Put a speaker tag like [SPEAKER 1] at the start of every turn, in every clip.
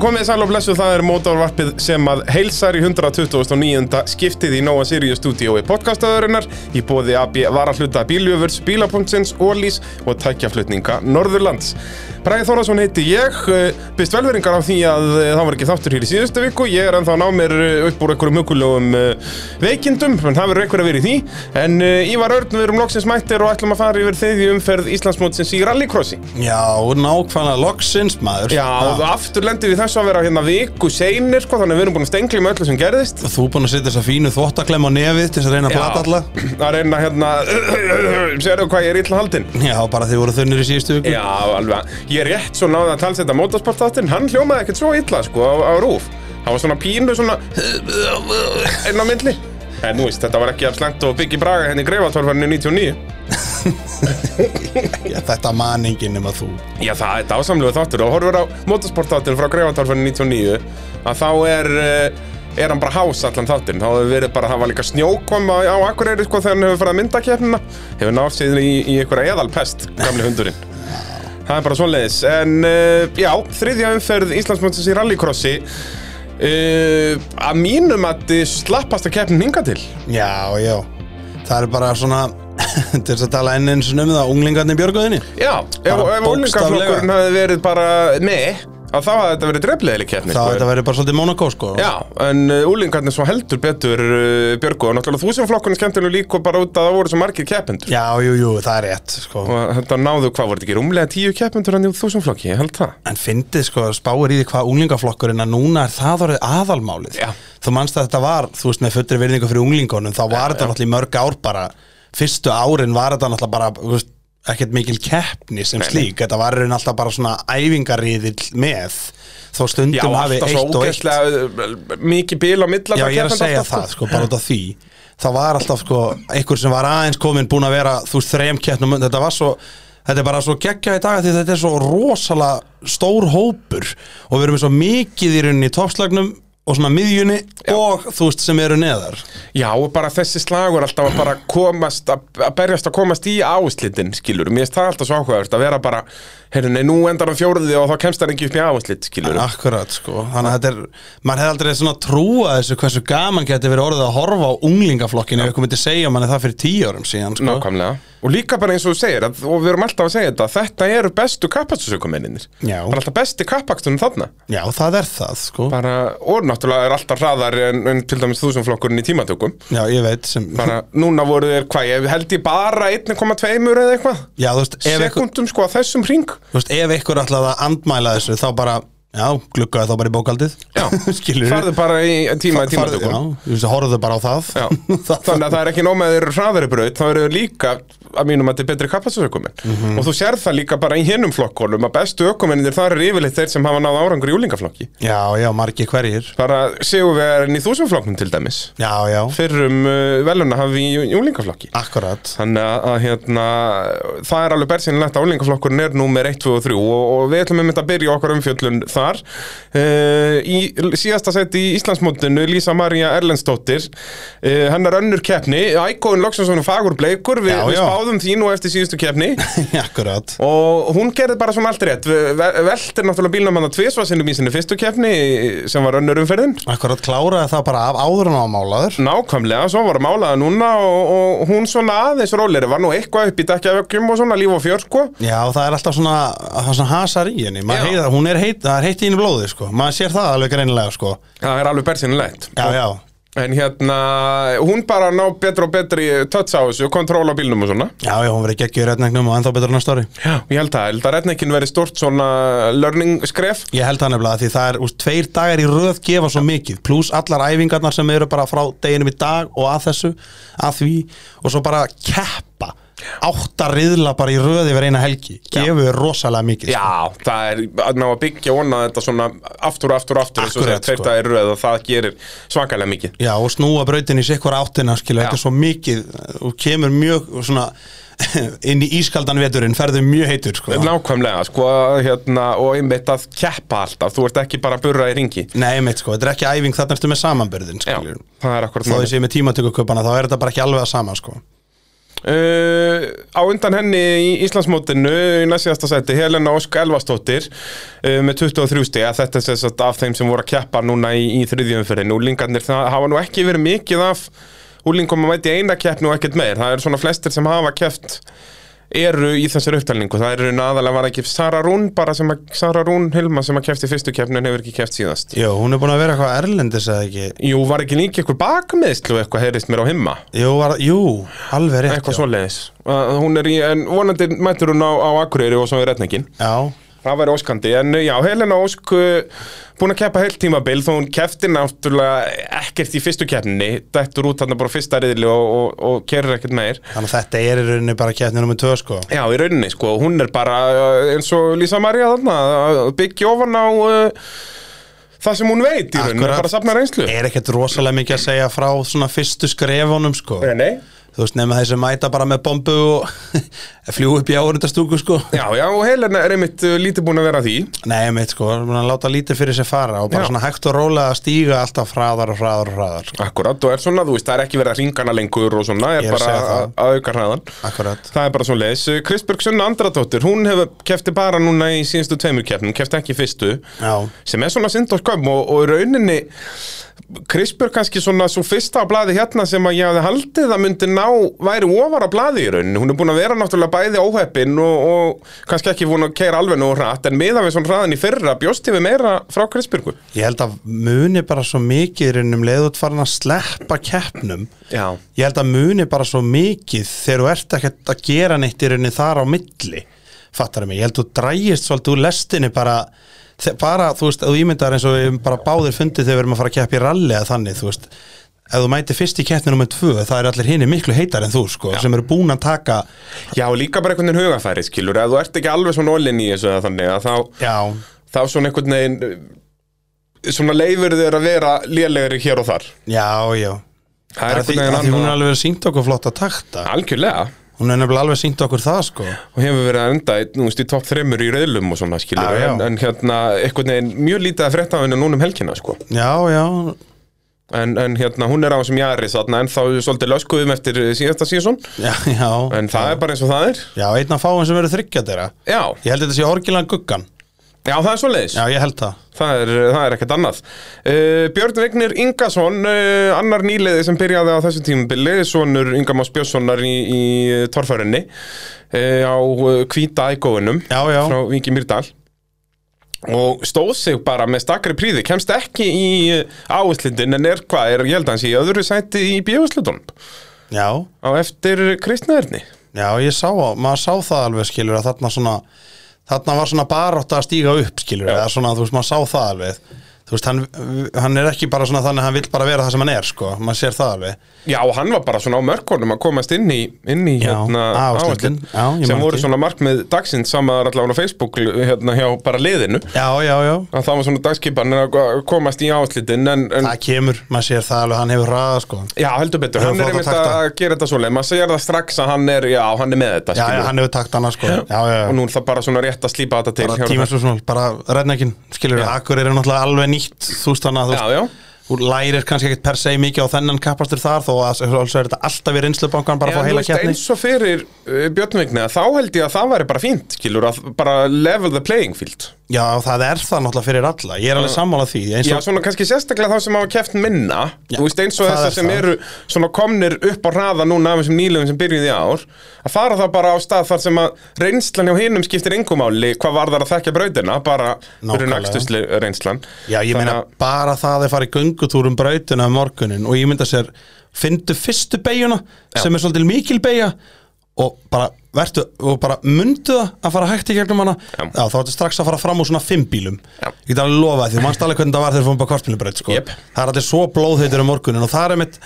[SPEAKER 1] komið sæl og blessu, það er mótorvarpið sem að heilsar í 129. skiptið í Nóa Sirius stúdíói podcastaðurinnar í bóði AB varahluta bíljöfurs, bíla.sins, ólís og tækjaflutninga Norðurlands. Bræði Þórasson heiti ég, eh, biðst velveringar á því að eh, það var ekki þáttur hér í síðustu viku, ég er ennþá ná mér eh, upp úr einhverjum hugulegum veikindum, en það verður einhver að vera í því, en eh, Ívar Örn, við erum loksins mættir og ætlum að fara yfir þriðju umferð Íslandsmótsins í rallycrossi.
[SPEAKER 2] Já, nákvæmlega loksins maður
[SPEAKER 1] Já, og aftur lendir við þessu að vera hérna viku seinir, sko, þannig að við erum búin að stengli með öllu sem gerðist.
[SPEAKER 2] Þú er búinn að setja þessa fínu þvottaklem á nefið til þess að reyna að plata alla
[SPEAKER 1] Að reyna hérna, sérðu hvað ég er illa haldinn.
[SPEAKER 2] Já, bara þið voru þunnir í síðustu viku
[SPEAKER 1] Já, alveg, ég er rétt svo náði að talsetta motorsportáttin, hann hljómaði ekkert svo illa, sko, á, á rúf. Það var svona pínu, svona, einn á myndli. En nú veist, þetta var ekki af slengt og byggi braga hérna henni greifatórfarinu 99.
[SPEAKER 2] Já, Þetta maningin nema þú
[SPEAKER 1] Já, það er dásamlega þáttur og horfur á motorsportáttin frá greifatórfarinu 99 að þá er, eh, er hann bara hás allan þáttin þá hefur verið bara, það var líka snjókvam á, á Akureyri sko þegar hann hefur farið að mynda keppnina hefur nátt sér í, í einhverja eðalpest gamli hundurinn Það er bara svoleiðis en uh, já, þriðja umferð Íslandsmótsins í rallycrossi uh, að mínum að þið slappast að keppnin hinga til
[SPEAKER 2] Já, já Það er bara svona til þess að tala enn einu sinni um það Unglingarnir björguðinni
[SPEAKER 1] Já, ef,
[SPEAKER 2] Bara
[SPEAKER 1] ef úlingaflokkurinn hefði verið bara með að þá hafði þetta verið drefleðileg keppni
[SPEAKER 2] Það
[SPEAKER 1] sko.
[SPEAKER 2] þetta verið bara svolítið Monaco sko
[SPEAKER 1] Já, en uh, úlingarnir svo heldur betur uh, Björgu og náttúrulega þú sem flokkurinn skemmtinu líka bara út að það voru svo margir keppendur
[SPEAKER 2] Já, jú, jú, það er rétt sko
[SPEAKER 1] og þetta náðu hvað voru þetta ekki rúmlega tíu keppendur en þú sem flokki, ég held það
[SPEAKER 2] En fyndið sko, spáir í því hvað unglingaflokkurinn að núna er það orðið aðalmálið
[SPEAKER 1] Já.
[SPEAKER 2] Þú manst að þetta var, þú veist, með fullri verðingu fyrir unglingunum Þá var þetta náttúrulega í mörg ár bara Fyrstu árin var þetta náttúrulega bara, þú veist, ekkert mikil keppni sem slík Þetta var í raun alltaf bara svona æfingarriðil með Þó
[SPEAKER 1] Já,
[SPEAKER 2] stundum hafi
[SPEAKER 1] alltaf svo
[SPEAKER 2] eitt og eitt
[SPEAKER 1] ógeðslega uh, mikið bil á milla
[SPEAKER 2] Já, ég er að segja það, sko, bara út af því Það var alltaf, sko, einhver sem var aðeins komin búin að vera, þú veist, þreim keppnum Þetta var svo, þetta er bara svo geggja í dag Því þetta er svo rosalega stór hópur Og við erum með svo mikið í rauninni í toppslagnum Og svona miðjunni og, þú veist, sem eru neðar
[SPEAKER 1] Já, og bara þessi slagur alltaf að bara komast að, að berjast að komast í áslitin skilur, mér finnst það alltaf svo áhugavert að vera bara, heyrðu, nei, nú endar hann fjórði og þá kemst hann ekki upp í áslit, skilur
[SPEAKER 2] Akkurat, sko, þannig að þetta er Maður hefði aldrei svona trúa þessu hversu gaman geti verið orðið að horfa á unglingaflokkin Ef ykkur myndi segja manni það fyrir tíu árum síðan, sko
[SPEAKER 1] Nákvæmlega Og líka bara eins og þú segir, að, og við erum alltaf að segja þetta Þetta eru bestu kappakstursaukumenninir Það
[SPEAKER 2] Já.
[SPEAKER 1] er alltaf besti kappaksturinn þarna
[SPEAKER 2] Já, það er það, sko
[SPEAKER 1] bara, Og náttúrulega er alltaf hraðar en, en til dæmis þúsumflokkurinn í tímatökum
[SPEAKER 2] Já, ég veit sem
[SPEAKER 1] bara, Núna voru þeir, hvað, ég held ég bara 1,2 eða eitthvað
[SPEAKER 2] Já, þú veist, ef ykkur
[SPEAKER 1] Sekundum sko að þessum ring
[SPEAKER 2] þú veist, ef einhver ætlaði að andmæla þessu þá bara, já, gluggaði þá bara í bókaldið
[SPEAKER 1] Já,
[SPEAKER 2] skilur
[SPEAKER 1] farðu bara í tíma í tímatökum
[SPEAKER 2] já, þú veist, horfðu bara á það
[SPEAKER 1] Já, þannig að það er ekki nóg með að þeir eru hraðari braut þá eru þeir líka, að mínum að þetta er betri kappastursaukumenn
[SPEAKER 2] Mhm.
[SPEAKER 1] og þú sér það líka bara í hinnum flokkunum að bestu aukumennir þar eru yfirleitt þeir sem hafa náð árangur í úlingaflokki
[SPEAKER 2] já, já, margi hverjir
[SPEAKER 1] bara sigurverðin í þúsumflokknum til dæmis
[SPEAKER 2] já, já,
[SPEAKER 1] fyrrum uh, veluna hafi í úlingaflokki
[SPEAKER 2] akkurat
[SPEAKER 1] þannig að, að hérna, það er alveg bersinilegt að úlingaflokkurinn er númer 1, 2 og 3 og, og við ætlum einmitt að byrja okkar umfjöllun þar uh, í síðasta seti í Íslandsmótinu Lísa María Erlendsdóttir uh, hennar önnur keppni, Ækóin Loksansson og Fagur Bleikur, Vi,
[SPEAKER 2] Já,
[SPEAKER 1] við
[SPEAKER 2] já.
[SPEAKER 1] spáðum því nú eftir síðustu keppni
[SPEAKER 2] akkurat
[SPEAKER 1] Og hún gerði bara svona allt rétt Ve- ve- Veltir náttúrulega bílnum hann að tvisvarsinnum í sinni fyrstu keppni sem var önnur umferðin
[SPEAKER 2] akkurat kláraði það bara af áður en ámálaður
[SPEAKER 1] Nákvæmlega, svo var málaða núna og, og hún svona aðeins róleri var nú eitthvað upp í dækjavökkjum og svona líf og fjör sko
[SPEAKER 2] já, það er alltaf svona, það er svona hasar í henni
[SPEAKER 1] Já.
[SPEAKER 2] maður heiða, hún er heit, það er heitt í henni blóði, sko maður sér það alveg greinilega, sko
[SPEAKER 1] Það er alveg bersinilegt
[SPEAKER 2] já, já,
[SPEAKER 1] En hérna, hún bara ná betra og betri touch á þessu, kontról á bílnum og svona
[SPEAKER 2] já, já, hún verið geggjur etningnum og ennþá betur næsta ári
[SPEAKER 1] Já, ég held það, ég held að retnekinn verið stort svona learning skref
[SPEAKER 2] Ég held það nefnilega því það er úst, tveir dagar í röð gefa svo mikið pluss allar æfingarnar sem eru bara frá deginum í dag og að þessu, að því og svo bara keppa átta riðla bara í röð yfir eina helgi gefur rosalega mikið sko.
[SPEAKER 1] Já, það er að ná að byggja og annað þetta svona aftur og aftur og aftur
[SPEAKER 2] Akkurat,
[SPEAKER 1] Akkurat,
[SPEAKER 2] sko.
[SPEAKER 1] sko. er, röð, og það gerir svakalega mikið
[SPEAKER 2] Já, og snúa brautin í sikkur áttina skilu, þetta er svo mikið og kemur mjög svona inn í ískaldan veturinn, ferðu mjög heitur sko.
[SPEAKER 1] Nákvæmlega, sko, hérna, og einmitt að keppa alltaf, þú ert ekki bara að burra í ringi
[SPEAKER 2] Nei, meitt sko, þetta er ekki æfing þarna ertu með samanbörðin
[SPEAKER 1] Já,
[SPEAKER 2] skilur.
[SPEAKER 1] það er akkurat
[SPEAKER 2] þó
[SPEAKER 1] málið.
[SPEAKER 2] þið séu með tímatökuköpana þá er þetta bara ekki alveg að sama sko.
[SPEAKER 1] Uh, á undan henni í Íslandsmótinu í næstjasta seti Helena Ósk Elvastóttir uh, með 23 stiga þetta er sem sagt af þeim sem voru að keppa núna í, í þriðjumferðin úlingarnir það hafa nú ekki verið mikið af úlingum að mæti eina keppni og ekkert meir það eru svona flestir sem hafa keppt eru í þessari upptalningu það eru aðalega var ekki Sara Rún bara sem að Sara Rún Hilma sem að keppt í fyrstu keppni en hefur ekki keppt síðast
[SPEAKER 2] Jó, hún er búin að vera eitthvað erlendis eða ekki
[SPEAKER 1] Jú, var ekki líka eitthvað bakmeðslu eitthvað heyrist mér á himma
[SPEAKER 2] Jú, var, jú alveg rétt
[SPEAKER 1] eitthvað
[SPEAKER 2] já.
[SPEAKER 1] svoleiðis Að hún er í, en vonandi mættur hún á, á Akureyri og svo er retningin
[SPEAKER 2] Já,
[SPEAKER 1] það væri óskandi, en eh, já, Helena Ósk uh, búin að keppa heilt tímabil þó hún keppti náttúrulega ekkert í fyrstu keppninni, dættur út hann bara á fyrsta riðli og, og, og kerir ekkert meir
[SPEAKER 2] þannig að þetta er í rauninni bara keppni nummer 2 sko
[SPEAKER 1] Já, í rauninni, sko, hún er bara uh, eins og Lísa Maria þarna að byggja ofan á uh, það sem hún veit í rauninni,
[SPEAKER 2] Akkurat. Eh.
[SPEAKER 1] bara safna reynslu
[SPEAKER 2] Er ekkert rosalega mikið að segja frá svona fyrstu skrefunum sko
[SPEAKER 1] Nei, nei
[SPEAKER 2] Þú veist, nema þessi mæta bara með bombu og fljú upp í áhörundastúku sko
[SPEAKER 1] Já, já, og Helena er einmitt uh, lítið búin að vera að því
[SPEAKER 2] Nei, mitt sko, hún er að láta lítið fyrir sér fara og bara
[SPEAKER 1] Já.
[SPEAKER 2] svona hægt og rólega að stíga alltaf hraðar og hraðar og hraðar sko.
[SPEAKER 1] Akkurat, og er svona, þú veist, það er ekki verið að ringa hana lengur og svona, er
[SPEAKER 2] Ég er að
[SPEAKER 1] bara
[SPEAKER 2] segja það.
[SPEAKER 1] að- að auka hraðan
[SPEAKER 2] Akkurat
[SPEAKER 1] Það er bara svona leis Kristberg Sunna Andradóttir, hún hefur kefti bara núna í síðustu tveimur keppnum, kefti ekki í fyrstu
[SPEAKER 2] Já,
[SPEAKER 1] sem er svona synd og skömm og, og í rauninni Kristberg kannski svona svo fyrsta á blaði hérna sem að ég hafði haldið að myndi ná væri ofar á blaði í rauninni hún er búin að vera náttúrulega bæði óheppin og, og kannski ekki búin að keira alveg nú hratt en miðan við svona hraðan í fyrra bjóst yfir meira frá Kristbergu
[SPEAKER 2] ég held að muni bara svo mikið í um raunum leiðut farin að sleppa keppnum
[SPEAKER 1] Já
[SPEAKER 2] Ég held að muni bara svo mikið þegar þú ert ekkert að gera neitt í rauninni þar á milli Fattar mig, ég held að þú drægist svolítið úr lestinni bara þe- bara, þú veist, ef þú ímyndar eins og við höfum bara báðir fundið þegar við erum að fara að keppa í ralli eða þannig, þú veist ef þú mæti fyrst í keppni nummer tvö, það eru allir hinni miklu heitar en þú, sko, sem eru búin að taka
[SPEAKER 1] Já, og líka bara einhvern veginn hugafæri, skilur, að þú ert ekki alveg svona ólinn í þessu eða þannig að þá,
[SPEAKER 2] Já,
[SPEAKER 1] þá svona einhvern veginn, eh, svona leifur þér að vera lélegri hér og þar.
[SPEAKER 2] já, já
[SPEAKER 1] Það er
[SPEAKER 2] Það er því,
[SPEAKER 1] einhvern
[SPEAKER 2] að því
[SPEAKER 1] veginn
[SPEAKER 2] hún er
[SPEAKER 1] annað.
[SPEAKER 2] alveg verið sínt okkur flott að takta
[SPEAKER 1] Algjörlega,
[SPEAKER 2] Hún er nefnilega alveg sínt okkur það, sko
[SPEAKER 1] og hefur verið að enda, í- nú veist, í topp þreymur í reyðlum og svona, skilur,
[SPEAKER 2] Ah, Já, já.
[SPEAKER 1] En, en hérna, einhvern veginn, mjög lítið að frétta af henni núna um helgina, sko.
[SPEAKER 2] Já, já,
[SPEAKER 1] En, en hérna, hún er á þessum jari, þarna, en þá svolítið löskuðum eftir eh, síðasta síðsson,
[SPEAKER 2] já, já
[SPEAKER 1] en það er bara eins og það er.
[SPEAKER 2] Já, einn af fáum sem verður þryggjadeira
[SPEAKER 1] Já,
[SPEAKER 2] Ég held að þetta sé orgilan guggan
[SPEAKER 1] já, það er svoleiðis.
[SPEAKER 2] Já, ég held það
[SPEAKER 1] Það er, það er ekkert annað. Uh, Björn Vignir Ingason, uh, annar nýliði sem byrjaði á þessu tímubili, sonur Ingamás Björnssonar í, í torfærinni uh, á uh, hvíta ægóinum
[SPEAKER 2] Já, já,
[SPEAKER 1] frá Vingi Mýrdal og stóð sig bara með stakri príði, kemst ekki í eh, áherslindin en er hvað, er ég held að hans í öðru sæti í bjöðslutunum
[SPEAKER 2] já
[SPEAKER 1] á eftir Kristnaðurni.
[SPEAKER 2] Já, ég sá, á- maður sá það alveg skilur að þarna svona Þarna var svona barótt að stíga upp skilur Eða svona, þú veist, maður sá það alveg Þú veist, hann, hann er ekki bara svona þannig að hann vill bara vera það sem hann er, sko Maður sér það alveg
[SPEAKER 1] Já, og hann var bara svona á mörkunum að komast inn í, inn í
[SPEAKER 2] Já,
[SPEAKER 1] hérna,
[SPEAKER 2] áherslin.
[SPEAKER 1] áherslin,
[SPEAKER 2] Já, ég
[SPEAKER 1] sem
[SPEAKER 2] man
[SPEAKER 1] voru
[SPEAKER 2] ekki.
[SPEAKER 1] svona markmið dagsins samaðar allavega á Facebook hérna hjá bara liðinu
[SPEAKER 2] Já, já, já
[SPEAKER 1] að það var svona dagskipan að komast í áherslitin en, en
[SPEAKER 2] Það kemur, maður sér það alveg, hann hefur hraða, sko
[SPEAKER 1] já, heldur betur,
[SPEAKER 2] Hefur
[SPEAKER 1] hann er
[SPEAKER 2] flottan
[SPEAKER 1] einmitt
[SPEAKER 2] takta.
[SPEAKER 1] að gera þetta svoleið maður segir það strax að hann er, já, hann er með þetta
[SPEAKER 2] Já, já,
[SPEAKER 1] skilur.
[SPEAKER 2] hann hefur takt annað, sko Já, já, já
[SPEAKER 1] og nú er það bara svona rétt að slípa þetta til
[SPEAKER 2] bara
[SPEAKER 1] hjá-
[SPEAKER 2] tímasvöfsmál, bara rednækin skilur, akkur eru náttúrulega alveg nýtt þú veist þannig að þú
[SPEAKER 1] Já, já,
[SPEAKER 2] veist, þú lærir kannski ekkert per se mikið á þennan kappastur þar þó að alveg er þetta alltaf í reynslubankan bara
[SPEAKER 1] en
[SPEAKER 2] að fá
[SPEAKER 1] þú
[SPEAKER 2] heila
[SPEAKER 1] veist
[SPEAKER 2] keppni
[SPEAKER 1] eins og fyrir uh, Björnvigni þá held ég að það væri bara fínt, skilur, að bara level the playing field
[SPEAKER 2] já, það er það náttúrulega fyrir alla, ég er alveg sammála því eins
[SPEAKER 1] Já,
[SPEAKER 2] og,
[SPEAKER 1] svona kannski sérstaklega þá sem hafa keft minna
[SPEAKER 2] Já,
[SPEAKER 1] Þú veist eins og
[SPEAKER 2] það
[SPEAKER 1] þessar
[SPEAKER 2] er
[SPEAKER 1] sem
[SPEAKER 2] það.
[SPEAKER 1] eru svona komnir upp á hraða núna af þessum nýlegum sem byrjuði í ár að fara þá bara á stað þar sem að reynslan hjá hinum skiptir engumáli hvað var þar að þekka brautina, bara fyrir
[SPEAKER 2] Nákvæmlega.
[SPEAKER 1] nækstusli reynslan
[SPEAKER 2] já, ég meina
[SPEAKER 1] Þannig að-
[SPEAKER 2] bara það að fara í göngutúrum brautuna um morgunin og ég mynda sér fyndu fyrstu beiguna sem er svolítið mikil beiga og bara, vertu, og bara mundu það að fara hægt í gegnum hana já.
[SPEAKER 1] Já.
[SPEAKER 2] þá ertu strax að fara fram úr svona fimm bílum
[SPEAKER 1] Já.
[SPEAKER 2] ég get alveg lofað því, þú manst alveg hvernig það var þegar við fórum bara kvartmjölubraut sko.
[SPEAKER 1] Jep.
[SPEAKER 2] það er allir svo blóðheitur um morgunin og það er einmitt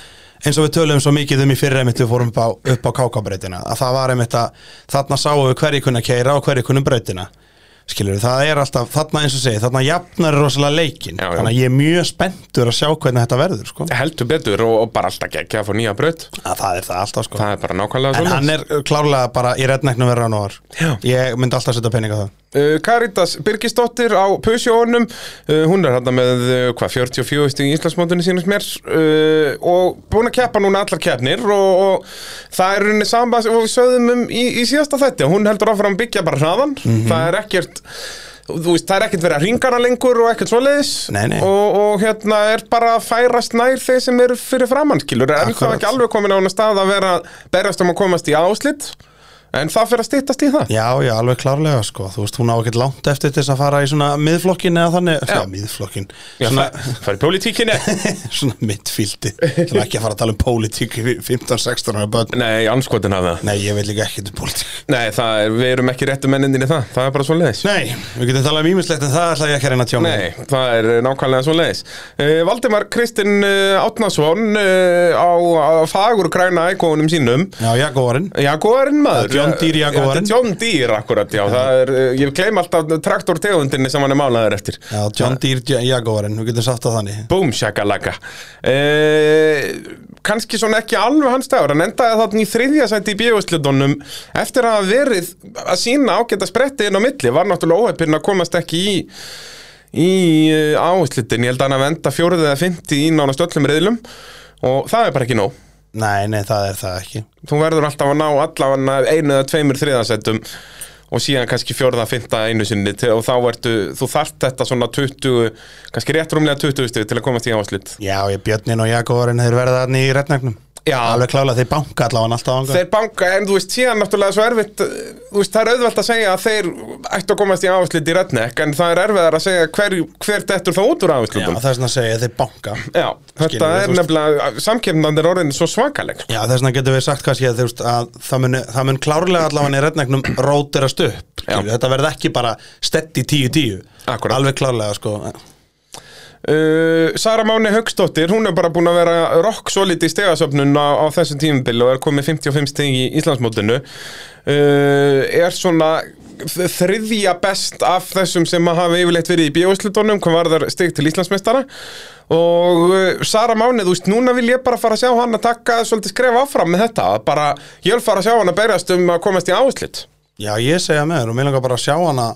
[SPEAKER 2] eins og við töluðum svo mikið um í fyrra einmitt við fórum upp á, upp á kákabrautina að það var einmitt að þarna sáum við hverju kunna keira og hverju kunna brautina skilur það er alltaf, þarna eins og segi þarna jafnar er rosalega leikin
[SPEAKER 1] Já, já.
[SPEAKER 2] þannig að ég er mjög spenntur að sjá hvernig þetta verður sko.
[SPEAKER 1] heldur betur og, og bara alltaf ekki að fá nýja braut
[SPEAKER 2] að það er það alltaf sko.
[SPEAKER 1] Það er bara nákvæmlega
[SPEAKER 2] en uh,
[SPEAKER 1] svona
[SPEAKER 2] hann er klárlega bara í reddnæknum verður hann og var
[SPEAKER 1] Já.
[SPEAKER 2] ég myndi alltaf setja peninga það
[SPEAKER 1] Uh, Karitas Birgisdóttir á Pusjónum, uh, hún er hérna með uh, hvað, 44 stig í Íslandsmóndunni sínast mér uh, og búin að keppa núna allar keppnir og, og það er henni sama og við sögðum um í, í síðasta þetta, hún heldur áfram að byggja bara hraðan,
[SPEAKER 2] Mhm.
[SPEAKER 1] það er ekkert þú veist, það er ekkert verið að ringa hana lengur og ekkert svoleiðis
[SPEAKER 2] Nei, nei.
[SPEAKER 1] Og, og hérna er bara að færast nær þeir sem eru fyrir framann, skilur er ennþá
[SPEAKER 2] Akkurat.
[SPEAKER 1] ekki alveg komin á hana stað að vera berjast um að komast í áslit en það fyrir að stýttast í það
[SPEAKER 2] Já, já, alveg klárlega sko Þú veist, hún á ekkert langt eftir til þess að fara í svona miðflokkin eða þannig Já, miðflokkin
[SPEAKER 1] Já,
[SPEAKER 2] Svona,
[SPEAKER 1] það það er í pólitíkinni
[SPEAKER 2] svona mittfíldi Það er ekki að fara að tala um pólitík í 15-16 ára börn
[SPEAKER 1] Nei, anskotin af það
[SPEAKER 2] Nei, ég veit líka ekkert um pólitík
[SPEAKER 1] Nei, það er, við erum ekki réttu mennindir í það Það er bara svo leiðis
[SPEAKER 2] Nei, við getum talað um ímislegt en það ætla ég ekki að reyna að tjá mig
[SPEAKER 1] Nei, það er eh, nákvæmlega svo leiðis Valdimar Kristinn uh, Átnason uh, á, á fagur græna íkónum sínum
[SPEAKER 2] Já, Jaguarinn
[SPEAKER 1] Jaguarinn maður
[SPEAKER 2] Það er John Deere Jaguarinn.
[SPEAKER 1] Já, þetta er John Deere akkurat, já, það er, uh, Ég gleym alltaf traktortegundinni sem hann er málaður eftir
[SPEAKER 2] Já, John Deere Jaguarinn, við getum sagt það þannig
[SPEAKER 1] Boom shakalaka eh, Kanski svona ekki alveg hans dagur En endaði þannig í þriðja sæti í bjöfuslutunum Eftir að hafa verið að sína ágæta spretti inn á milli Var náttúrulega óheppinn að komast ekki í Í áherslutin Ég held að hann að venda fjórið eða fymti í nánast öllum reyðlum Og það er bara ekki nóg
[SPEAKER 2] Nei, nei, það er það ekki
[SPEAKER 1] Þú verður alltaf að ná allavega einu eða tveimur þriðasættum og síðan kannski fjórða, fymta einu sinni til, og þá ertu, þú þarft þetta svona 20, kannski rétt rúmlega 20 stig til að komast í áherslut
[SPEAKER 2] Já, ég Björnin og Jaguarinn, þeir verða þarna í retnagnum
[SPEAKER 1] Já.
[SPEAKER 2] Alveg klálega, þeir banka allavega alltaf ánga
[SPEAKER 1] þeir banka, en þú veist, síðan náttúrulega svo erfitt, eh, þú veist, það er auðvelt að segja að þeir ættu að komast í afslit í redneck en það er erfiðar að segja hver, hver dettur þá út úr
[SPEAKER 2] Já,
[SPEAKER 1] afslutum.
[SPEAKER 2] það er svona að segja, þeir banka
[SPEAKER 1] Já, þetta
[SPEAKER 2] Skilur við,
[SPEAKER 1] er
[SPEAKER 2] þú veist.
[SPEAKER 1] nefnilega, samkefnandi er orðin svo svakaleg. sko.
[SPEAKER 2] Já, þess vegna getum við sagt kannski að, þú veist, að það, mun, það mun klárlega allavega í rednegnum rótirast upp.
[SPEAKER 1] Já.
[SPEAKER 2] Skilju, Þetta verði ekki bara stett í 10-10.
[SPEAKER 1] Akkúrat.
[SPEAKER 2] Alveg klárlega, sko.
[SPEAKER 1] Uh, Sara Máni Högstóttir, hún er bara búin að vera rock solid í stegasöfnun á, á þessum tímubil og er komið 55 stig í Íslandsmótinu. Uh, er svona þriðja best af þessum sem að hafa yfirleitt verið í bjóðslutunum, hvað var þar stig til Íslandsmeistara og uh, Sara Máni, þú veist, núna vil ég bara fara að sjá hann að taka svolítið skref áfram með þetta, að bara ég vil fara að sjá hann að berjast um að komast í áslit.
[SPEAKER 2] Já, ég segja með þér og mér langar bara að sjá hana,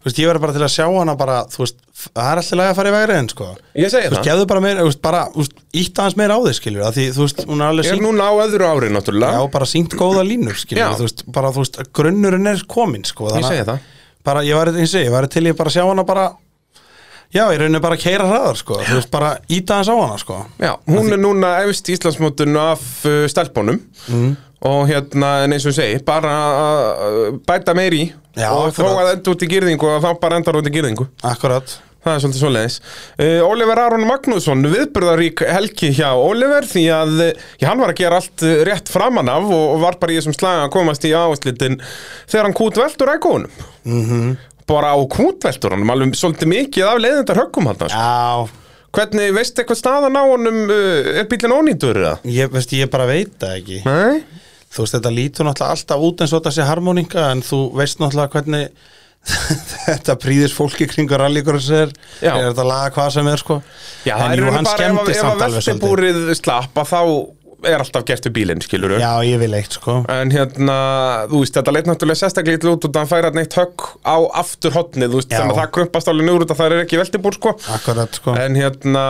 [SPEAKER 2] þú veist, ég verði bara til að sjá hana bara, þú veist, f- það er alltaf lega að fara í vegriðin, sko.
[SPEAKER 1] Ég segi
[SPEAKER 2] Þú veist,
[SPEAKER 1] það,
[SPEAKER 2] gefðu bara meira, þú veist, bara, þú veist, ítt aðeins meira á þig, skiljur, að því, þú veist, hún er alveg
[SPEAKER 1] er
[SPEAKER 2] sínt,
[SPEAKER 1] núna á öðru ári
[SPEAKER 2] já,
[SPEAKER 1] náttúrulega.
[SPEAKER 2] bara sínt góða línur,
[SPEAKER 1] Já.
[SPEAKER 2] skiljur, þú veist, bara, þú veist, grunnurinn er komin, sko.
[SPEAKER 1] ég
[SPEAKER 2] þannig að-
[SPEAKER 1] segi það.
[SPEAKER 2] bara, ég var, eins og ég var til ég bara að sjá hana bara já, ég raunin bara að keira hraðar sko, þú veist bara íta hans á hana sko
[SPEAKER 1] Já, hún er núna efst í Íslandsmótinu af uh, stelpunum
[SPEAKER 2] Mhm.
[SPEAKER 1] og hérna, en eins og ég segi, bara uh, bæta meir í
[SPEAKER 2] Já,
[SPEAKER 1] og
[SPEAKER 2] akkurat.
[SPEAKER 1] þó að enda út í gyrðingu og þá bara endar út í gyrðingu.
[SPEAKER 2] akkurat,
[SPEAKER 1] Það er svolítið svoleiðis. Uh, Oliver Aron Magnússon, viðbyrðarík helgi hjá Oliver því að uh, já, hann var að gera allt uh, rétt framan af og, og var bara í þessum slaga að komast í áherslitin þegar hann kútveldur ægónum. Mm
[SPEAKER 2] Mhm.
[SPEAKER 1] -hmm. Bara á kútveldur hann, alveg svolítið mikið af leiðindar höggum hann. Ja.
[SPEAKER 2] já
[SPEAKER 1] Hvernig, veistu eitthvað staðan á honum, uh, er bílinn ónýtur eða?
[SPEAKER 2] ég, veist, ég bara veit það ekki
[SPEAKER 1] Nei?
[SPEAKER 2] þú veist, þetta lítur náttúrulega alltaf út eins og þetta sé harmoninga en þú veist náttúrulega hvernig þetta príðis fólki kringur rallíkur er,
[SPEAKER 1] Já.
[SPEAKER 2] er þetta laga hvað sem er sko
[SPEAKER 1] Já, það
[SPEAKER 2] en
[SPEAKER 1] er
[SPEAKER 2] jú, hann
[SPEAKER 1] bara ef,
[SPEAKER 2] skemmtist
[SPEAKER 1] ef að
[SPEAKER 2] samt alveg svolítið
[SPEAKER 1] vestibúrið slappa þá er alltaf gert við bílinn, skilur
[SPEAKER 2] já, ég vil eitt sko
[SPEAKER 1] En hérna, þú veist, þetta leit náttúrulega sérstaklega illa út út að hann færa neitt högg á aftur hotnið, þú veist,
[SPEAKER 2] Já.
[SPEAKER 1] þannig að það krumpast alveg nýr út að það er ekki veltibúr, sko
[SPEAKER 2] akkurat sko
[SPEAKER 1] En hérna,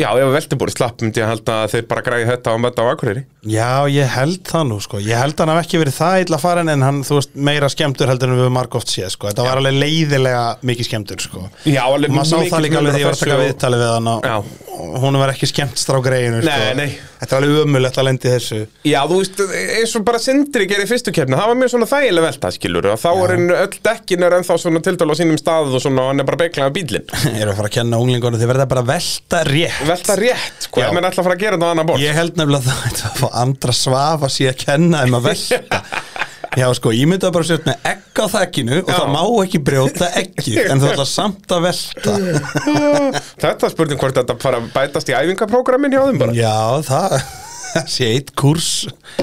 [SPEAKER 1] já, ef að veltibúrið slapp myndi ég að halda að þeir bara græði þetta á metta á Akureyri
[SPEAKER 2] Já, ég held það nú sko Ég held hann haf ekki verið það illa farin en hann, þú veist, meira skemmtur heldur en við höfum margóft séð sko Þetta var alveg leiðilega mikið skemmtur sko
[SPEAKER 1] Já, alveg
[SPEAKER 2] Maður sá
[SPEAKER 1] mikill
[SPEAKER 2] það líka
[SPEAKER 1] munur
[SPEAKER 2] alveg
[SPEAKER 1] á þessu
[SPEAKER 2] því ég var að taka
[SPEAKER 1] og-
[SPEAKER 2] viðtali við hann
[SPEAKER 1] Já.
[SPEAKER 2] og og honum var ekki skemmt strágreinu sko.
[SPEAKER 1] Nei, nei.
[SPEAKER 2] Þetta er alveg ömulegt að lendi þessu
[SPEAKER 1] Já, þú veist, eins og bara sindri gerir í fyrstu keppni, það var mjög svona þægileg velta, skilur Þá er henn öll dekkin er ennþá svona tildal á sínum stað og svona, og hann er bara beklaðan bílinn
[SPEAKER 2] Ég er að fara að kenna unglingunum því verða bara að velta rétt
[SPEAKER 1] Velta rétt, hvað,
[SPEAKER 2] Já.
[SPEAKER 1] menn ætla að fara að gera þetta á annan borð
[SPEAKER 2] Ég held nefnilega það ætti að fá andra svafa síðan að kenna um að velta Já sko, ég myndi bara sért með egg á þakkinu og
[SPEAKER 1] Já.
[SPEAKER 2] það má ekki brjóta eggið en þú ætlar samt að velta
[SPEAKER 1] Þetta er spurning hvort þetta fara að bætast í æfingaprógramin hjá þeim bara
[SPEAKER 2] Já, það það sé eitt kurs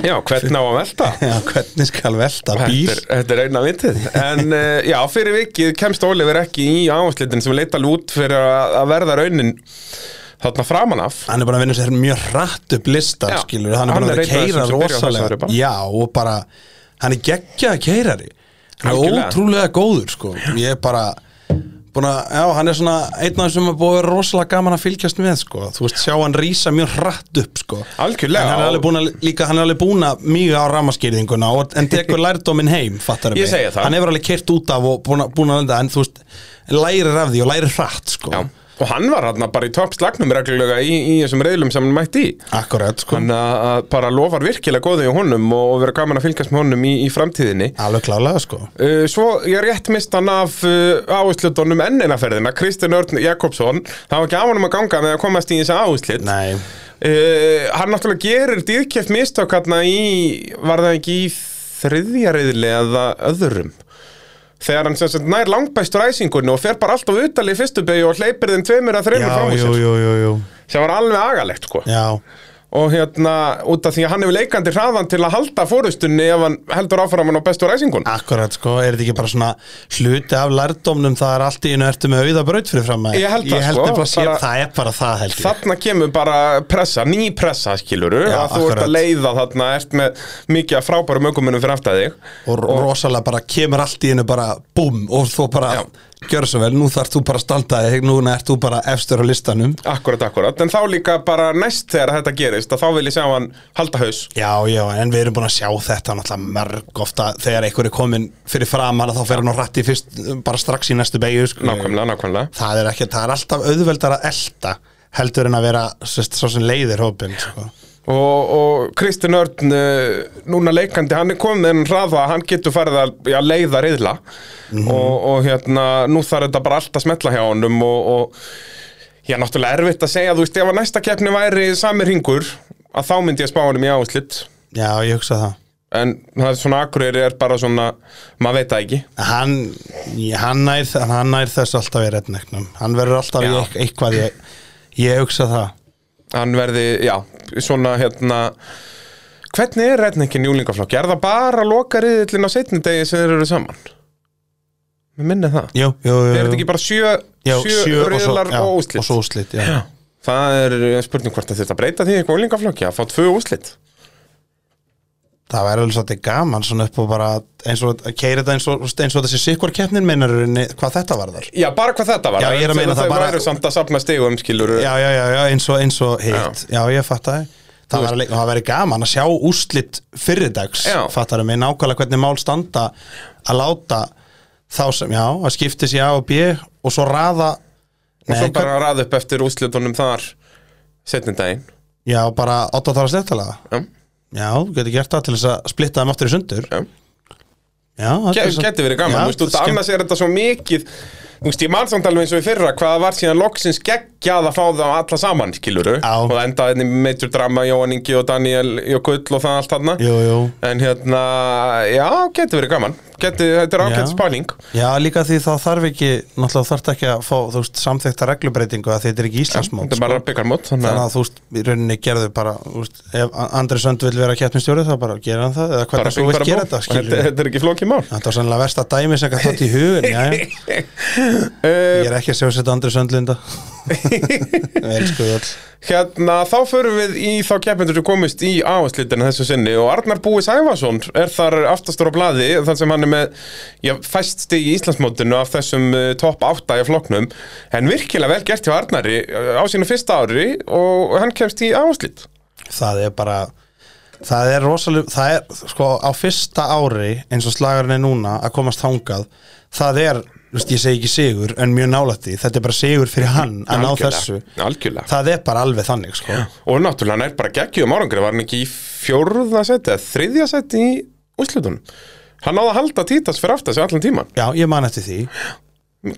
[SPEAKER 1] Já, hvern á að velta?
[SPEAKER 2] Já, hvernig skal velta bíl
[SPEAKER 1] Þetta er, þetta er eina vitið En uh, já, fyrir vikið kemst Oliver ekki í áherslitin sem leita lút fyrir að, að verða raunin þarna framan af
[SPEAKER 2] Hann er bara að vinna sér mjög rætt upp listan,
[SPEAKER 1] Já,
[SPEAKER 2] skilur Hann er
[SPEAKER 1] hann
[SPEAKER 2] bara að
[SPEAKER 1] er
[SPEAKER 2] vera
[SPEAKER 1] einn af
[SPEAKER 2] að keira
[SPEAKER 1] þessum sem byrja á þessu ári
[SPEAKER 2] rosalega
[SPEAKER 1] bara.
[SPEAKER 2] Já, og bara, hann er geggjað keirari Hann er
[SPEAKER 1] Algjörlega.
[SPEAKER 2] ótrúlega góður sko Ég er bara búin að, já, hann er svona einn af þessum að búið að vera rosalega gaman að fylgjast með sko Þú veist, sjá hann rísa mjög hratt upp sko
[SPEAKER 1] Algjörlega.
[SPEAKER 2] En hann er alveg búin að, líka, hann er alveg búin að mýga á ramaskýrðinguna og, En tekur lærdóminn heim, fattar
[SPEAKER 1] Ég segi það.
[SPEAKER 2] Hann hefur alveg kert út af og búin að, búin að lenda En þú veist, lærir af því og lærir hratt sko
[SPEAKER 1] Já. Og hann var hann bara í topp slagnum reglulega í, í þessum reyðlum sem hann mætti í.
[SPEAKER 2] Akkurat sko
[SPEAKER 1] Þannig að- að bara lofar virkilega góðu í honum og og vera gaman að fylgjast með honum í, í framtíðinni.
[SPEAKER 2] Alveg klálega sko
[SPEAKER 1] Uh, svo ég rétt mist hann af uh, áherslutunum enn eina ferðina, Kristinn Örn Jakobsson. Það var ekki á honum að ganga með að komast í þessa áherslun.
[SPEAKER 2] Nei,
[SPEAKER 1] Uh, hann náttúrulega gerir dýðkjöft mistök hérna í, var það ekki í þriðja reyðli eða öðrum? Þegar hann sem sagt nær langbæstur æsingunni og fer bara alltaf utalið í fyrstu beigju og hleypir þeim tveimur að þreimur fram úr sér.
[SPEAKER 2] jú, jú, jú
[SPEAKER 1] sem var alveg agalegt sko
[SPEAKER 2] Já,
[SPEAKER 1] og hérna út af því að hann hefur leikandi hraðan til að halda fórustunni ef hann heldur áfram hann á bestu ræsingun
[SPEAKER 2] Akkurat sko, er þetta ekki bara svona hluti af lærdómnum það er allt í einu ertu með auða braut fyrir fram að
[SPEAKER 1] Ég held það,
[SPEAKER 2] ég held
[SPEAKER 1] sko,
[SPEAKER 2] nefnilega að sé,
[SPEAKER 1] bara-
[SPEAKER 2] það er bara það held ég
[SPEAKER 1] Þarna kemur bara pressa, ný pressa skiluru, að þú
[SPEAKER 2] Já,
[SPEAKER 1] ert að
[SPEAKER 2] akkurat.
[SPEAKER 1] leiða þarna ert með mikið af frábærum ökumunum fyrir aftar þig
[SPEAKER 2] og, rosalega bara kemur allt í einu bara búm og þú bara
[SPEAKER 1] Já.
[SPEAKER 2] gjör svo vel, nú þarf þú bara að standa þig núna ert þú bara efstur á listanum
[SPEAKER 1] Akkurat, akkurat, en þá líka bara næst þegar þetta gerist að þá vil ég sjá hann halda haus
[SPEAKER 2] Já, já, en við erum búin að sjá þetta náttúrulega mörg ofta þegar einhver er komin fyrir fram hana þá fer hann á ratti fyrst bara strax í næstu beigju sko.
[SPEAKER 1] Nákvæmlega, nákvæmlega
[SPEAKER 2] það er ekki, það er alltaf auðveldar að elta heldur en að vera sérst, svo sem leiðir hópin sko.
[SPEAKER 1] Og, og Kristinn Örn, uh, núna leikandi, hann er komið en hraða, hann getur farið að, að leiða reyðla og, og hérna, nú þarf þetta bara allt að smetla hjá honum og, og já, náttúrulega erfitt að segja, þú veist, ef að næsta keppni væri sami ringur, að þá myndi ég spá honum í áslitt
[SPEAKER 2] Já, ég hugsa það
[SPEAKER 1] en það er svona akureyri er bara svona, maður veit það ekki
[SPEAKER 2] hann, ég- hann, nær, hann nær þess alltaf í rednecknum hann verður alltaf í
[SPEAKER 1] Já.
[SPEAKER 2] eit- eitthvað ég, ég hugsa það
[SPEAKER 1] hann verði, já, svona hérna hvernig er rednekkin í úlingaflokki? Er það bara loka reyðlinn á seinni degi sem þeir eru saman? Mér minni það
[SPEAKER 2] jú, jú, jú,
[SPEAKER 1] Er þetta
[SPEAKER 2] jú.
[SPEAKER 1] ekki bara sjö,
[SPEAKER 2] já,
[SPEAKER 1] sjö, riðlar
[SPEAKER 2] já,
[SPEAKER 1] og, úrslit?
[SPEAKER 2] og svo úslit já.
[SPEAKER 1] Það er eh, spurning hvort að þetta breyta því eitthvað úlingaflokki að fá tvö úslit
[SPEAKER 2] það verður alveg svolítið gaman svona upp og bara eins og að keira þetta eins og, eins og þessi sikvar keppnin meinar hvað þetta varðar
[SPEAKER 1] Já, bara hvað þetta var
[SPEAKER 2] Já, ég er að meina það bara-
[SPEAKER 1] væru samt að safna stegum skilur
[SPEAKER 2] já, já, já, já, eins og, eins og hitt já. ég fatt að það var alveg, það verður gaman að sjá úslit fyrirdags
[SPEAKER 1] Já.
[SPEAKER 2] fattar mig nákvæmlega hvernig mál standa að láta þá sem, já, að skipti sér A og B og svo raða
[SPEAKER 1] Og svo
[SPEAKER 2] Nei,
[SPEAKER 1] bara að raða upp eftir úslitunum þar setni daginn
[SPEAKER 2] Já, bara 8 þar að sléttalega
[SPEAKER 1] Já,
[SPEAKER 2] Já, þú getur gert það til þess að splitta þeim aftur í sundur
[SPEAKER 1] já
[SPEAKER 2] Já,
[SPEAKER 1] Ge- Geti verið gaman, þú veist, út af annars er þetta svo mikið Þú veist, ég mann samt alveg eins og í fyrra hvað það var síðan loksins geggjað að fá það alla saman, skiluru
[SPEAKER 2] Já.
[SPEAKER 1] Og það endaði henni meitur drama, Jóhann Ingi og Daniel Jökull og það allt þarna
[SPEAKER 2] Jú, jú
[SPEAKER 1] En hérna, já, getur verið gaman geti, Þetta er ágætt
[SPEAKER 2] Já.
[SPEAKER 1] spæling
[SPEAKER 2] Já, líka því þá þarf ekki Náttúrulega þarf ekki að fá, þú veist, samþekta reglubreitingu að þetta er ekki Íslandsmót sko.
[SPEAKER 1] Þetta er bara byggarmót Þannig að
[SPEAKER 2] Þannig að þú veist, í rauninni gerðu bara þú veist, Ef Andri Sönd vil vera keppnistjóri þá bara gera hann það Eða
[SPEAKER 1] bara
[SPEAKER 2] hvernig svo vil
[SPEAKER 1] byggarmót
[SPEAKER 2] gera þetta, skilur
[SPEAKER 1] þetta,
[SPEAKER 2] við
[SPEAKER 1] þetta er ekki flókið mál
[SPEAKER 2] Þetta var sannlega versta dæmi sem gætt þátt í hugin já,
[SPEAKER 1] Eh,
[SPEAKER 2] Ég er ekki að sjá sér þetta Andri Sönd linda Við elskum við öll
[SPEAKER 1] Hérna, þá förum við í þá keppendur sem komist í áherslutina þessu sinni og Arnar Búi Sæfason er þar aftastur á blaði þar sem hann er með já, fæst stig í Íslandsmótinu af þessum uh, topp 8 í floknum en virkilega vel gert hjá Arnari uh, á sínu fyrsta ári og hann kemst í áherslut
[SPEAKER 2] það er bara það er rosalega, það er sko á fyrsta ári eins og slagurinn er núna að komast þangað, það er þú veist, ég segi ekki sigur, en mjög nálætti þetta er bara sigur fyrir hann að ná þessu
[SPEAKER 1] Algjörlega
[SPEAKER 2] það er bara alveg þannig sko
[SPEAKER 1] Og náttúrulega hann er bara geggjum árangri Var hann ekki í fjórða seti eða þriðja seti í úrslutunum Hann náði að halda títas fyrir aftas í allan tíman
[SPEAKER 2] já, ég man eftir því,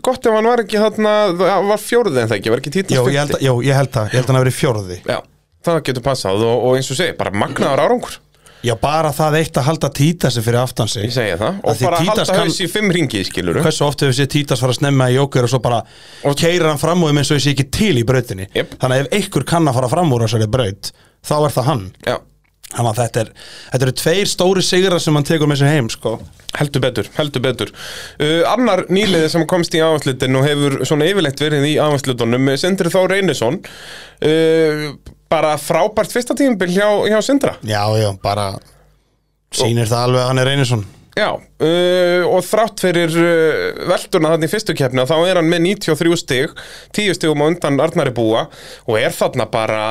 [SPEAKER 1] Gott ef hann var ekki þarna hann Var fjórði en það ekki, var ekki títas
[SPEAKER 2] já, ég held, að- já, ég held það ég held hann að verið fjórði,
[SPEAKER 1] Já, það getur passað og, og eins og segi, bara magnaður árangur
[SPEAKER 2] já, bara það eitt að halda títa sig fyrir aftan sig
[SPEAKER 1] Ég segi það
[SPEAKER 2] Af
[SPEAKER 1] Og
[SPEAKER 2] því
[SPEAKER 1] bara
[SPEAKER 2] Títas
[SPEAKER 1] halda
[SPEAKER 2] kann-
[SPEAKER 1] haus í fimm ringi, skilur
[SPEAKER 2] hversu oft hefur sér Títas fara að snemma í jókur og svo bara og keirir hann fram úr þeim eins og ég sé ekki til í brautinni
[SPEAKER 1] Jep.
[SPEAKER 2] þannig að ef einhver kann að fara fram úr þessari braut þá er það hann
[SPEAKER 1] Já,
[SPEAKER 2] Þannig að þetta, er, þetta eru tveir stóri sigrar sem hann tekur með sér heim sko.
[SPEAKER 1] heldur betur, heldur betur uh, Annar nýliði sem komst í áherslutin og hefur svona yfirleitt verið í áherslutunum Sindri Þór Einarsson uh, Bara frábært fyrsta tímabil hjá, hjá Sindra
[SPEAKER 2] Já, já, bara sýnir það alveg að hann er Einarsson
[SPEAKER 1] Já, uh, og þrátt fyrir uh, velduna þannig í fyrstu keppna þá er hann með 93 stig, 10 stigum á undan Arnari Búa og er þarna bara,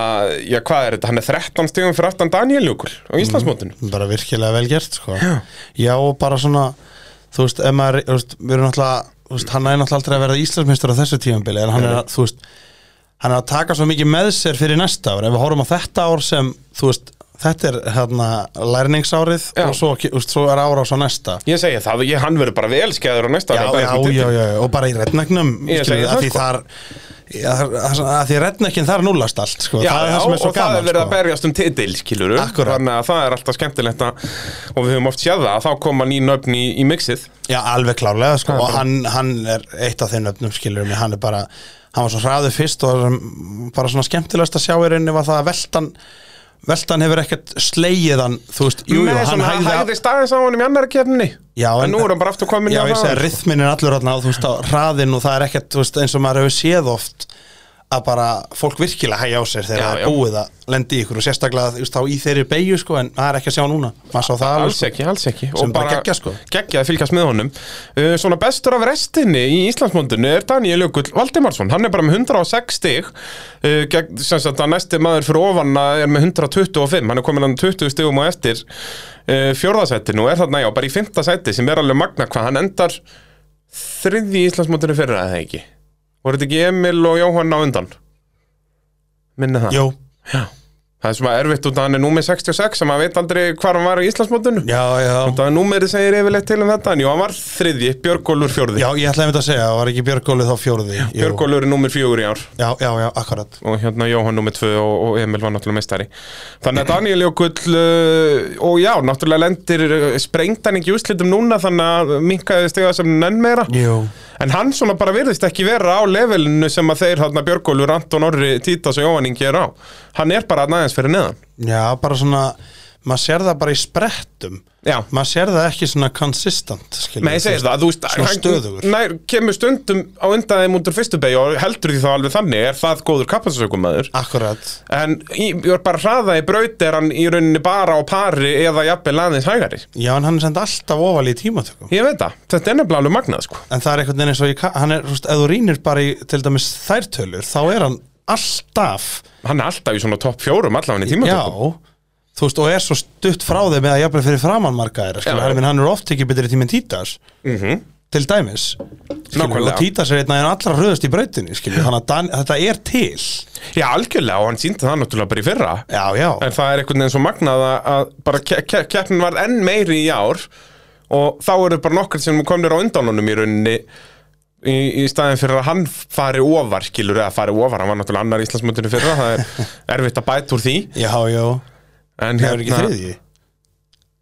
[SPEAKER 1] já hvað er þetta, hann er 13 stigum fyrir aftan Daniel Jökul á
[SPEAKER 2] Mhm.
[SPEAKER 1] Íslandsmótinu.
[SPEAKER 2] bara virkilega vel gert sko. já og bara svona þú veist, ef maður, þú veist, við erum náttúrulega þú veist, hann er náttúrulega aldrei að verða Íslandsmyndstur á þessu tímabili en hann er, að, þú veist hann er að taka svo mikið með sér fyrir næsta ár ef við horfum á þetta ár sem, þú veist þetta er hérna lærningsárið
[SPEAKER 1] Já.
[SPEAKER 2] og svo, þú veist, svo er ára á svo næsta
[SPEAKER 1] Ég segi það, ég, hann verður bara velskæður á næsta
[SPEAKER 2] já,
[SPEAKER 1] ári að berjast um
[SPEAKER 2] já, já,
[SPEAKER 1] titil.
[SPEAKER 2] já, og bara í rednegnum
[SPEAKER 1] Ég segi
[SPEAKER 2] skilur,
[SPEAKER 1] það,
[SPEAKER 2] að því
[SPEAKER 1] sko.
[SPEAKER 2] þar já, að að því rednekinn þar núlast allt sko.
[SPEAKER 1] Já,
[SPEAKER 2] það er
[SPEAKER 1] já,
[SPEAKER 2] það sem er svo
[SPEAKER 1] og það er
[SPEAKER 2] gaman
[SPEAKER 1] verið að
[SPEAKER 2] sko.
[SPEAKER 1] berjast um titil, skiluru
[SPEAKER 2] Akkúrat.
[SPEAKER 1] Þannig að það er alltaf skemmtilegt að, og við höfum oft séð það að þá koma ný nöfn í, í mixið
[SPEAKER 2] já, alveg klárlega
[SPEAKER 1] Það
[SPEAKER 2] sko.
[SPEAKER 1] er
[SPEAKER 2] og
[SPEAKER 1] bara-
[SPEAKER 2] hann, hann er eitt af þeim nöfnum skilur mig, hann er bara hann var svo hraðu fyrst og mm, bara svona skemmtilegast að sjá í rauninni var það að veltan veltan hefur ekkert slegið hann þú veist, jú, jú,
[SPEAKER 1] Nei,
[SPEAKER 2] hann
[SPEAKER 1] svona, hann
[SPEAKER 2] hægði
[SPEAKER 1] hægði staðins á honum í annari keppni
[SPEAKER 2] Já,
[SPEAKER 1] en,
[SPEAKER 2] en-
[SPEAKER 1] nú er hann bara aftur komin
[SPEAKER 2] Já,
[SPEAKER 1] í það.
[SPEAKER 2] ég segi, rithmin er allur þarna og þú veist á hraðin og það er ekkert, þú veist, eins og maður hefur séð oft að bara fólk virkilega hægja á sér þegar
[SPEAKER 1] Já,
[SPEAKER 2] það
[SPEAKER 1] já.
[SPEAKER 2] er búið að lendi í ykkur og sérstaklega, þú veist, þá í þeirri beigju sko, en það er ekki að sjá núna, maður sá það alveg
[SPEAKER 1] Alls
[SPEAKER 2] sko.
[SPEAKER 1] ekki, alls ekki
[SPEAKER 2] Sem bara geggjað, sko.
[SPEAKER 1] geggjað að fylgjast með honum uh, Svona bestur af restinni í Íslandsmóndinu er Daniel Jökull Valdimarsson Hann er bara með 106 stig uh, gegn, sem sagt að næsti maður fyrir ofan að er með 125 Hann er komin hann 20 stigum á eftir uh, fjórðasættinu og er þarna já, bara í fymta sætti sem er alveg magna hvað Hann endar þriði í Íslandsmóndinu fyrra eða ekki Voru þetta ekki Emil og Jóhann á undan? Minna það
[SPEAKER 2] Jú,
[SPEAKER 1] Það er svona erfitt út að hann er númer 66 sem maður veit aldrei hvar hann var í Íslandsmóndinu
[SPEAKER 2] já, já
[SPEAKER 1] Það er númerið segir yfirleitt til um þetta En jú, hann var þriðji, Björgólfur fjórði
[SPEAKER 2] Já, ég ætlaði einmitt að segja, það var ekki Björgóli þá fjóruði Jú.
[SPEAKER 1] Björgólfur er númer fjögur í ár
[SPEAKER 2] Já, já, já, akkurat
[SPEAKER 1] Og hérna Jóhann númer tvö og, og Emil var náttúrulega meistari Þannig að Daniel Jökull uh, Og já, náttúrulega lendir uh, Sprengt hann ekki í úrslitum núna Þannig að minkaði stegað sem nenn meira
[SPEAKER 2] Jú,
[SPEAKER 1] En hann svona bara virðist ekki vera á levelinu Sem að þeir, hérna Björgólfur, Anton Orri Títas og Jóhann Ingi er á Hann er bara aðeins fyrir neðan
[SPEAKER 2] já, bara svona maður sér það bara í sprettum
[SPEAKER 1] Já,
[SPEAKER 2] maður sér það ekki svona consistent skilur
[SPEAKER 1] Nei, ég
[SPEAKER 2] við,
[SPEAKER 1] segir
[SPEAKER 2] þú
[SPEAKER 1] það, þú veist
[SPEAKER 2] svona stöðugur.
[SPEAKER 1] Nær, kemur stundum á undan þeim út úr fyrstu beig og heldur því þá alveg þannig er það góður kappansökumæður
[SPEAKER 2] veist. Akkurat,
[SPEAKER 1] en í, ég er bara hraða í braut er hann í rauninni bara á pari eða jafnvel aðeins hægari
[SPEAKER 2] já, en hann er send alltaf ofal í tímatökum
[SPEAKER 1] ég veit það, þetta er nefnilega alveg magnað sko
[SPEAKER 2] en það er einhvern veginn eins og ég, ka- hann er, þú veist, ef þú rýnir bara í til dæmis þær tölur, þá er hann alltaf,
[SPEAKER 1] hann er alltaf í svona topp fjórum allavega í
[SPEAKER 2] já
[SPEAKER 1] tímatökum
[SPEAKER 2] þú veist, og er svo stutt frá þeim eða jafnvel fyrir framanmarka er, skilur,
[SPEAKER 1] Já.
[SPEAKER 2] hann, hann er oft ekki betri tíminn Títas
[SPEAKER 1] Mhm.
[SPEAKER 2] til dæmis, skilur,
[SPEAKER 1] Nákvæmlega.
[SPEAKER 2] og Títas er einn af þeim allra röðust í brautinni, skilur, þannig að Dan- þetta er til,
[SPEAKER 1] já, algjörlega og hann síndi það náttúrulega bara í fyrra
[SPEAKER 2] já, já
[SPEAKER 1] en það er einhvern veginn svo magnað að, að bara ke ke keppnin var enn meiri í ár og þá eru bara nokkur sem komnir á undanunum í rauninni í, í staðin fyrir að hann fari ofar skilur eða fari ofar, hann var náttúrulega annar í Íslandsmöndinu fyrra, það er erfitt að bæta úr því
[SPEAKER 2] já, já,
[SPEAKER 1] en hérna-
[SPEAKER 2] það er ekki þriðji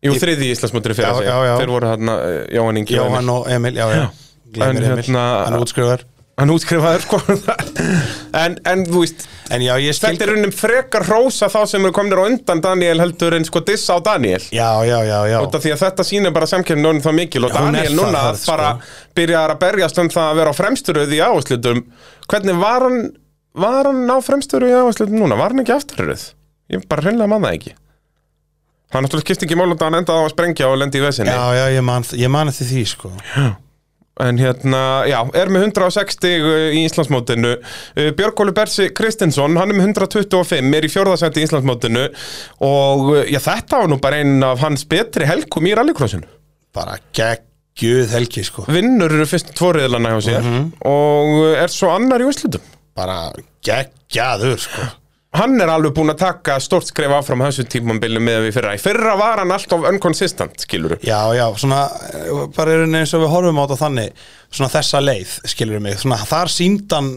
[SPEAKER 1] jú, þriði í Íslandsmöndinu fyrra
[SPEAKER 2] Já,
[SPEAKER 1] segi ég.
[SPEAKER 2] já, já.
[SPEAKER 1] þeir voru hérna Jóhann Ingi og Emil.
[SPEAKER 2] Jóhann og Emil, já, já, glemir
[SPEAKER 1] hérna- En
[SPEAKER 2] Emil
[SPEAKER 1] hérna-
[SPEAKER 2] hann er útskrifaður,
[SPEAKER 1] hann útskrifaður sko en, en þú veist,
[SPEAKER 2] en já, ég skil
[SPEAKER 1] þetta er rauninni frekar rósa þá sem eru komnir á undan Daniel heldur en sko dissa á Daniel
[SPEAKER 2] já, já, já, já,
[SPEAKER 1] Út af því að þetta sýnir bara samkefni orðin það mikil og
[SPEAKER 2] Já, hún er
[SPEAKER 1] Daniel
[SPEAKER 2] það
[SPEAKER 1] núna
[SPEAKER 2] hörð, sko.
[SPEAKER 1] bara byrjar að berjast um það að vera á fremsturöð í áherslutum Hvernig var hann, var hann á fremsturöð í áherslutum núna? Var hann ekki afturröð? Ég bara hreinlega man það ekki Hann náttúrulega skipti ekki málum að hann endaði á að sprengja og lendi í vesinni
[SPEAKER 2] já, já, ég man, ég man eftir því, sko
[SPEAKER 1] En hérna, já, er með 160 í Íslandsmótinu Uh, Björgólu Bersi Kristinsson, hann er með 125, er í fjórðasætti í Íslandsmótinu Og uh, já, þetta var nú bara einn af hans betri helgum í rallycrossinu
[SPEAKER 2] bara geggjuð helgi sko
[SPEAKER 1] vinnur fyrst tvoriðlana hjá sér
[SPEAKER 2] Mhm.
[SPEAKER 1] og er svo annar í úrslutum
[SPEAKER 2] bara geggjaður sko
[SPEAKER 1] hann er alveg búinn að taka stórt skref áfram á þessu tímambili með við fyrra í fyrra var hann alltaf unconsistent, skilur
[SPEAKER 2] já, já, svona eh, bara er eins og við horfum á þetta þannig svona þessa leið, skilur mig svona þar síndan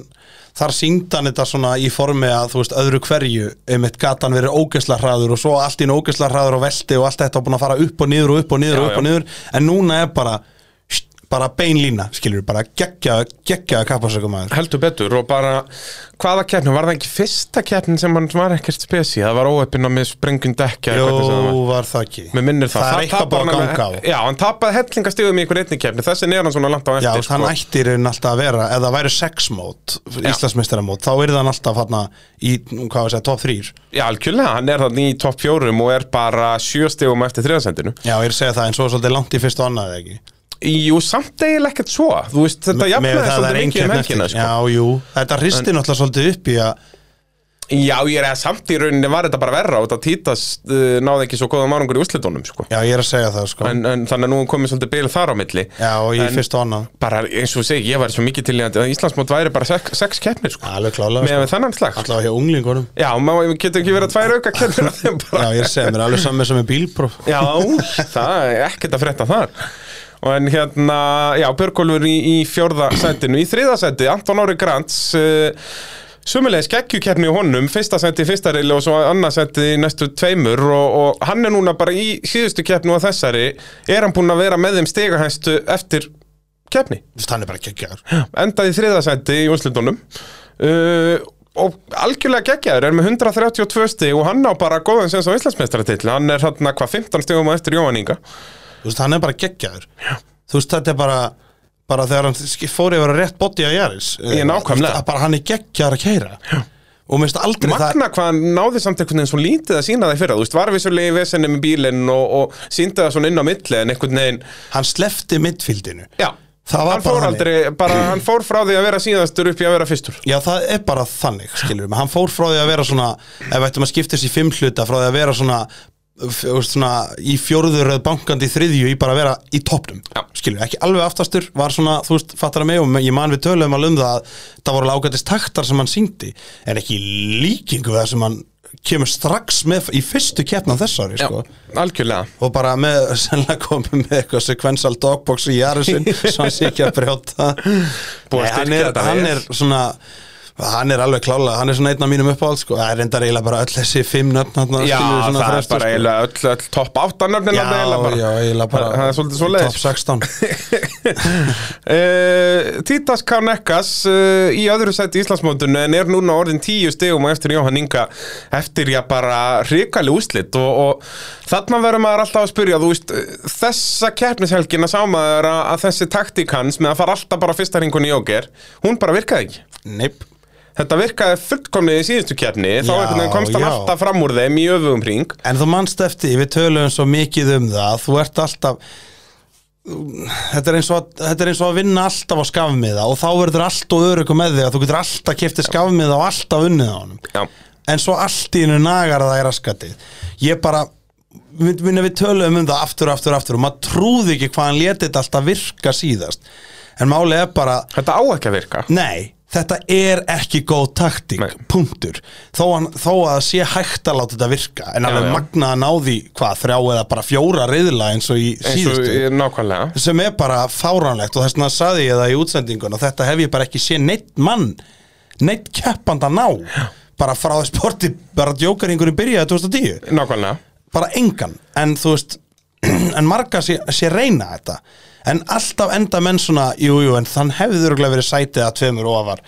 [SPEAKER 2] þar síndan þetta svona í formi að þú veist öðru hverju, einmitt gatan verið ógeðsla hraður og svo allt í ógeðsla hraður og velti og allt þetta búin að fara upp og niður og upp og niður
[SPEAKER 1] Já,
[SPEAKER 2] og upp og
[SPEAKER 1] já.
[SPEAKER 2] niður en núna er bara bara beinlína, skilur, bara geggja geggja kappasökumæður
[SPEAKER 1] heldur betur og bara hvaða keppni, var það ekki fyrsta keppnin sem hann var ekkert spesi, það var óöppin á með sprengun dekja eða hvernig sem það var.
[SPEAKER 2] Jó, var það ekki
[SPEAKER 1] Mér minnir það
[SPEAKER 2] Það er eitthvað
[SPEAKER 1] tapar
[SPEAKER 2] bara að
[SPEAKER 1] hann-
[SPEAKER 2] ganga á
[SPEAKER 1] Já, hann tapaði hellingastigum í einhver einni keppni Þessi er hann svona langt á
[SPEAKER 2] Já,
[SPEAKER 1] eftir sko.
[SPEAKER 2] hann ættir hann alltaf að vera ef það væri sex mót, Íslandsmeistaramót þá er það alltaf hann í, hvað var að segja, top 3
[SPEAKER 1] Já, algjörlega, hann er þannig í topp fjórum og er bara sjö stigum eftir þriðansendinu
[SPEAKER 2] Já, ég er að segja það, en svo er svolítið langt í fyrst og annað eða ekki
[SPEAKER 1] Jú, samt eiginlega ekkert svo Þú veist, þetta
[SPEAKER 2] Með
[SPEAKER 1] jafnaði
[SPEAKER 2] það er
[SPEAKER 1] svolítið mikið
[SPEAKER 2] ein
[SPEAKER 1] um
[SPEAKER 2] keppni
[SPEAKER 1] helgina
[SPEAKER 2] eftir.
[SPEAKER 1] sko.
[SPEAKER 2] Já, jú, þetta hristi náttúrulega svolítið upp í að
[SPEAKER 1] Já, ég er að samt í rauninni var þetta bara verra og þetta títas uh, náði ekki svo góða mánungur í úrslitónum sko.
[SPEAKER 2] Já, ég er að segja það, sko
[SPEAKER 1] en, en þannig að nú er komið svolítið bil þar á milli
[SPEAKER 2] Já, í
[SPEAKER 1] en-
[SPEAKER 2] fyrst og annað
[SPEAKER 1] Bara eins og þú segir, ég var svo mikið til í að Íslandsmót væri bara sex, sex keppnir sko.
[SPEAKER 2] Alveg klálega,
[SPEAKER 1] Meðan við þennan slag
[SPEAKER 2] sko Alltaf hjá unglingunum
[SPEAKER 1] Já, maður getur ekki verið að tvær auka keppnir af þeim bara
[SPEAKER 2] Já, ég er að segja, mér er alveg saman sem er bílpróf
[SPEAKER 1] Já, það er ekkert að frétta þar Og en hérna, já, Björgólfur í, í fjórða sætinu Í þriða sæti, Anton Ári Grants uh, Sumulegis geggjukerni í honum Fyrsta sæti í fyrsta reyli og svo annað sæti í næstu tveimur og, og hann er núna bara í síðustu keppnu og þessari Er hann búinn að vera með þeim stegahæstu eftir keppni?
[SPEAKER 2] Þannig bara geggjar
[SPEAKER 1] endaði í þriða sæti í úrslitunum uh, og algjörlega geggjaður er með 132 stig og hann á bara góðan sem svo Íslandsmeistaratill hann er hann hvað 15 stigum á eftir Jóhann Inga
[SPEAKER 2] Þú veist, hann er bara geggjaður Þú veist, þetta er bara bara þegar hann sk- fór yfir að rétt body að Jaris
[SPEAKER 1] Ég, nákvæmlega.
[SPEAKER 2] Þú veist, að Bara hann er geggjar að keira Já. Og mér finnst aldrei
[SPEAKER 1] Magna hvað hann náði samt einhvern veginn svo lítið að sína það í fyrra þú veist, var vissulega í vesenni með bílinn og, og síndi það svona inn á milli en einhvern veginn
[SPEAKER 2] það Hann slefti midfieldinu
[SPEAKER 1] já,
[SPEAKER 2] Það var
[SPEAKER 1] hann fór
[SPEAKER 2] bara
[SPEAKER 1] aldrei, bara hann fór frá því að vera síðastur upp í að vera fyrstur
[SPEAKER 2] Já, það er bara þannig, skilur við Hann fór frá því að vera svona Ef við ættum að skipta þessi í fimm hluta Frá því að vera svona, f- þú veist, svona Í fjórður eða bankandi í þriðju Í bara að vera í toppnum
[SPEAKER 1] Já.
[SPEAKER 2] Skilur við, ekki alveg aftastur Var svona, þú veist, fattar að mig Og ég man við töluðum alveg um það að Það voru alveg ágætist taktar sem hann syngdi En ekki í líkingu við það sem hann Kemur strax með í fyrstu keppna þessari sko.
[SPEAKER 1] algjörlega
[SPEAKER 2] Og bara með, sennilega komið með eitthvað sekvensal dogbox í Jarisinn Svo hann sé ekki að brjóta
[SPEAKER 1] Búið að
[SPEAKER 2] Nei,
[SPEAKER 1] styrkja
[SPEAKER 2] hann er,
[SPEAKER 1] þetta
[SPEAKER 2] hann
[SPEAKER 1] vel.
[SPEAKER 2] er svona hann er alveg klálega, hann er svona einn af mínum uppáhald sko. það er reyndar eiginlega bara öll þessi fimm nöfn hann,
[SPEAKER 1] Já, það er bara eiginlega öll, öll topp áttanöfnin
[SPEAKER 2] sko. já, já, eiginlega bara
[SPEAKER 1] Það er svolítið svo
[SPEAKER 2] top 16
[SPEAKER 1] Uh, Títas Karnekkas uh, í öðru sæti í Íslandsmótinu en er núna orðin tíu stegum eftir Jóhann Inga eftir já bara hrikali úslit og, og þarna verður maður alltaf að spyrja þú veist, uh, þessa keppnishelgina sá maður að, að þessi taktík hans með að fara alltaf bara fyrsta ringun í jóker hún bara virkaði ekki
[SPEAKER 2] neip,
[SPEAKER 1] Þetta virkaði fullkomnið í síðustu keppni þá
[SPEAKER 2] Já,
[SPEAKER 1] einhvern veginn komst hann
[SPEAKER 2] já.
[SPEAKER 1] alltaf fram úr þeim í öfugum ring
[SPEAKER 2] en þú manst eftir við töluðum svo mikið um það þú ert alltaf Þetta er, eins og, að- þetta er eins og að vinna alltaf á skafmiða og þá verður allt og örugu með þig að þú getur alltaf kiftið skafmiða og alltaf unnið á honum
[SPEAKER 1] Já,
[SPEAKER 2] en svo allt í hennu nagar það í raskatið ég bara minn minn að við töluðum um það aftur, aftur, aftur og maður trúði ekki hvað hann letið þetta alltaf virka síðast en málið er bara
[SPEAKER 1] þetta á ekki að virka
[SPEAKER 2] Nei, þetta er ekki góð taktík,
[SPEAKER 1] Nei.
[SPEAKER 2] punktur þó, hann, þó að það sé hægt að láta þetta virka en
[SPEAKER 1] Já,
[SPEAKER 2] alveg
[SPEAKER 1] já.
[SPEAKER 2] magna að náði hvað, þrjá eða bara fjóra reyðla eins og í
[SPEAKER 1] eins og
[SPEAKER 2] síðustu
[SPEAKER 1] nákvæmlega
[SPEAKER 2] sem er bara fáránlegt og þess vegna saði ég það í útsendingun og þetta hef ég bara ekki séð neitt mann neitt keppand að ná bara frá þess sporti, bara djókaringurinn byrjaði 2010,
[SPEAKER 1] Nákvæmlega
[SPEAKER 2] bara engan en þú veist, en marga sé, sé reyna þetta, en alltaf enda menn svona, jú, jú, en þann hefði þurruglega verið sætið að tveimur ofar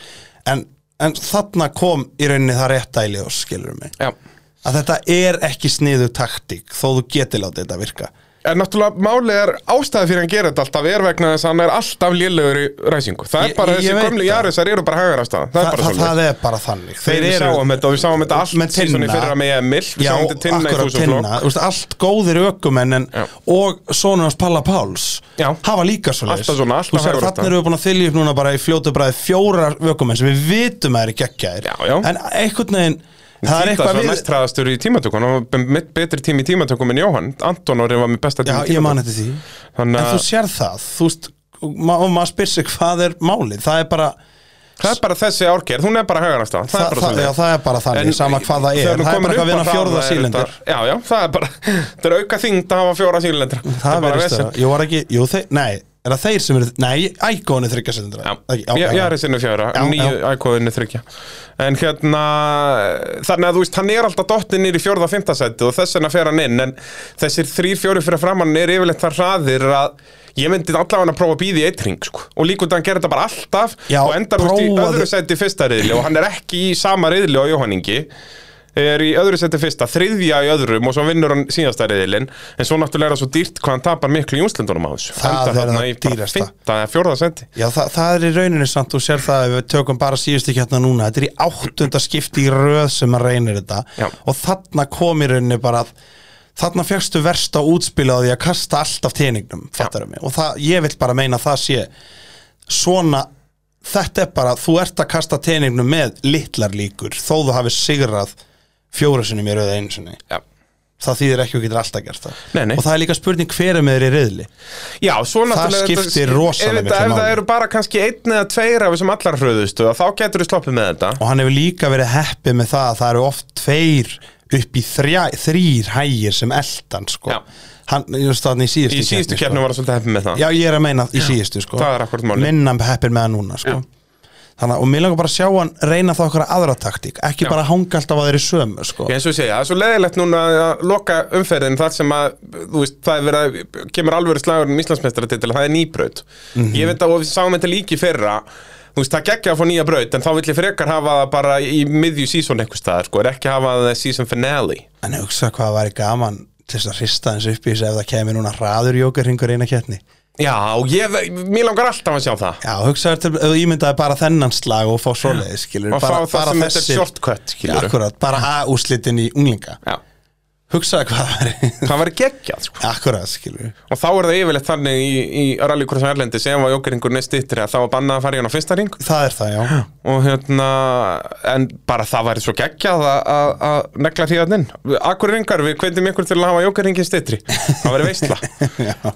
[SPEAKER 2] en, en þarna kom í rauninni það rétta í ljós, skilur mig
[SPEAKER 1] Já
[SPEAKER 2] að þetta er ekki sniðu taktík þó þú geti látið þetta virka
[SPEAKER 1] En náttúrulega málið er ástæði fyrir að hann gera þetta alltaf er vegna þess að hann er alltaf lélegur í ræsingu. Það er
[SPEAKER 2] Ég-
[SPEAKER 1] bara
[SPEAKER 2] ég
[SPEAKER 1] þessi
[SPEAKER 2] veit
[SPEAKER 1] gömlu
[SPEAKER 2] það.
[SPEAKER 1] jarisar eru bara hagar ástæða. Það
[SPEAKER 2] Þa,
[SPEAKER 1] er bara
[SPEAKER 2] það,
[SPEAKER 1] svolítið.
[SPEAKER 2] það er bara þannig
[SPEAKER 1] Þeir við sáum þetta og við sáum þetta allt
[SPEAKER 2] með
[SPEAKER 1] síðan í
[SPEAKER 2] Tinna.
[SPEAKER 1] fyrra með Emil. Við
[SPEAKER 2] Já,
[SPEAKER 1] sáum þetta Tinna í
[SPEAKER 2] akkurat
[SPEAKER 1] þúsund flokk.
[SPEAKER 2] Tinna. Þú veist, allt góðir ökumenn en,
[SPEAKER 1] Já.
[SPEAKER 2] og sonur hans Palla Páls
[SPEAKER 1] Já.
[SPEAKER 2] hafa líka svo leis
[SPEAKER 1] Alltaf svona, alltaf hægur
[SPEAKER 2] þannig
[SPEAKER 1] þetta.
[SPEAKER 2] erum við búin að þylja upp núna bara í fljótu bræði fjórar ökumenn sem við vitum að er geggjaðir
[SPEAKER 1] Já, já.
[SPEAKER 2] en einhvern veginn það er
[SPEAKER 1] Títas
[SPEAKER 2] eitthvað
[SPEAKER 1] var
[SPEAKER 2] við
[SPEAKER 1] mest hraðastur í tímatökum. Hann var með betri tími í tímatökum en Jóhann. Anton Orri var með besta
[SPEAKER 2] já,
[SPEAKER 1] tími í
[SPEAKER 2] ég man
[SPEAKER 1] tímatökum.
[SPEAKER 2] eftir því en
[SPEAKER 1] Þannig
[SPEAKER 2] þú
[SPEAKER 1] að
[SPEAKER 2] sér það þú veist, og ma og maður spyr sig hvað er málið það er bara
[SPEAKER 1] það er bara þessi árgerð. Hún er bara hagar ástæða. Það
[SPEAKER 2] það,
[SPEAKER 1] er bara
[SPEAKER 2] það, já,
[SPEAKER 1] svolítið.
[SPEAKER 2] það er bara þannig, sama hvað það er það er bara eitthvað við hann fjórða sílendur
[SPEAKER 1] Já, já, það er bara, þetta er auka þyngd að hafa fjóra sílendur
[SPEAKER 2] Það verðist það, ég var ekki, jú þeir, nei Er það þeir sem eru, nei, ægóni þryggja sendra
[SPEAKER 1] Já, já, já, resinu fjöra,
[SPEAKER 2] Já,
[SPEAKER 1] nýju ækóðinu þryggja En hérna, þannig að þú veist, hann er alltaf dottinn niður í fjórða og fimmta sæti og þess vegna fer hann inn En þessir þrír fjóri fyrir framann er yfirleitt þar hraðir að ég myndi allavega að prófa að býða í eitt ring sko. Og líkund að hann gerir þetta bara alltaf
[SPEAKER 2] Já,
[SPEAKER 1] og endar þú veist, í
[SPEAKER 2] prófaðu-
[SPEAKER 1] öðru sæti í fyrsta riðli og hann er ekki í sama riðli á Jóhanningi er í öðru seti fyrsta, þriðja í öðrum og svo vinnur hann síðasta reyðilinn en svo náttúrulega er það svo dýrt hvað hann tapar miklu í únslendunum á þessu
[SPEAKER 2] Það
[SPEAKER 1] Endar
[SPEAKER 2] er
[SPEAKER 1] þarna
[SPEAKER 2] það
[SPEAKER 1] í bara
[SPEAKER 2] dýrasta.
[SPEAKER 1] fimmta eða fjórða seti
[SPEAKER 2] Já, það, það er í rauninni samt, þú sér það ef við tökum bara síðustu kjartna núna, þetta er í áttunda skipti í röð sem maður reynir þetta
[SPEAKER 1] Já.
[SPEAKER 2] og þarna kom í rauninni bara að þarna fegstu versta útspila á því að kasta allt af teiningnum, fattarum mig og það, ég vil bara meina að það sé svona, þetta er bara þú ert að kasta teiningnum með litlar líkur, þó þú hafi sigrað fjóra sinni mér auðvitað einu sinni
[SPEAKER 1] Já.
[SPEAKER 2] það þýðir ekki að þú getur alltaf gert það
[SPEAKER 1] Nei, nei.
[SPEAKER 2] og það er líka spurning hver er með þér í reyðli
[SPEAKER 1] Já, svo náttúrulega þetta-
[SPEAKER 2] skiptir rosalega
[SPEAKER 1] ef þetta-
[SPEAKER 2] miklu
[SPEAKER 1] Ef það
[SPEAKER 2] máli.
[SPEAKER 1] eru bara kannski einn eða tveir af þessum allar hröðustu þá getur þú sloppið með þetta
[SPEAKER 2] og hann hefur líka verið heppið með það að það eru oft tveir upp í þrjá, þrýr hægir sem eldan sko.
[SPEAKER 1] Já.
[SPEAKER 2] hann, just þannig í síðustu
[SPEAKER 1] Í síðustu
[SPEAKER 2] keppni,
[SPEAKER 1] keppnum var það svolítið hefnum með það
[SPEAKER 2] sko. já ég er að meina í síðustu sko.
[SPEAKER 1] það er akkúrat málið.
[SPEAKER 2] minna heppir með það núna sko. þannig, að- og mér langar bara að sjá hann reyna það okkar aðra taktík ekki bara hanga alltaf að þeirri sömu sko.
[SPEAKER 1] Ég eins og ég segja, það er svo leðilegt núna að loka umferðin þar sem að, þú veist, það er verið að, kemur alvöru slagur um Íslandsmeistaratitil, það er nýbraut.
[SPEAKER 2] Mhm.
[SPEAKER 1] Ég veit að, og við sáum þetta líki í fyrra, þú veist, það geggja að fá nýja braut, en þá vill ég frekar hafa það bara í miðju season einhver staðar, sko, er ekki hafa það season finale.
[SPEAKER 2] en hugsa hvað það væri gaman til þess að hrista hans upp í þessu ef það kemur núna hraður jókerringur eina kettni
[SPEAKER 1] Já, og ég, mér langar alltaf að sjá það.
[SPEAKER 2] já, hugsa þér til, ef þú ímyndaði bara þennan slag og fá svoleiði, skilur
[SPEAKER 1] Og fá
[SPEAKER 2] bara,
[SPEAKER 1] það
[SPEAKER 2] bara
[SPEAKER 1] sem þetta
[SPEAKER 2] þessir-
[SPEAKER 1] er shortcut,
[SPEAKER 2] Já,
[SPEAKER 1] skilur.
[SPEAKER 2] akkurat, bara A-úslitin í unglinga
[SPEAKER 1] Já,
[SPEAKER 2] hugsaðu hvað það væri
[SPEAKER 1] það verið geggjað, sko.
[SPEAKER 2] akkurat, skilur
[SPEAKER 1] Og þá er það yfirleitt þannig í, í rallycross erlendi sem var jókeringur neist yttri að þá var bannað að fara í hann á fyrsta ring
[SPEAKER 2] það er það, já
[SPEAKER 1] og hérna en bara það væri svo geggjað að- að að negla hríðaninn Akurringar, við kveitum ykkur til að hafa jókerringin stittri það væri veistla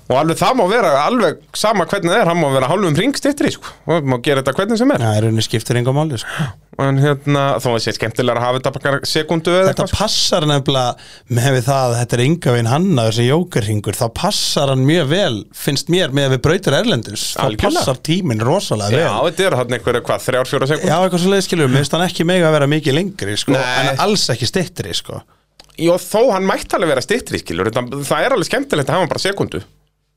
[SPEAKER 1] og alveg það má vera, alveg sama hvernig það er hann má vera hálfum ring stittri sko. og má gera þetta hvernig sem er
[SPEAKER 2] það er rauninni skiptir enga máli sko.
[SPEAKER 1] en hérna, þó að sé skemmtilega að hafa þetta bara sekundu eða
[SPEAKER 2] þetta
[SPEAKER 1] eitthvað sko.
[SPEAKER 2] passar nefnilega með við það að þetta er enga veginn hannaður sem jókerhingur, þá passar hann mjög vel finnst mér með að við brautir erlendus þá
[SPEAKER 1] Algjörlega.
[SPEAKER 2] passar tíminn rosalega
[SPEAKER 1] Já,
[SPEAKER 2] vel
[SPEAKER 1] þetta eru hann einhverja hvað, þrjár, fjóra sekund
[SPEAKER 2] já, eitthvað svo leið skilur, mér finnst hann ekki mega að vera mikið lengri sko,
[SPEAKER 1] Nei.
[SPEAKER 2] en alls ekki stittri sko.
[SPEAKER 1] Jó, þó hann mætti alveg vera stittri, skilur það, það er alveg skemmtilegt að hafa hann bara sekundu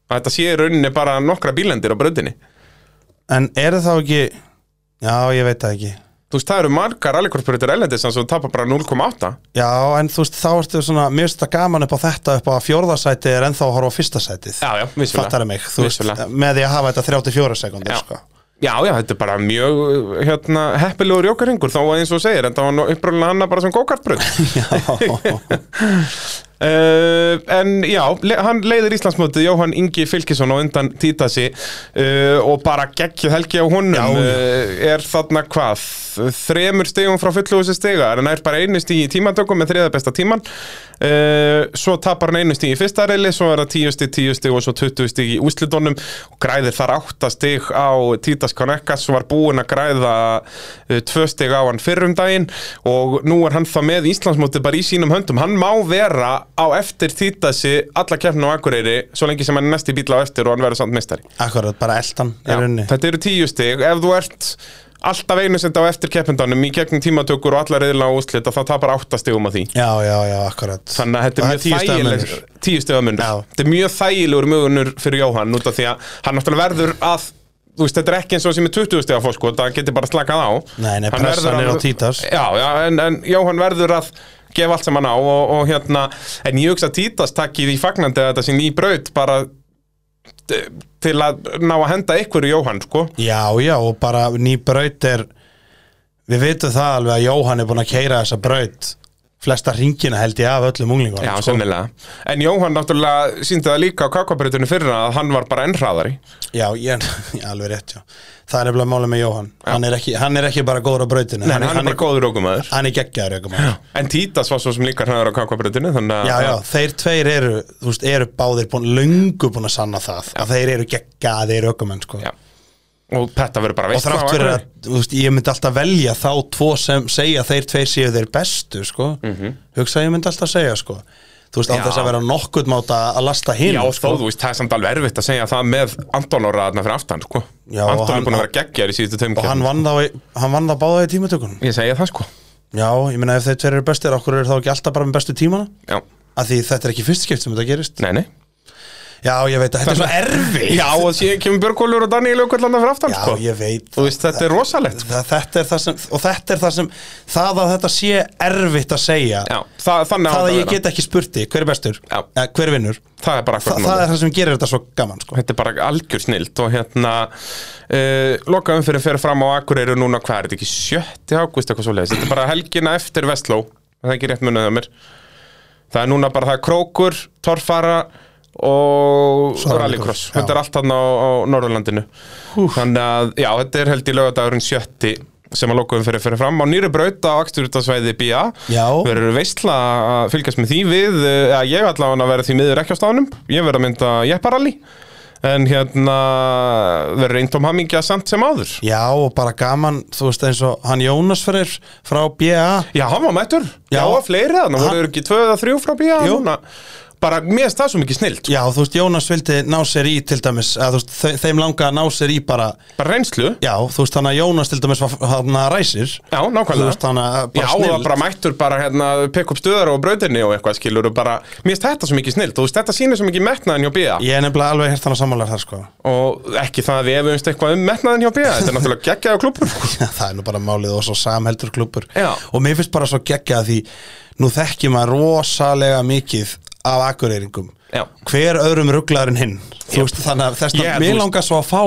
[SPEAKER 1] að þetta sé í rauninni bara nokkra bílendir á bröndinni
[SPEAKER 2] en er það þá ekki já, ég veit það ekki
[SPEAKER 1] Þú veist, það eru margar rallycrossbrytur ellendis en svo tapa bara 0,8
[SPEAKER 2] Já, en þú veist, þá ertu svona, mér finnst það gaman upp á þetta upp á að fjórðasæti er ennþá að horfa á fyrsta sætið
[SPEAKER 1] Já, já, vissulega.
[SPEAKER 2] Fattar mig, þú veist,
[SPEAKER 1] Vissulega.
[SPEAKER 2] með því að hafa þetta 34 sekundir,
[SPEAKER 1] Já.
[SPEAKER 2] sko
[SPEAKER 1] Já, já, þetta er bara mjög hérna, heppilegur jókaringur, þá var eins og þú segir en það var nú upprunalega annað bara sem gókartbröð
[SPEAKER 2] Já,
[SPEAKER 1] uh, En já, le hann leiðir Íslandsmótið Jóhann Ingi Fylkisson á undan Títasi uh, og bara geggjuð helgi á honum
[SPEAKER 2] Já, já.
[SPEAKER 1] uh, er þarna hvað þremur stigum frá fullúsi stiga en það er bara einu stig í tímatökum með þriða besta tíman uh, svo tapar hann einu stig í fyrsta reyli svo er það tíu stig, tíu stig og svo 20 stig í úslitónum og græðir þar átta stig á Títas Konekkas sem var búinn að græða uh, tvö stig á hann fyrrum daginn og nú er hann það með Íslandsmótið bara í sínum höndum hann má vera á eftir Títasi alla keppnum á Akureyri svo lengi sem hann er næst í bíla á eftir og hann verður samt meistari
[SPEAKER 2] akkurat, bara eldan
[SPEAKER 1] Já,
[SPEAKER 2] er unni
[SPEAKER 1] Þetta eru tíu stig Ef þú ert alltaf einu senda á eftir keppendanum í gegnum tímatökur og alla reyðla og úslita þá tapar átta stigum að því
[SPEAKER 2] Já, já, já, akkurat
[SPEAKER 1] Þannig að þetta
[SPEAKER 2] Og
[SPEAKER 1] er mjög
[SPEAKER 2] það
[SPEAKER 1] þægileg
[SPEAKER 2] tíu
[SPEAKER 1] Tíu stiga munur
[SPEAKER 2] Já.
[SPEAKER 1] Þetta er mjög þægilegur munur fyrir Jóhann út af því að hann náttúrulega verður að Þú veist, þetta er ekki eins og sem er 20 stiga fór sko Það getur bara slakað á
[SPEAKER 2] Nei, nei,
[SPEAKER 1] Hann verður
[SPEAKER 2] pressan er
[SPEAKER 1] að-
[SPEAKER 2] á Títas.
[SPEAKER 1] Já, já, en, en Jóhann verður að gefa allt sem hann á og, og hérna En ég hugsa að Títas takki því fagnandi að þetta sé ný braut bara eh, til að ná að henda ykkur í Jóhann sko
[SPEAKER 2] Já, já, og bara ný braut er Við vitum það alveg að Jóhann er búin að keira þessa braut Flesta ringina held ég af öllum unglingunum
[SPEAKER 1] Já,
[SPEAKER 2] sko.
[SPEAKER 1] sennilega. En Jóhann náttúrulega síndi það líka á kakvabreytunni fyrra að hann var bara ennhraðari.
[SPEAKER 2] Já, ég, ég alveg rétt, já Það er nefnilega málið með Jóhann hann er, ekki, hann er ekki bara góður á brautinu
[SPEAKER 1] Nei, hann, er bara góður ógumæður.
[SPEAKER 2] hann er geggjaður aukumaður
[SPEAKER 1] En Títas var svo sem líka hraður á kakvabreytunni, þannig að...
[SPEAKER 2] já, já, þeir tveir eru, þú veist, eru báðir búin, löngu búin að sanna það að þeir eru geggjaðir aukumenn sko.
[SPEAKER 1] Já. Og þetta verður bara
[SPEAKER 2] og
[SPEAKER 1] veistla á
[SPEAKER 2] þrátt fyrir að,
[SPEAKER 1] Akureyri.
[SPEAKER 2] þú veist, ég myndi alltaf velja þá tvo sem segja að þeir tveir séu þeir bestu sko. hugsa að ég myndi alltaf segja sko. þú veist, á
[SPEAKER 1] Mhm. Já.
[SPEAKER 2] þess að vera nokkuð máta að lasta hinn
[SPEAKER 1] Já, sko. þú veist, það er samt alveg erfitt að segja það með Anton Óra þarna fyrir aftan, sko
[SPEAKER 2] Já, og
[SPEAKER 1] Anton
[SPEAKER 2] hann-
[SPEAKER 1] er búin að vera geggjar í síðustu tveim
[SPEAKER 2] og hann
[SPEAKER 1] keppnum.
[SPEAKER 2] vann þá, í- hann vann þá báða í tímatökunum
[SPEAKER 1] Ég segja það, sko
[SPEAKER 2] Já, ég meina ef þeir tveir eru bestir, okkur eru þá ekki alltaf bara með bestu tímana
[SPEAKER 1] Já,
[SPEAKER 2] Af því þetta er ekki fyrst skipt sem þetta gerist
[SPEAKER 1] nei, nei
[SPEAKER 2] Já, ég veit að þetta er svo erfi
[SPEAKER 1] Já, og síðan kemur Björgólfur og Daniel Jökull hann fyrir aftan,
[SPEAKER 2] Já,
[SPEAKER 1] sko
[SPEAKER 2] ég veit
[SPEAKER 1] Þú veist, þetta er rosalegt
[SPEAKER 2] það, þetta er það sem, Og þetta er það sem Það að þetta sé erfitt að segja
[SPEAKER 1] Já, það, þannig á
[SPEAKER 2] Það
[SPEAKER 1] þetta
[SPEAKER 2] að
[SPEAKER 1] vera.
[SPEAKER 2] ég get ekki spurti, hver er bestur
[SPEAKER 1] Já.
[SPEAKER 2] Eh, Hver vinnur
[SPEAKER 1] Það er bara
[SPEAKER 2] Þa,
[SPEAKER 1] akkurat
[SPEAKER 2] Það
[SPEAKER 1] málið.
[SPEAKER 2] er það sem gerir þetta svo gaman sko.
[SPEAKER 1] Þetta er bara algjör snilt og hérna uh, lokaðum fyrir fyrir fram á Akureyri núna, hvað er þetta ekki, 7. ágúst eitthvað svo Þetta er bara helgina eftir Vestló það er ekki rétt munið að mér Það er núna bara það er krókur, torfara og rallycross
[SPEAKER 2] Svo rallycross, já.
[SPEAKER 1] Þetta er allt þarna á, á Norðurlandinu Þannig að, já, þetta er held í laugardagurinn 7. sem að lokaðum fyrir fyrir fram á nýri braut á Aksturutasvæði BA
[SPEAKER 2] Já.
[SPEAKER 1] Við verður veistla að fylgjast með því við eh, að ég allavega verður því miður ekki á stánum ég verður að mynda jepparalli en hérna verður reyndum um hamingja samt sem áður
[SPEAKER 2] Já, og bara gaman, þú veist eins og Hann Jónas fyrir frá BA
[SPEAKER 1] Já, hann var mættur, já,
[SPEAKER 2] Já.
[SPEAKER 1] fleiri þannig
[SPEAKER 2] Ha-
[SPEAKER 1] voru þeir ekki tvö eða þrjú frá bíja
[SPEAKER 2] Jú.
[SPEAKER 1] núna bara mér finnst það svo mikið snilt
[SPEAKER 2] Já, þú veist, Jónas vildi ná sér í til dæmis að, þú veist, þe- Þeim langa að ná sér í bara
[SPEAKER 1] bara reynslu,
[SPEAKER 2] Já, þú veist, þannig að Jónas til dæmis var hann að ræsir
[SPEAKER 1] já,
[SPEAKER 2] Þú
[SPEAKER 1] nákvæmlega
[SPEAKER 2] veist, þannig að
[SPEAKER 1] Já,
[SPEAKER 2] bara
[SPEAKER 1] og
[SPEAKER 2] snill
[SPEAKER 1] bara mættur bara hérna pekk upp stöðar og brautinni og eitthvað skilur og bara, mér finnst þetta svo mikið snilt og þetta sýnir svo mikið metnaðin hjá bíja
[SPEAKER 2] Ég er nefnilega alveg hérna samanlega þar sko
[SPEAKER 1] og ekki það að við efumst eitthvað um metnaðin hjá bíja, þetta er náttúrulega geggjaða klubur
[SPEAKER 2] Það er nú bara málið og svo samheldur klubur
[SPEAKER 1] Já.
[SPEAKER 2] Og mér finnst bara svo geggja því Nú þekki maður rosalega mikið af akureyringum
[SPEAKER 1] Já.
[SPEAKER 2] Hver öðrum rugglarinn hinn Þú veist þannig að þess að
[SPEAKER 1] Ég, þú
[SPEAKER 2] mér
[SPEAKER 1] veist-
[SPEAKER 2] langar svo að fá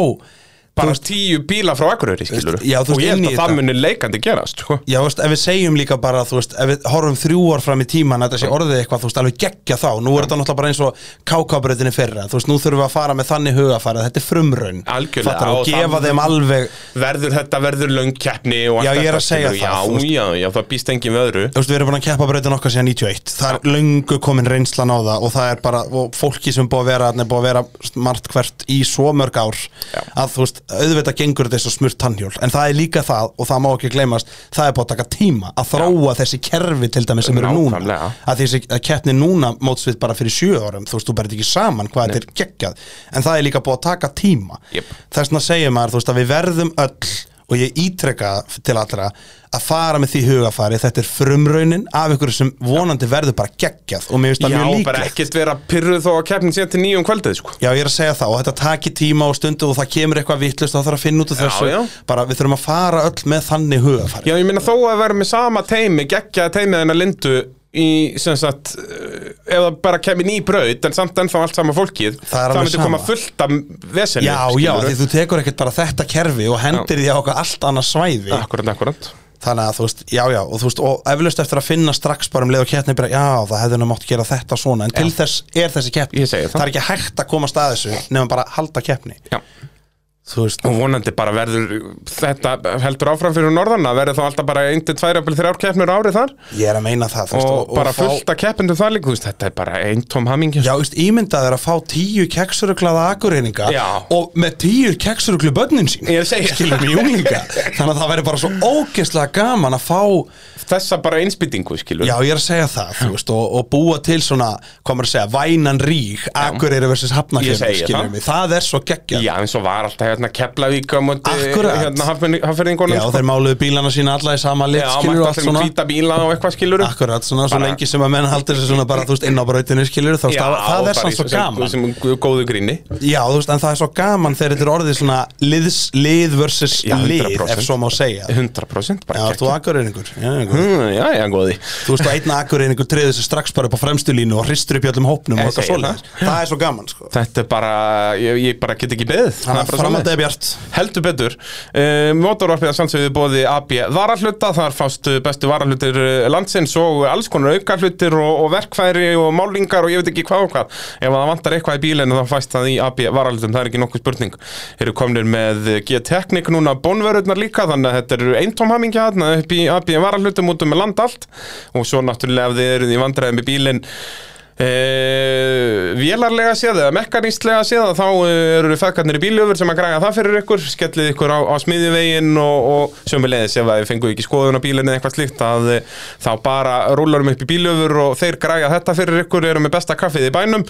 [SPEAKER 1] bara tíu bíla frá Akureyri skilur
[SPEAKER 2] Já, þú veist,
[SPEAKER 1] og ég
[SPEAKER 2] inn
[SPEAKER 1] held að
[SPEAKER 2] í
[SPEAKER 1] það
[SPEAKER 2] þetta.
[SPEAKER 1] muni leikandi gerast sko.
[SPEAKER 2] Já, þú veist, ef við segjum líka bara, þú veist, ef við horfum þrjú ár fram í tíman að þetta sé orðið eitthvað, þú veist, alveg geggja þá Nú er þetta náttúrulega bara eins og kákábröðinni fyrra Þú veist, nú þurfum við að fara með þannig hugafæra Þetta er frumraun
[SPEAKER 1] Algjörlega,
[SPEAKER 2] Fattar þú?
[SPEAKER 1] og
[SPEAKER 2] og gefa
[SPEAKER 1] það-
[SPEAKER 2] þeim alveg
[SPEAKER 1] verður þetta verður löngkeppni og allt
[SPEAKER 2] Já, ég er
[SPEAKER 1] þetta,
[SPEAKER 2] að segja
[SPEAKER 1] skilurðu.
[SPEAKER 2] það, þú
[SPEAKER 1] já,
[SPEAKER 2] veist.
[SPEAKER 1] já, já, það býst engin við öðru
[SPEAKER 2] Þú veist, við erum búin að keppa breytin okkar síðan 91 Það er löngu komin reynslan á það og það er bara, og fólki sem er búið að vera þarna er búið að vera margt hvert í svo mörg ár að þú veist, auðvitað gengur þetta eins og smurt tannhjól, en það er líka það og það má ekki gleymast, það er búið að taka tíma að þróa þessi kerfi til dæmis sem eru núna
[SPEAKER 1] Nákvæmlega.
[SPEAKER 2] að þessi að keppni núna mótsvið bara fyrir sjö árum, þú veist, þú berði ekki saman hvað þetta er geggjað, en það er líka búið að taka tíma
[SPEAKER 1] Jep.
[SPEAKER 2] þess vegna segir maður, þú veist, að við verðum öll og ég ítreka til allra að fara með því hugafari, þetta er frumraunin af ykkur sem vonandi verður bara geggjað og mér finnst það
[SPEAKER 1] já,
[SPEAKER 2] mjög
[SPEAKER 1] bara
[SPEAKER 2] líklegt
[SPEAKER 1] ekkert vera pyrruð þó að keppnin sé til nýjum kvöldið sko.
[SPEAKER 2] Já, ég er að segja það og þetta taki tíma og stundu og það kemur eitthvað vittlust og það þarf að finna út úr þessu
[SPEAKER 1] já.
[SPEAKER 2] bara við þurfum að fara öll með þannig hugafari
[SPEAKER 1] já, ég meina þó að vera með sama teimi geggja teimið hennar lindu í, sem sagt, eh, ef það bara kemur ný braut en samt ennþá allt sama fólkið
[SPEAKER 2] Það er alveg
[SPEAKER 1] myndi
[SPEAKER 2] sama.
[SPEAKER 1] koma fullt af vesenu
[SPEAKER 2] Já, já, því þú tekur ekkert bara þetta kerfi og hendir því á okkar allt annað svæði
[SPEAKER 1] akkurat, akkurat
[SPEAKER 2] þannig að þú veist, já já og þú veist, og eflaust eftir að finna strax bara um leið og keppni bara, já það hefði nú mátt gera þetta svona en til þess er þessi keppni
[SPEAKER 1] Ég segi það.
[SPEAKER 2] er ekki hægt að komast að þessu nefnum bara að halda keppni
[SPEAKER 1] já
[SPEAKER 2] þú veist,
[SPEAKER 1] og vonandi bara verður þetta heldur áfram fyrir norðan að verður þá alltaf bara 1-2 jafnvel þrjár keppnir á ári þar
[SPEAKER 2] ég er að meina það þú
[SPEAKER 1] og,
[SPEAKER 2] veist,
[SPEAKER 1] bara
[SPEAKER 2] fá-
[SPEAKER 1] fullt að keppendum þar líka þú veist, þetta er bara einn tóm hamingja
[SPEAKER 2] Já, þú veist, ímyndað er að fá tíu keksuruglaða akureyninga
[SPEAKER 1] Já.
[SPEAKER 2] og með tíu keksturuglu börnin sín
[SPEAKER 1] Ég er að segja það.
[SPEAKER 2] skilur mig junglinga þannig að það væri bara svo ógeðslega gaman að fá
[SPEAKER 1] þessa bara einspýtingu skilur
[SPEAKER 2] Já, ég er að segja það, þú veist, og, og búa til svona, hvað maður að segja, vænan rík, Akureyri versus
[SPEAKER 1] Ég
[SPEAKER 2] Hafnarfjörn,
[SPEAKER 1] segi það.
[SPEAKER 2] skiljum við, það er svo geggjað.
[SPEAKER 1] Já, eins og var alltaf hérna Keflavík á móti
[SPEAKER 2] Akkurat.
[SPEAKER 1] hérna hafferðingunum
[SPEAKER 2] Já, þeir máluðu bílana sína alla í sama lit,
[SPEAKER 1] já
[SPEAKER 2] skiljum
[SPEAKER 1] mætti
[SPEAKER 2] við, allt
[SPEAKER 1] allir
[SPEAKER 2] svona.
[SPEAKER 1] með hvíta bíla og eitthvað skilur
[SPEAKER 2] Akkurat, svona, svo
[SPEAKER 1] Bara-
[SPEAKER 2] lengi sem að menn haldur sér svona bara, þú veist, inn á brautinu, skiljum við, þá það, það er sann svo gaman.
[SPEAKER 1] sem, sem góðu gríni
[SPEAKER 2] Já, þú veist, en það er svo gaman þegar þetta er orðið svona liðs, lið versus
[SPEAKER 1] Já,
[SPEAKER 2] lið,
[SPEAKER 1] 100%.
[SPEAKER 2] ef svo má segja.
[SPEAKER 1] 100%
[SPEAKER 2] Já,
[SPEAKER 1] bara
[SPEAKER 2] ert þú akureyningur? Já, einhver.
[SPEAKER 1] Hmm, já, já, góði
[SPEAKER 2] Þú veist, og einn akureyningur treður sér strax bara upp á fremstu línu og hristur upp í öllum hópnum
[SPEAKER 1] Ég
[SPEAKER 2] og eitthvað
[SPEAKER 1] segi
[SPEAKER 2] svoleiðis. Það er svo gaman, sko.
[SPEAKER 1] Þetta er bara, ég, ég bara get ekki beðið Það
[SPEAKER 2] Þannig
[SPEAKER 1] er
[SPEAKER 2] að
[SPEAKER 1] bara svoleiðis.
[SPEAKER 2] framhaldið er bjart
[SPEAKER 1] Heldur betur uh, Motorvarpið að samsögðu bóði AB varahluta Þar fást eh, bestu varahlutir eh, landsins og alls konar aukahlutir og, og verkfæri og málingar og ég veit ekki hvað og hvað Ef það vantar eitthvað í bílinu þá fæst það í AB varahlutum, það er ekki nokkuð spurning Eru komnir með eh, G-Teknik núna bónverurnar líka þannig að þetta eru eintómhamingja þarna upp í AB varahlutum út um land allt og svo náttúrulega ef þið eruð í vandræðum í bílinn Uh, vélarlega séð eða mekkanistlega séð að þá eh, eru feðkarnir í bíljöfur sem að græja það fyrir ykkur skellið ykkur á, á smiðjuvegin og, og sömulegis ef að þið fengu ekki skoðun á bílinni eða eitthvað slíkt að eh, þá bara rúlarum upp í bíljöfur og þeir græja þetta fyrir ykkur eru með besta kaffið í bænum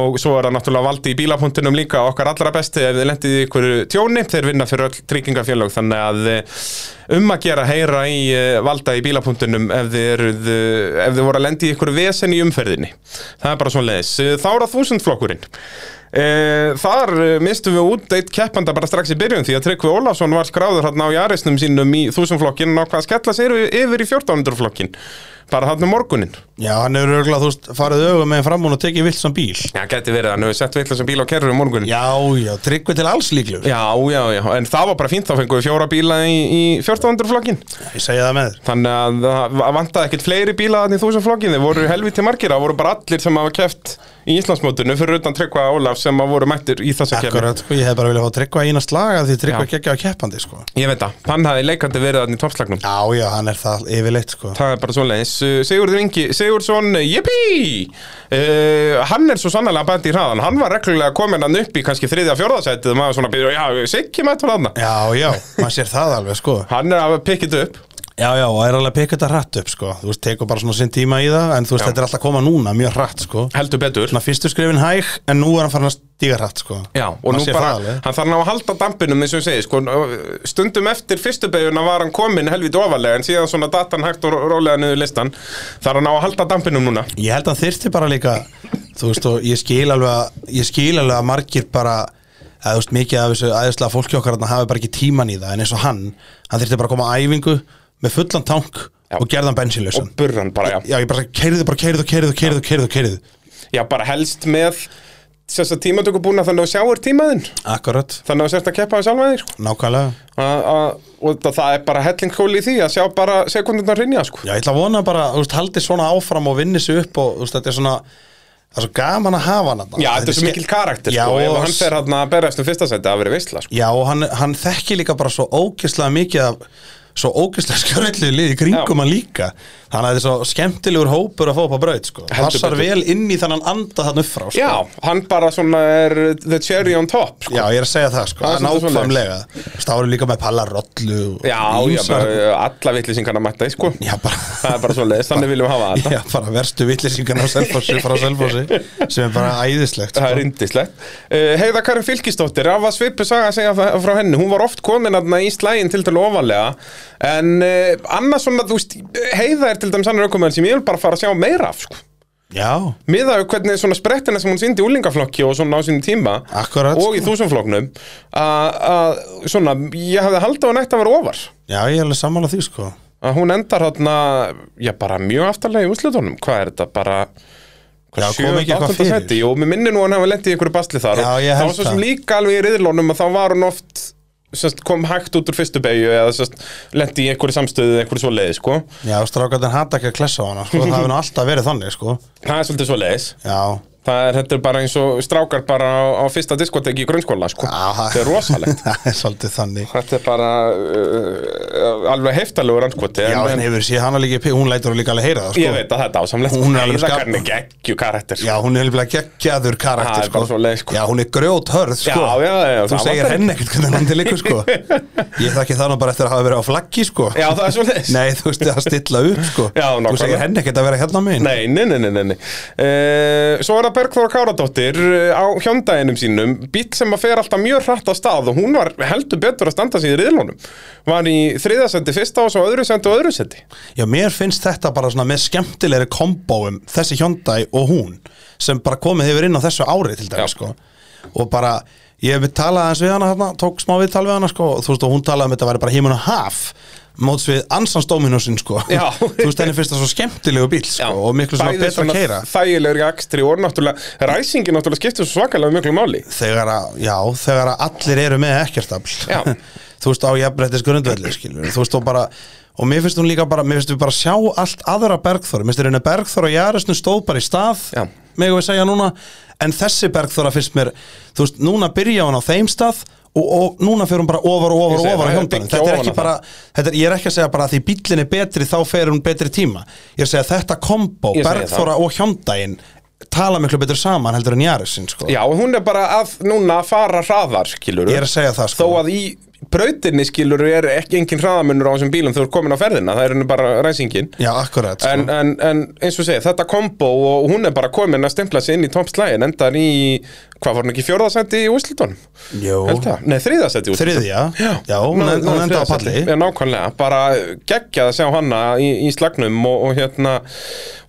[SPEAKER 1] og svo er það náttúrulega valdi í bílapunktinum líka okkar allra besti ef þið lendið í ykkur tjóni þeir vinna fyrir öll tryggingafélög þannig að eh, um að gera heyra í eh, valda í bílapunktunum ef þið, eruð, eh, ef þið voru að lendi í ykkur vesen í umferðinni það er bara svona leðis þá er það þúsundflokkurinn Eh, Þar eh, mistum við út eitt keppanda bara strax í byrjun því að Tryggvi Ólafsson var skráður hérna á jarisnum sínum í þúsundflokkin og hvað skella sér yfir í 1400 flokkin bara þarna um morguninn
[SPEAKER 2] Já, hann hefur örgulega, þú veist, farið augum með fram hún og tekið vilt sem bíl
[SPEAKER 1] Já, geti verið, hann hefur sett veitlega sem bíl á kerru um morgunin
[SPEAKER 2] Já, já, tryggvi til alls líklegur
[SPEAKER 1] Já, já, já, en það var bara fínt, þá fengum við fjóra bíla í, í 1400 flokkin
[SPEAKER 2] Ég segja það með þér
[SPEAKER 1] Þannig að það vantaði ekkert fleiri bíla þannig í þúsundflokkin, þeir voru helviti margir það voru bara allir sem hafa keft í Íslandsmótinu fyrir utan Tryggva Ólaf sem að voru mættir í þessa kefni
[SPEAKER 2] Akkurat, sko, ég hef bara viljað fá tryggva í eina slaga því tryggva ekki að keppandi, sko
[SPEAKER 1] Ég veit það, hann hafi leikandi verið þannig í toppslagnum
[SPEAKER 2] Já, já, hann er það yfirleitt, sko
[SPEAKER 1] Það er bara svoleiðis Uh, Sigurður Ingi, Sigurðsson, jippi uh, Hann er svo sannlega bænt í hraðan Hann var reglulega komin hann upp í kannski þriðja fjórðasætið og maður svona byrja, já, Siggi mættur hann
[SPEAKER 2] Já, já, mann sér það alveg, sko
[SPEAKER 1] Hann er að pikkið upp
[SPEAKER 2] Já, já, og er alveg að peka þetta hratt upp, sko Þú veist, tekur bara svona sinn tíma í það En þú veist,
[SPEAKER 1] Já.
[SPEAKER 2] þetta er alltaf að koma núna, mjög hratt, sko
[SPEAKER 1] heldur betur
[SPEAKER 2] Svona fyrstu skrifin hæg, en nú er hann farin að stíga hratt, sko
[SPEAKER 1] Já, og
[SPEAKER 2] Maður
[SPEAKER 1] nú
[SPEAKER 2] sér það
[SPEAKER 1] bara,
[SPEAKER 2] alveg.
[SPEAKER 1] hann þarf ná að halda dampinum eins og ég segi, sko, stundum eftir fyrstu beiguna var hann komin helviti ofalega en síðan svona datan hægt og ró- rólega niður listan þarf hann ná að halda dampinum núna
[SPEAKER 2] Ég held að hann þyrfti bara líka Þú veist, og ég skil alveg að Ég skil alveg að margir bara að, Þú veist, mikið af þessu æðislega fólki okkar Þannig hafi bara ekki tíman í það, en eins og hann Hann þyrfti bara að koma á æfingu með fullan tank
[SPEAKER 1] Já.
[SPEAKER 2] Og gerðan bensinlausan
[SPEAKER 1] og burran bara, já,
[SPEAKER 2] Já, ég bara keirðu, bara keirðu, keirðu, keirðu, keirðu, keirðu
[SPEAKER 1] já bara helst með þess að tímatöku búna þannig að þú sjáir tímaðinn
[SPEAKER 2] Akkurat,
[SPEAKER 1] þannig að þú sérst að keppa þess alveg sko.
[SPEAKER 2] nákvæmlega
[SPEAKER 1] Að- að- og það- það er bara hellingkóli í því að sjá bara sekundunar rinja sko.
[SPEAKER 2] Já, ég ætla að vona bara, þú veist, haldi svona áfram og vinni sig upp og, þú veist, þetta er svona það er svo gaman að hafa hann þarna.
[SPEAKER 1] já, þetta er svo
[SPEAKER 2] ske-
[SPEAKER 1] mikil karakter
[SPEAKER 2] Já,
[SPEAKER 1] sko, ef
[SPEAKER 2] og-
[SPEAKER 1] hann fer hann að berjast um fyrsta seti að vera veistla sko.
[SPEAKER 2] Já, og hann, hann þekki líka bara svo ógeðslega mikið af svo ógeðslega skjörlið lið í kringum
[SPEAKER 1] Já.
[SPEAKER 2] hann líka þannig að þetta er svo skemmtilegur hópur að fá upp á braut, sko
[SPEAKER 1] Heldur
[SPEAKER 2] passar
[SPEAKER 1] betur.
[SPEAKER 2] vel inn í þannan anda þann upp frá, sko
[SPEAKER 1] já, hann bara svona er the cherry on top sko.
[SPEAKER 2] Já, ég er að segja það, sko,
[SPEAKER 1] Það er
[SPEAKER 2] það er
[SPEAKER 1] svolítið
[SPEAKER 2] nákvæmlega Stáru líka með pallarollu og
[SPEAKER 1] Já, já,
[SPEAKER 2] ýmsar-
[SPEAKER 1] bara eh, alla vitlýsingarna mætta í sko
[SPEAKER 2] Já, bara
[SPEAKER 1] Það er bara svo leiðis, þannig viljum við hafa þetta
[SPEAKER 2] Já, sko. bara verstu vitlisingarna á Selfossi frá Selfossi sem er bara æðislegt sko.
[SPEAKER 1] Það er indislegt uh, Heiða Karin Fylkisdóttir, af að svipu saga að segja það- frá henni Hún var oft komin aðna í slægin til til ofalega En uh, annars svona, þú veist, Heiða er til dæmis annar aukumenn sem ég vil bara fara að sjá meira af sko
[SPEAKER 2] Já,
[SPEAKER 1] miðað við hvernig svona sprettina sem hún sýndi í úlingaflokki og svona á sínum tíma
[SPEAKER 2] Akkúrat,
[SPEAKER 1] og í þúsumflokknum að að svona, ég hafði haldið að hún ætti að vera ofar
[SPEAKER 2] já, ég er alveg sammála því sko
[SPEAKER 1] að hún endar hérna, já bara mjög aftarlega í úslitunum, hvað er þetta bara
[SPEAKER 2] Já,
[SPEAKER 1] hvað,
[SPEAKER 2] kom ekki eitthvað
[SPEAKER 1] 8.
[SPEAKER 2] fyrir?
[SPEAKER 1] seti, og mér minnir nú að hann hafa lent í ykkur basli þar
[SPEAKER 2] Já,
[SPEAKER 1] og
[SPEAKER 2] ég
[SPEAKER 1] það
[SPEAKER 2] held
[SPEAKER 1] var svo sem
[SPEAKER 2] það.
[SPEAKER 1] líka alveg í riðlónum að þá var hún oft sest, kom hægt út úr fyrstu beigju eða sest, lent í einhverju samstöðu, einhverju svo leiði sko.
[SPEAKER 2] Já, strákarnir hata ekki að klessa á hana sko. það hefur nú alltaf verið þannig sko
[SPEAKER 1] það er svolítið svo leiðis
[SPEAKER 2] Já,
[SPEAKER 1] það er, þetta er bara eins og strákar bara á, á fyrsta diskoteki í grunnskóla sko.
[SPEAKER 2] Aha.
[SPEAKER 1] þetta er rosalegt
[SPEAKER 2] það er svolítið þannig
[SPEAKER 1] þetta er bara uh, alveg heftalegur anskoti
[SPEAKER 2] Já, en hefur séð hana líka, í pi- hún lætur hún líka alveg heyra það
[SPEAKER 1] ég
[SPEAKER 2] sko
[SPEAKER 1] veit að þetta er ásamlegt
[SPEAKER 2] Hún er alveg
[SPEAKER 1] Heiða
[SPEAKER 2] skap-
[SPEAKER 1] Karin er geggju karakter sko.
[SPEAKER 2] Já, hún er alveg geggjaður
[SPEAKER 1] Það
[SPEAKER 2] karakter
[SPEAKER 1] er bara
[SPEAKER 2] sko.
[SPEAKER 1] svoleiðis, sko.
[SPEAKER 2] Já, hún er grjóthörð sko
[SPEAKER 1] Já, já, já,
[SPEAKER 2] Þú
[SPEAKER 1] það
[SPEAKER 2] segir
[SPEAKER 1] vantar
[SPEAKER 2] henn ekkert hvernig hann til ykkur sko Ég þekki það nú bara eftir að hafa verið á flaggi sko
[SPEAKER 1] Já, það er svoleiðis.
[SPEAKER 2] Nei, þú veist, að stilla upp sko
[SPEAKER 1] Já,
[SPEAKER 2] Þú
[SPEAKER 1] nákvæmlega.
[SPEAKER 2] segir henn ekkert að vera hérna megin
[SPEAKER 1] Nei, nei, nei, nei, nei, nei. Uh, Svo er það Bergþóra Káradóttir eh, á hjóndæginum sínum bíl sem að fer alltaf mjög hratt á stað og hún var heldur betur að standa sig í riðlunum var í þriðasendi fyrsta og svo öðru sendi og öðru sendi
[SPEAKER 2] Já, mér finnst þetta bara svona með skemmtilegri kombóum þessi Hyundai og hún sem bara komið hefur inn á þessu ári til dæmis
[SPEAKER 1] Já.
[SPEAKER 2] sko. og bara ég hef talað aðeins við hana hérna, tók smá viðtal við hana sko, og þú veist og hún talaði um þetta væri bara himun og haf móts við ansans Dominusin sko.
[SPEAKER 1] Já.
[SPEAKER 2] þú veist henni finnst það svo skemmtilegu bíl sko, og miklu svona
[SPEAKER 1] Bæði
[SPEAKER 2] betra að keira
[SPEAKER 1] Þægilegur í akstri og náttúrulega ræsingin náttúrulega skiptir svo svakalega miklu máli
[SPEAKER 2] þegar að, já, þegar að allir eru með ekkert afl
[SPEAKER 1] Já.
[SPEAKER 2] þú veist á jafnrættis grundvelli skilur þú veist og bara og mér finnst hún líka bara, mér finnst við bara sjá allt aðra Bergþóra, mér finnst þér henni Bergþóra og Jarisnum stóð bara í stað,
[SPEAKER 1] Já.
[SPEAKER 2] megum við segja núna en þessi Bergþóra finnst mér þú veist, núna byrja hún á þeim stað og, og núna fer hún bara ofar og
[SPEAKER 1] Ég
[SPEAKER 2] ofar
[SPEAKER 1] segi
[SPEAKER 2] og
[SPEAKER 1] það,
[SPEAKER 2] ofar á
[SPEAKER 1] það er
[SPEAKER 2] hjóndanum,
[SPEAKER 1] byggja
[SPEAKER 2] þetta er
[SPEAKER 1] ofan
[SPEAKER 2] ekki
[SPEAKER 1] á
[SPEAKER 2] bara þetta er, ég er ekki að segja bara að því bíllinn er betri þá fer hún betri tíma, ég er að segja þetta kombo,
[SPEAKER 1] Ég segi það.
[SPEAKER 2] Bergþóra og hjóndaginn tala miklu betur saman heldur en Jarisin sko.
[SPEAKER 1] Já, hún er bara að núna fara hraðar, skilur
[SPEAKER 2] Ég er að segja það
[SPEAKER 1] Þó
[SPEAKER 2] sko.
[SPEAKER 1] að í brautinni, skilur, er ekki engin hraðamunur á þessum bílum þegar þú er komin á ferðina, það er henni bara ræsingin
[SPEAKER 2] Já, akkurat sko.
[SPEAKER 1] en, en, en eins og segja, þetta kombo og hún er bara komin að stempla sig inn í toppslægin endar í, hvað var hún ekki fjórðasendi í Úslitunum?
[SPEAKER 2] Jó.
[SPEAKER 1] Nei, þriðasendi í Úslitunum
[SPEAKER 2] Þriðja, já, hún,
[SPEAKER 1] Ná-
[SPEAKER 2] hún
[SPEAKER 1] ná- þriðja
[SPEAKER 2] enda á palli
[SPEAKER 1] sæti. Já, nákvæmlega, bara geggjað að sjá hana í, í slagnum og, og hérna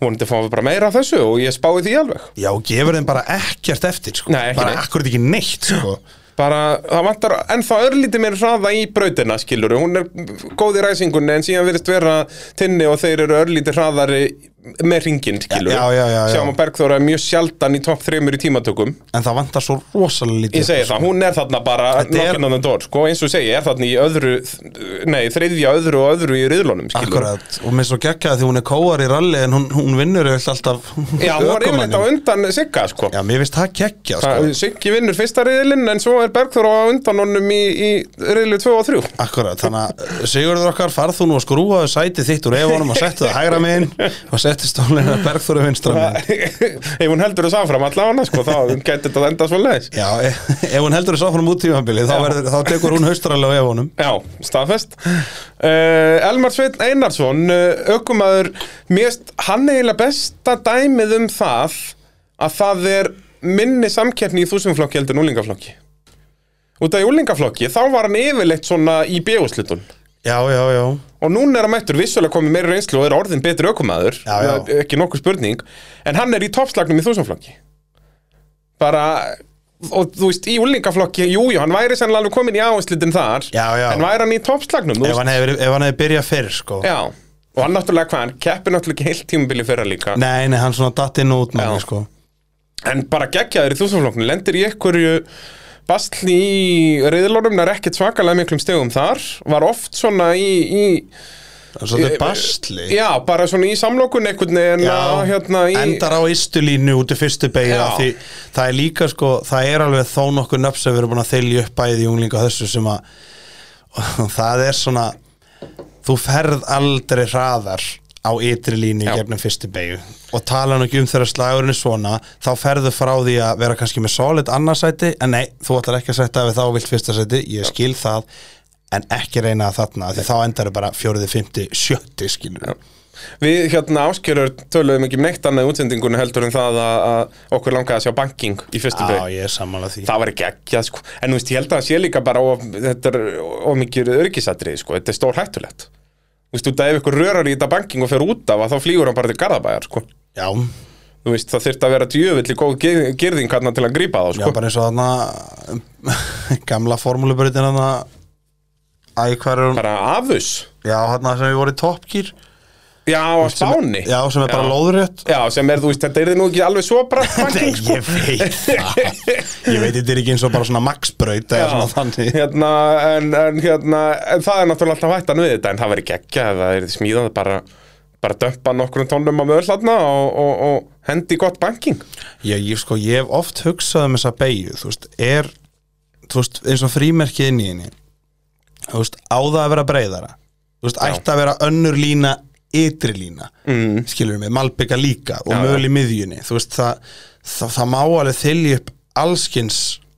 [SPEAKER 1] vonandi fáum við bara meira af þessu og ég spái því alveg
[SPEAKER 2] Já, gefur þeim bara ekkert eftir sko.
[SPEAKER 1] Nei, ekki
[SPEAKER 2] Bara
[SPEAKER 1] neitt.
[SPEAKER 2] akkurat ekki neitt sko.
[SPEAKER 1] bara, það vantar ennþá örlítið meir hraða í brautina, skilur hún er góð í ræsingunni en síðan virðist vera tinni og þeir eru örlítið hraðari með ringin, skilur
[SPEAKER 2] Já, já, já, já.
[SPEAKER 1] sjáum að Bergþóra er mjög sjaldan í topp þremur í tímatökum
[SPEAKER 2] En það vantar svo rosalega lítið
[SPEAKER 1] Ég segi það, hún er þarna bara
[SPEAKER 2] Þetta er-
[SPEAKER 1] knocking on the door, sko, eins og segi, er þarna í öðru, nei, þriðja öðru og öðru í riðlunum, skilur
[SPEAKER 2] Akkurat, og mér er svo geggjaði því hún er kóar í ralli en hún, hún vinnur yfirleitt alltaf
[SPEAKER 1] Já, hún var
[SPEAKER 2] ökumanninn.
[SPEAKER 1] yfirleitt á undan Sigga, sko
[SPEAKER 2] Já, mér finnst það geggjað
[SPEAKER 1] Það-
[SPEAKER 2] sko.
[SPEAKER 1] Siggi vinnur fyrsta riðlinn en svo er Bergþór á undan honum í, í riðlu 2 og 3
[SPEAKER 2] Akkurat, þannig að eh, Sigurður okkar farð þú nú að skrúfaðu sætið þitt úr efanum og settu það hægra megin og settu stólinn að bergþóru vinstra megin
[SPEAKER 1] Ef hún heldur þess áfram allavega sko, þá getur þetta enda svo leiðis
[SPEAKER 2] Já, e- ef hún heldur þess áfram út tímabilið þá, verður- þá tekur hún haustralega á efanum
[SPEAKER 1] Já, staðfest uh, Elmar Sveinn Einarsson uh, aukumaður, mérst hann eiginlega besta dæmið um það að það er minni samkeppni í þúsumflokki heldur en úlingaflokki Út af í úlingaflokki þá var hann yfirleitt svona í bjóðslutun
[SPEAKER 2] Já, já, já
[SPEAKER 1] Og núna er hann mættur vissulega komið meira reynslu og er orðin betri ökumæður
[SPEAKER 2] Já, já.
[SPEAKER 1] Ekki nokkuð spurning En hann er í toppslagnum í þúsumflokki Bara Og þú veist, í úlingaflokki, jú, jú, hann væri sennilega alveg komin í áherslutin þar
[SPEAKER 2] Já, já.
[SPEAKER 1] En væri hann í toppslagnum, þú
[SPEAKER 2] Ef
[SPEAKER 1] veist
[SPEAKER 2] hann hefði hef hef byrjað fyrr sko.
[SPEAKER 1] Já, og hann náttúrulega hvað, hann keppi náttúrulega ekki heilt tímubili fyrra líka
[SPEAKER 2] Nei, nei, hann svona datt inn og út með
[SPEAKER 1] Já.
[SPEAKER 2] hann sko.
[SPEAKER 1] En bara geggjaður í þúsumflokknu, lendir í einhverju Bastli í reyðlónum, það er ekkert svakalega miklum stegum þar Var oft svona í, í
[SPEAKER 2] Svo þetta er bastli
[SPEAKER 1] Já, bara svona í samlokun einhvern veginn að, hérna, í...
[SPEAKER 2] endar á ystulínu út í fyrstu beigja
[SPEAKER 1] Já.
[SPEAKER 2] því það er líka sko, það er alveg þó nokkuð nöfn sem við erum búin að þylja upp bæði í unglinga og þessu sem að og það er svona þú ferð aldrei hraðar á ytri línu í
[SPEAKER 1] Já.
[SPEAKER 2] gefnum fyrstu beigju og tala nú ekki um þegar slagurinn er svona þá ferðu frá því að vera kannski með solid annarsæti, en nei, þú ætlar ekki að sætta við þá og vilt fyrsta sæti, ég skil það en ekki reyna það þarna því þá endar bara fjóriði, fymti, sjötti skilur
[SPEAKER 1] Við hérna áskjörur töluðum ekki um neitt annað í útsendingunni heldur en það að, að okkur langaði að sjá banking í fyrstu
[SPEAKER 2] Já,
[SPEAKER 1] bygg
[SPEAKER 2] ég er sammála því
[SPEAKER 1] Það var ekki ekki sko. En þú veist, ég held að það sé líka bara of, þetta er of mikið örgisatriði sko. Þetta er stór hættulegt Þú veist, út að ef ykkur rörar í þetta banking og fer út af að þá flýgur hann bara til Garðabæjar sko.
[SPEAKER 2] Já,
[SPEAKER 1] Þú veist, það þyrfti að vera djöfulli góð gir- girðing hérna til að grípa þá
[SPEAKER 2] Já,
[SPEAKER 1] sko.
[SPEAKER 2] bara eins og þarna gamla formúlubröðin þarna Æ, hvað er hún?
[SPEAKER 1] Bara afus
[SPEAKER 2] Já, þarna sem við voru í toppkýr
[SPEAKER 1] Já, á Spáni
[SPEAKER 2] Já, sem er bara lóðrétt
[SPEAKER 1] Já, sem er, þú veist, þetta er þið nú ekki alveg svo brætt
[SPEAKER 2] Nei,
[SPEAKER 1] banking sko.
[SPEAKER 2] ég veit það Ég veit þetta er ekki eins og bara svona maxbraut eða svona þannig
[SPEAKER 1] hérna, en, en, hérna, en það er náttúrulega alltaf hættan við þetta en það verið geggja ef það er smíðað bara, bara dömpa nokkrum tónum af öll þarna og, og, og hendi í gott banking
[SPEAKER 2] Já, ég sko, ég hef oft hugsað um þessa beigju, þú veist, er þú veist, eins og frímerkið inn í henni þú veist, á það að vera breyðara þú veist, ætti að vera önnur lína ytri lína, mm. skilur mig malbygga líka og
[SPEAKER 1] Já,
[SPEAKER 2] möl í miðjunni þú veist, það, það, það má alveg þylja upp allskins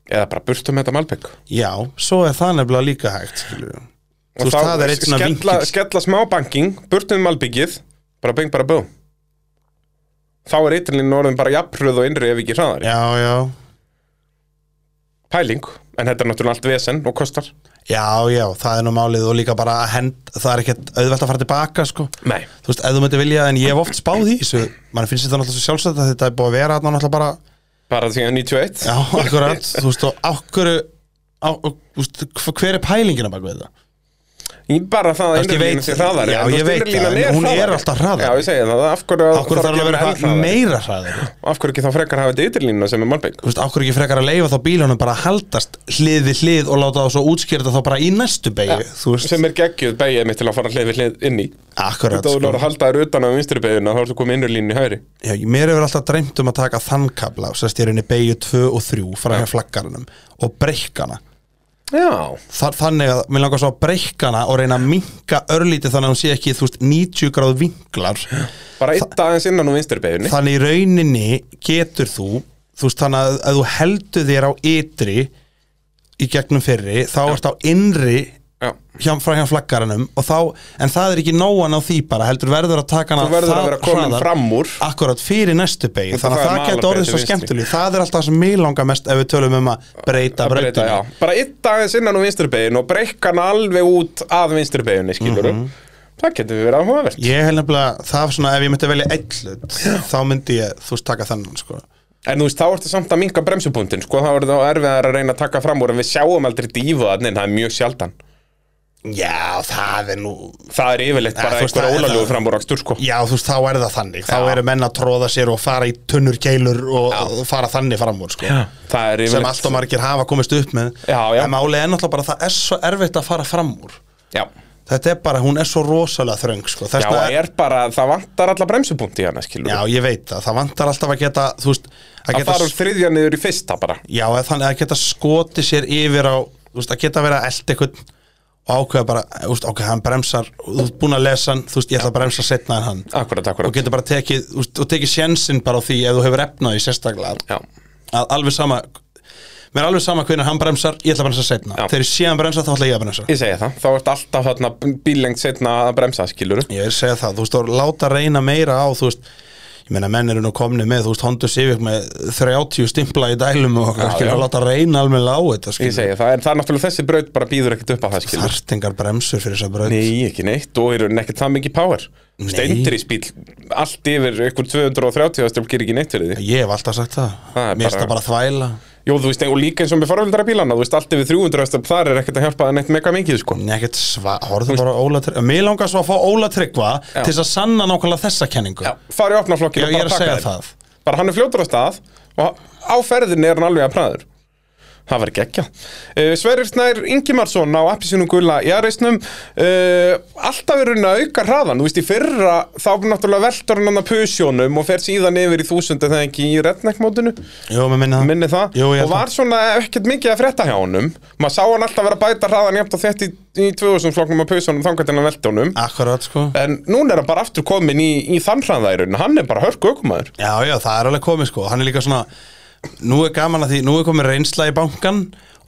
[SPEAKER 1] eða bara burtum þetta malbygg
[SPEAKER 2] já, svo er það nefnilega líka hægt skilur við, þú veist, það er eitt svona
[SPEAKER 1] skella,
[SPEAKER 2] vinkill
[SPEAKER 1] skella smá banking, burtum malbyggið bara bing bara bú þá er eitirlinn orðin bara jafnröð og innri ef ekki hraðari
[SPEAKER 2] já, já,
[SPEAKER 1] pæling, en þetta er náttúrulega allt vesen og kostar
[SPEAKER 2] já, já, það er nú málið og líka bara að hend, það er ekkert auðvelt að fara tilbaka, sko
[SPEAKER 1] Nei.
[SPEAKER 2] þú veist, ef þú myndir vilja, en ég hef oft spáð í þessu mann finnst þetta náttúrulega svo sjálfsagt að þetta er búið að vera þarna náttúrulega bara,
[SPEAKER 1] bara því að 91
[SPEAKER 2] já, akkurat þú veist, og ákvöru á, og, þú veist, hv- hver er pælingina bak við það?
[SPEAKER 1] Ég bara það að
[SPEAKER 2] Þú veist, ég
[SPEAKER 1] innrýlínan
[SPEAKER 2] veit-
[SPEAKER 1] sé hraðari
[SPEAKER 2] já,
[SPEAKER 1] en þú
[SPEAKER 2] ég
[SPEAKER 1] veist,
[SPEAKER 2] veit
[SPEAKER 1] innri línan
[SPEAKER 2] það, en hún er
[SPEAKER 1] hraðari.
[SPEAKER 2] alltaf hraðari.
[SPEAKER 1] Já, ég segi það, af hverju
[SPEAKER 2] Ákvöru þarf alveg að vera hra- meira hraðar
[SPEAKER 1] Af hverju ekki þá frekar hafa þetta ytirlínuna sem er malbygg
[SPEAKER 2] þú veist, ákvöru ekki frekar að leifa þá bílunum bara að haldast hlið við hlið og láta þá svo útskýrta þá bara í næstu beigju, þú veist,
[SPEAKER 1] sem er geggjuð beigið mitt til að fara hlið við hlið inn í
[SPEAKER 2] akkurat sko.
[SPEAKER 1] Þetta þú náður að halda þér utan á vinstri beiguna þá ertu komið innri línu í hægri
[SPEAKER 2] Já, ég- mér hefur alltaf dreymt um að taka þann kabla og sérst ég er henni beigju 2 og 3 frá hér flaggarunum og breykana
[SPEAKER 1] Já,
[SPEAKER 2] Þa, þannig að mér langar svo að breykka hana og reyna að minka örlítið þannig að hún sé ekki þú veist 90 gráð vinklar
[SPEAKER 1] bara eitt aðeins innan úr vinstri beginni
[SPEAKER 2] þannig í rauninni getur þú þú veist þannig að, að þú heldur þér á ytri í gegnum fyrri þá ert á innri
[SPEAKER 1] Já,
[SPEAKER 2] hjá, frá hjá flaggaranum og þá, en það er ekki nóan á því bara heldur verður að taka hana
[SPEAKER 1] þú verður
[SPEAKER 2] það
[SPEAKER 1] að vera komin
[SPEAKER 2] hraðar.
[SPEAKER 1] fram úr
[SPEAKER 2] Akkurat fyrir næstu beig
[SPEAKER 1] Þetta
[SPEAKER 2] Þannig að
[SPEAKER 1] það er
[SPEAKER 2] það getur
[SPEAKER 1] malarbreyt
[SPEAKER 2] orðið
[SPEAKER 1] til
[SPEAKER 2] svo
[SPEAKER 1] vinstri.
[SPEAKER 2] skemmtileg Það er alltaf sem mig langar mest ef við tölum um að breyta
[SPEAKER 1] að breyta,
[SPEAKER 2] breytunni
[SPEAKER 1] já. bara eitt aðeins innan úr vinstri beginni og breykka hann alveg út að vinstri beginni, skilur
[SPEAKER 2] Mhm.
[SPEAKER 1] það getur við verið áhugavert
[SPEAKER 2] Ég hef nefnilega, það er svona, ef ég myndi velja einn hlut þá myndi ég, þú veist, taka þennan sko.
[SPEAKER 1] En þú veist, þá ertu samt að minka bremsupunktin, sko, þá er það erfiðar að reyna að taka fram úr en við sjáum aldrei dífu að neina, það er mjög sjaldan.
[SPEAKER 2] Já, það er nú
[SPEAKER 1] Það er yfirleitt
[SPEAKER 2] Ja,
[SPEAKER 1] bara
[SPEAKER 2] þú
[SPEAKER 1] einhver
[SPEAKER 2] veist, það er
[SPEAKER 1] ólalegu
[SPEAKER 2] það.
[SPEAKER 1] frambúrakstur, sko.
[SPEAKER 2] Já, þú veist, þá er það þannig Þá
[SPEAKER 1] Já.
[SPEAKER 2] eru menn að tróða sér og fara í tunnur keilur og og fara þannig fram úr sko.
[SPEAKER 1] Það er
[SPEAKER 2] sem
[SPEAKER 1] yfirleitt...
[SPEAKER 2] allt og margir hafa komist upp með
[SPEAKER 1] Já, já.
[SPEAKER 2] En máli er náttúrulega bara að það er svo erfitt að fara fram úr
[SPEAKER 1] Já,
[SPEAKER 2] Þetta er bara, hún er svo rosalega þröng sko.
[SPEAKER 1] já,
[SPEAKER 2] Þess vegna
[SPEAKER 1] það er bara, það vantar alla bremsupunkti hérna, skilur.
[SPEAKER 2] Já, ég veit það, það vantar alltaf að geta þú veist, að
[SPEAKER 1] að
[SPEAKER 2] geta,
[SPEAKER 1] fara úr þriðja niður í fyrsta bara.
[SPEAKER 2] já, eða þannig að geta skoti sér yfir á, þú veist, að geta verið að elda eitthvað og ákveða bara, þú veist, ok, hann bremsar þú veist, búin að lesa hann, þú veist, ég ætla að bremsa setna en hann
[SPEAKER 1] Akkurat, akkurat.
[SPEAKER 2] og getur bara tekið, þú veist, og tekið sjensinn bara á því ef þú hefur efnaði sérstaklega
[SPEAKER 1] Já,
[SPEAKER 2] að alveg sama, mér er alveg sama hvernig hann bremsar, ég ætla að bremsa setna
[SPEAKER 1] Já.
[SPEAKER 2] þegar ég sé hann bremsa, þá ætla ég að bremsa
[SPEAKER 1] ég segi það. Þá ert alltaf þarna bílengt setna að bremsa, skilur.
[SPEAKER 2] Ég vil segja það, þú veist, og láta reyna meira á, þú veist, ég meina menn eru nú komni með, þú veist, Honda Civic með 30 stimpla í dælum og okkar,
[SPEAKER 1] Já,
[SPEAKER 2] skilur,
[SPEAKER 1] já.
[SPEAKER 2] láta reyna alveg á þetta,
[SPEAKER 1] Ég
[SPEAKER 2] skilur,
[SPEAKER 1] segi það. En það er náttúrulega þessi braut bara býður ekkert upp á það, skilur.
[SPEAKER 2] þartingar bremsur fyrir þess að braut.
[SPEAKER 1] Nei, ekki neitt, og eru nekkert það mikið power
[SPEAKER 2] Nei.
[SPEAKER 1] Steindirísbíl, allt yfir ykkur 230 að gerir ekki neitt fyrir því
[SPEAKER 2] Ég hef alltaf sagt það,
[SPEAKER 1] Það er
[SPEAKER 2] mér finnst
[SPEAKER 1] bara-
[SPEAKER 2] það bara þvæla,
[SPEAKER 1] Jó, þú veist, og líka eins og með farveldara bílana Þú veist, allt yfir 300 að þar er ekkert að hjálpa það neitt mega mikið, sko
[SPEAKER 2] Nei, ekkert sva, horfðu bara á Óla Tryggva, mér langar svo að fá Óla Tryggva
[SPEAKER 1] Já.
[SPEAKER 2] til þess að sanna nákvæmlega þessa kenningu.
[SPEAKER 1] Já, farið opna
[SPEAKER 2] Já,
[SPEAKER 1] flokkinu
[SPEAKER 2] ég er að segja það.
[SPEAKER 1] Bara hann er fljótur á stað og á ferðinni er hann alveg að praður Það var gekkja. Uh, Sverrir Snær Ingimarsson á appisínum gula Jarisnum. Uh, alltaf er raunin að auka hraðan. Þú veist, í fyrra þá náttúrulega veltur hann hann að pusjónum og fer síðan yfir í þúsundi þegar ekki í redneckmótinu.
[SPEAKER 2] Jú, mér minna það.
[SPEAKER 1] Minni það.
[SPEAKER 2] Jú, ég held
[SPEAKER 1] og var svona ekkert mikið að frétta hjá honum. Maður sá hann alltaf vera að bæta hraðan jæmt og þett í, í 2000 flokknum að pusjónum þangat en að velta honum.
[SPEAKER 2] Akkurat, sko.
[SPEAKER 1] En núna er hann bara aftur komin í, í þann hraða í raunin. Hann er bara hörku aukumæður.
[SPEAKER 2] Já, já, það er alveg komið sko Hann er líka svona, nú er gaman að því Nú er komið reynsla í bankan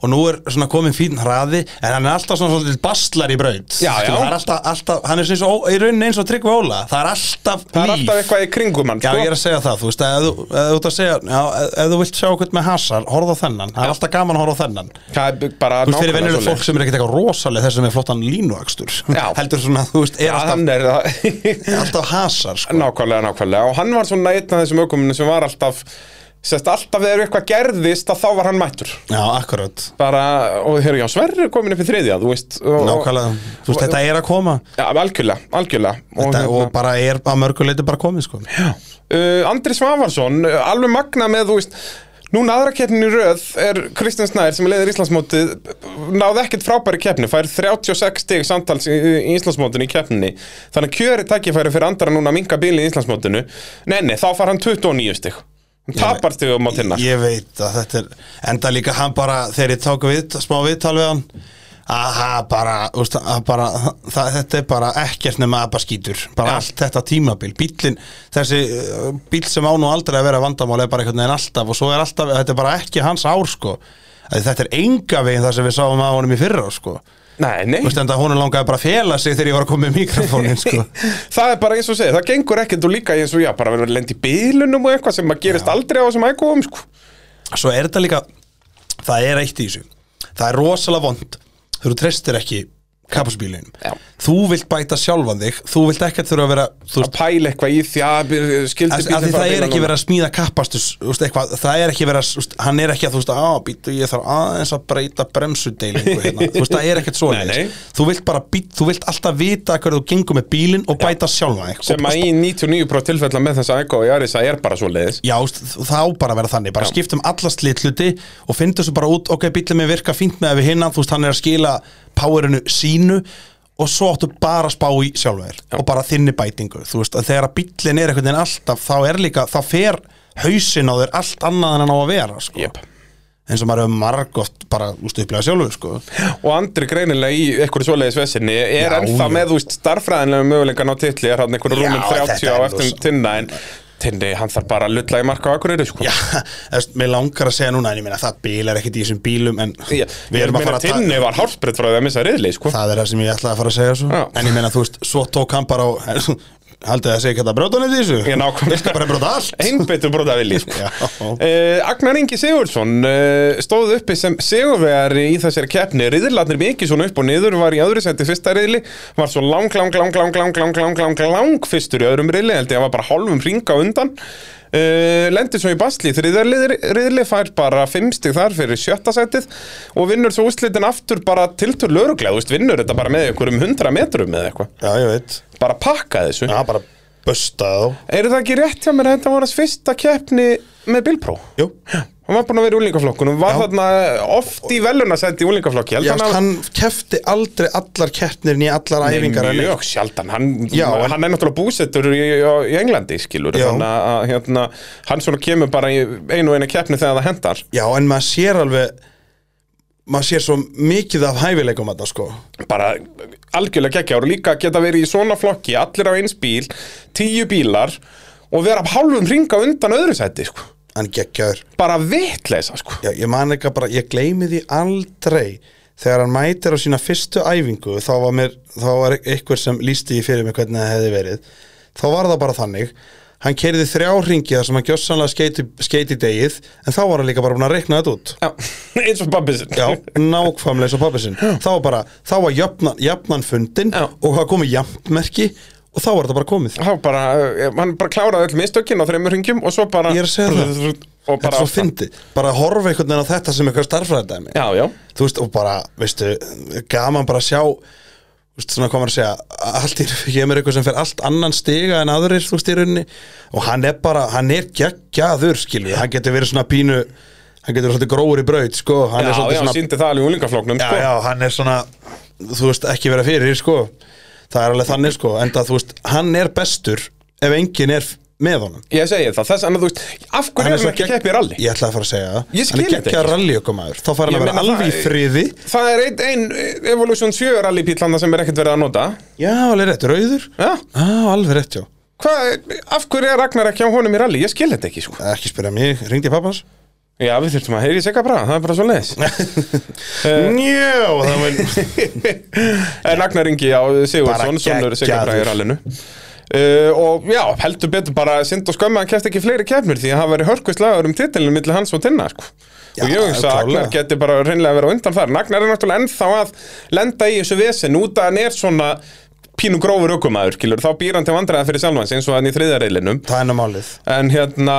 [SPEAKER 2] Og nú er svona komið fín hraði En hann er alltaf svona svolítið bastlar í braut
[SPEAKER 1] Já, já.
[SPEAKER 2] Það er alltaf, alltaf hann er svona eins og, í rauninni eins og Tryggvi Óla Það er alltaf
[SPEAKER 1] Það er
[SPEAKER 2] líf
[SPEAKER 1] alltaf eitthvað í kringum hann,
[SPEAKER 2] Já, ég
[SPEAKER 1] sko.
[SPEAKER 2] er að segja það, þú veist, ef þú, ef þú ert að segja, já, ef- ef þú vilt sjá okkur með hasar, horfðu á þennan, það er alltaf gaman að horfa á þennan. Þú
[SPEAKER 1] Það er bara
[SPEAKER 2] veist,
[SPEAKER 1] nákvæmlega
[SPEAKER 2] fyrir venjuleg
[SPEAKER 1] svoleiðis.
[SPEAKER 2] fólk sem er ekkert eitthvað rosaleg þessum er flottan línuakstur.
[SPEAKER 1] Já.
[SPEAKER 2] Heldur svona, þú veist,
[SPEAKER 1] Já,
[SPEAKER 2] er alltaf,
[SPEAKER 1] hann er það
[SPEAKER 2] alltaf hasar, sko.
[SPEAKER 1] Nákvæmlega, nákvæmlega Og hann var svona einn af þessum aukuminu sem var alltaf Sest alltaf þegar eitthvað gerðist að þá var hann mættur
[SPEAKER 2] Já, akkurat.
[SPEAKER 1] Bara, og þeir eru já, Sverri er komin upp í þriðja, þú veist og,
[SPEAKER 2] Nákvæmlega, þú veist, þetta er að koma.
[SPEAKER 1] Já, algjörlega, algjörlega
[SPEAKER 2] Þetta,
[SPEAKER 1] hérna-
[SPEAKER 2] og bara er að mörguleiti bara komið sko
[SPEAKER 1] uh, Andri Svavarsson, uh, alveg magna með, þú veist Núna aðra keppnin í röð er Kristján Snær sem leiðir Íslandsmótið náði ekkert frábæri keppni, fær 36 stig samtals í í Íslandsmótinu í keppninni þannig að kjöri tækifæri fyrir andra núna að minka bíli í Íslandsmótinu nei, nei, þá far hann 29 stig hann tapar stigum á tinnar
[SPEAKER 2] Ég veit að þetta er Enda líka hann bara, þegar ég tók við, smá viðtal við hann Aha, bara, úst, að bara það, þetta er bara ekkert nema að bara skýtur bara
[SPEAKER 1] Já.
[SPEAKER 2] allt þetta tímabil bíllinn, þessi uh, bíll sem á nú aldrei að vera vandamál er bara einhvern veginn alltaf og svo er alltaf, þetta er bara ekki hans ár sko Að þetta er enga veginn það sem við sáum að honum í fyrra sko
[SPEAKER 1] nei, nei,
[SPEAKER 2] Þú veist, enda honum langaði bara að fela sig þegar ég var að koma með mikrofónin sko
[SPEAKER 1] það er bara eins og segir, það gengur ekkert og líka eins og já, bara verður lendi í bílunum og eitthvað sem að gerist aldrei á þessum ægóum sko.
[SPEAKER 2] svo er þetta líka það er eitt í þessu það er rosalega vond þegar þú treystir ekki
[SPEAKER 1] Já.
[SPEAKER 2] kapasbílinum þú vilt bæta sjálfan þig þú vilt ekki þurfa að vera þú
[SPEAKER 1] að
[SPEAKER 2] veist,
[SPEAKER 1] pæla eitthvað í því að skildi
[SPEAKER 2] að, að því það er ekki verið að smíða kappastus úst, eitthvað, það er ekki verið að úst, hann er ekki að þú veist að á, býtu, ég þarf aðeins að breyta bremsudeilingu hérna. þú veist það er ekkert svo
[SPEAKER 1] Nei, nei.
[SPEAKER 2] þú vilt bara být, þú vilt alltaf vita hverju þú gengur með bílinn og bæta sjálfan þig
[SPEAKER 1] sem að í 99% tilfella með þessa Ego og Jarisa er bara svo leiðis
[SPEAKER 2] Já, þú veist, það á bara að vera þannig, bara skiptum alla slit hluti og finnum svo bara út, ok, bíllinn minn virka fínt með við hinna, þú veist, hann er að skila powerinu sínu og svo áttu bara að spá í sjálfur og bara þinni bætingu, þú veist, að þegar að bíllinn er einhvern veginn alltaf, þá er líka, þá fer hausinn á þér allt annað en hann á að vera, sko
[SPEAKER 1] Jep.
[SPEAKER 2] eins og maður hefur margótt bara úst upplega sjálfur sko.
[SPEAKER 1] Og Andri greinilega í eitthvað svoleiðis vesinni er
[SPEAKER 2] Já,
[SPEAKER 1] ennþá
[SPEAKER 2] já.
[SPEAKER 1] með þú veist starffræðinlega mögulegan á titli er hann einhverjum
[SPEAKER 2] Já,
[SPEAKER 1] rúmum 30
[SPEAKER 2] þetta
[SPEAKER 1] á
[SPEAKER 2] er
[SPEAKER 1] eftir
[SPEAKER 2] rosa.
[SPEAKER 1] tinna en tinni hann þarf bara að lulla í marka á akkurýri sko.
[SPEAKER 2] Já, þess, mér langar að segja núna en ég meina það bílar ekkert í þessum bílum en
[SPEAKER 1] Ég-
[SPEAKER 2] við
[SPEAKER 1] ég
[SPEAKER 2] erum að
[SPEAKER 1] meina
[SPEAKER 2] fara að ta-
[SPEAKER 1] tinni var hálsbreytt frá því að missa riðli sko.
[SPEAKER 2] það er það sem ég ætlaði að fara að segja svo
[SPEAKER 1] Já.
[SPEAKER 2] en ég meina þú veist, svo tók hann bara á haldið þið að segja hvað það bróta nefndi þessu
[SPEAKER 1] Ég nákvæmlega.
[SPEAKER 2] ég skal bara bróta allt
[SPEAKER 1] Einbeittur brota vilji sko.
[SPEAKER 2] Já.
[SPEAKER 1] uh, Agnar Ingi Sigurðsson uh, stóð uppi sem sigurvegari í þessari keppni Riðlarnir mikið svona upp og niður var í öðru seti fyrsta riðli Var svo lang, lang, lang, lang, lang, lang, lang, lang, lang fyrstur í öðrum riðli Held ég að var bara hálfum hringa á undan Uh, lendir svo í basli í þriðja riðli- riðli fær bara fimmstig þar fyrir sjötta setið og vinnur svo úrslitin aftur bara tiltur löruglega, þú veist, vinnur þetta bara með ykkur um 100 metrum eða eitthvað,
[SPEAKER 2] já, ég veit,
[SPEAKER 1] bara pakka þessu
[SPEAKER 2] já, bara busta þá
[SPEAKER 1] Er það ekki rétt hjá mér að þetta var hans fyrsta keppni með Bilpró?
[SPEAKER 2] jú,
[SPEAKER 1] Hann var búinn að vera í úlingaflokkunum, var
[SPEAKER 2] Já.
[SPEAKER 1] þarna oft í velunarsæti í úlingaflokki.
[SPEAKER 2] já, hann, hann kefti aldrei allar keppnir nýja allar æfingar eða neitt.
[SPEAKER 1] mjög sjaldan, hann,
[SPEAKER 2] Já, en-
[SPEAKER 1] hann er náttúrulega búsettur í, í Englandi, skilur,
[SPEAKER 2] Já.
[SPEAKER 1] þannig að hérna, hann svona kemur bara í einu og einu keppni þegar það hendar.
[SPEAKER 2] já, en maður sér alveg maður sér svo mikið af hæfileikum að það sko
[SPEAKER 1] Bara algjörlega geggjáru, líka geta verið í svona flokki, allir á eins bíl, tíu bílar og vera hálfum ringa undan öðru sæti, sko.
[SPEAKER 2] hann geggjaður
[SPEAKER 1] Bara vitleisa, sko.
[SPEAKER 2] Já, ég man ekki að bara, ég gleymi því aldrei þegar hann mætir á sína fyrstu æfingu þá var, mér, þá var einhver sem lísti í fyrir mig hvernig það hefði verið þá var það bara þannig hann keiriði þrjá ringi þar sem hann gjössanlega skeiti, skeiti degið en þá var hann líka bara búin að reikna þetta út
[SPEAKER 1] Já, eins og pabbi sinn.
[SPEAKER 2] Já, nákvæmlega eins og pappi sinn þá var bara, þá var jafnan, jafnan fundin
[SPEAKER 1] Já.
[SPEAKER 2] og það komið jafnmerki og þá var þetta bara komið
[SPEAKER 1] þá bara, eh, hann bara kláraði öll mistökin á þreymur hringjum og svo bara
[SPEAKER 2] Ég er að segja það.
[SPEAKER 1] og
[SPEAKER 2] Þetta er
[SPEAKER 1] bara
[SPEAKER 2] svo fyndi, bara að horfa einhvern veginn á þetta sem eitthvað starfræðdæmi
[SPEAKER 1] já, já,
[SPEAKER 2] þú veist, og bara, veistu, gaman bara að sjá þú veist, svona hvað maður að segja allt í, kemur eitthvað sem fer allt annan stiga en aðrir, þú veist, í rauninni og hann er bara, hann er geggjaður, skilju hann getur verið svona pínu hann getur verið svolítið gróður í braut, sko
[SPEAKER 1] já,
[SPEAKER 2] hann er svolítið
[SPEAKER 1] já,
[SPEAKER 2] svona,
[SPEAKER 1] síndi það alveg úlingaflóknum
[SPEAKER 2] já,
[SPEAKER 1] sko.
[SPEAKER 2] já, hann er svona þú veist, ekki vera fyrir, sko það er alveg þannig, sko, enda þú veist hann er bestur ef enginn er með honum
[SPEAKER 1] ég segi það, þess að þú veist af hverju er hann ekki
[SPEAKER 2] gegg-
[SPEAKER 1] keppið ralli
[SPEAKER 2] Ég ætla að fara að segja það
[SPEAKER 1] Ég
[SPEAKER 2] Hann
[SPEAKER 1] skil
[SPEAKER 2] er
[SPEAKER 1] þetta ekki.
[SPEAKER 2] geggjað ralli Þá fara hann
[SPEAKER 1] Ég
[SPEAKER 2] að vera
[SPEAKER 1] meina
[SPEAKER 2] alveg í
[SPEAKER 1] það-
[SPEAKER 2] friði
[SPEAKER 1] það er einn ein, eh, Evolution 7 rallipíl hann sem er ekkert verið að nota
[SPEAKER 2] Já, alveg rétt, rauður
[SPEAKER 1] já,
[SPEAKER 2] Já, alveg rétt, já
[SPEAKER 1] Hva, af hverju er Ragnar ekki á honum í ralli ég skil þetta ekki, sko
[SPEAKER 2] Ekki spyrja mig, ringdi pappans
[SPEAKER 1] já, við þurfum að heyri segja bara, það er bara svo leiðis Eh.
[SPEAKER 2] Njó, það var
[SPEAKER 1] en Eh, Ragnar Ingi á Sigurðsson
[SPEAKER 2] Bara
[SPEAKER 1] sonur Sigur Braga í
[SPEAKER 2] geggjaður.
[SPEAKER 1] rallinu uh, og já, heldur betur bara synd og skömmi að hann kæft ekki fleiri keppnir því að hann væri hörkvistlagur um titilinu milli hans og tinna sko.
[SPEAKER 2] Já,
[SPEAKER 1] og ég hugsa að
[SPEAKER 2] klárlega.
[SPEAKER 1] Agnar geti bara reynlega verið á undan þar en Agnar er náttúrulega ennþá að lenda í þessu vesen út að hann er svona pínu grófur ökumæður, skilur, þá býr hann til vandræða fyrir sjálfans eins og hann í þriðareilinum
[SPEAKER 2] Það er nú málið
[SPEAKER 1] en hérna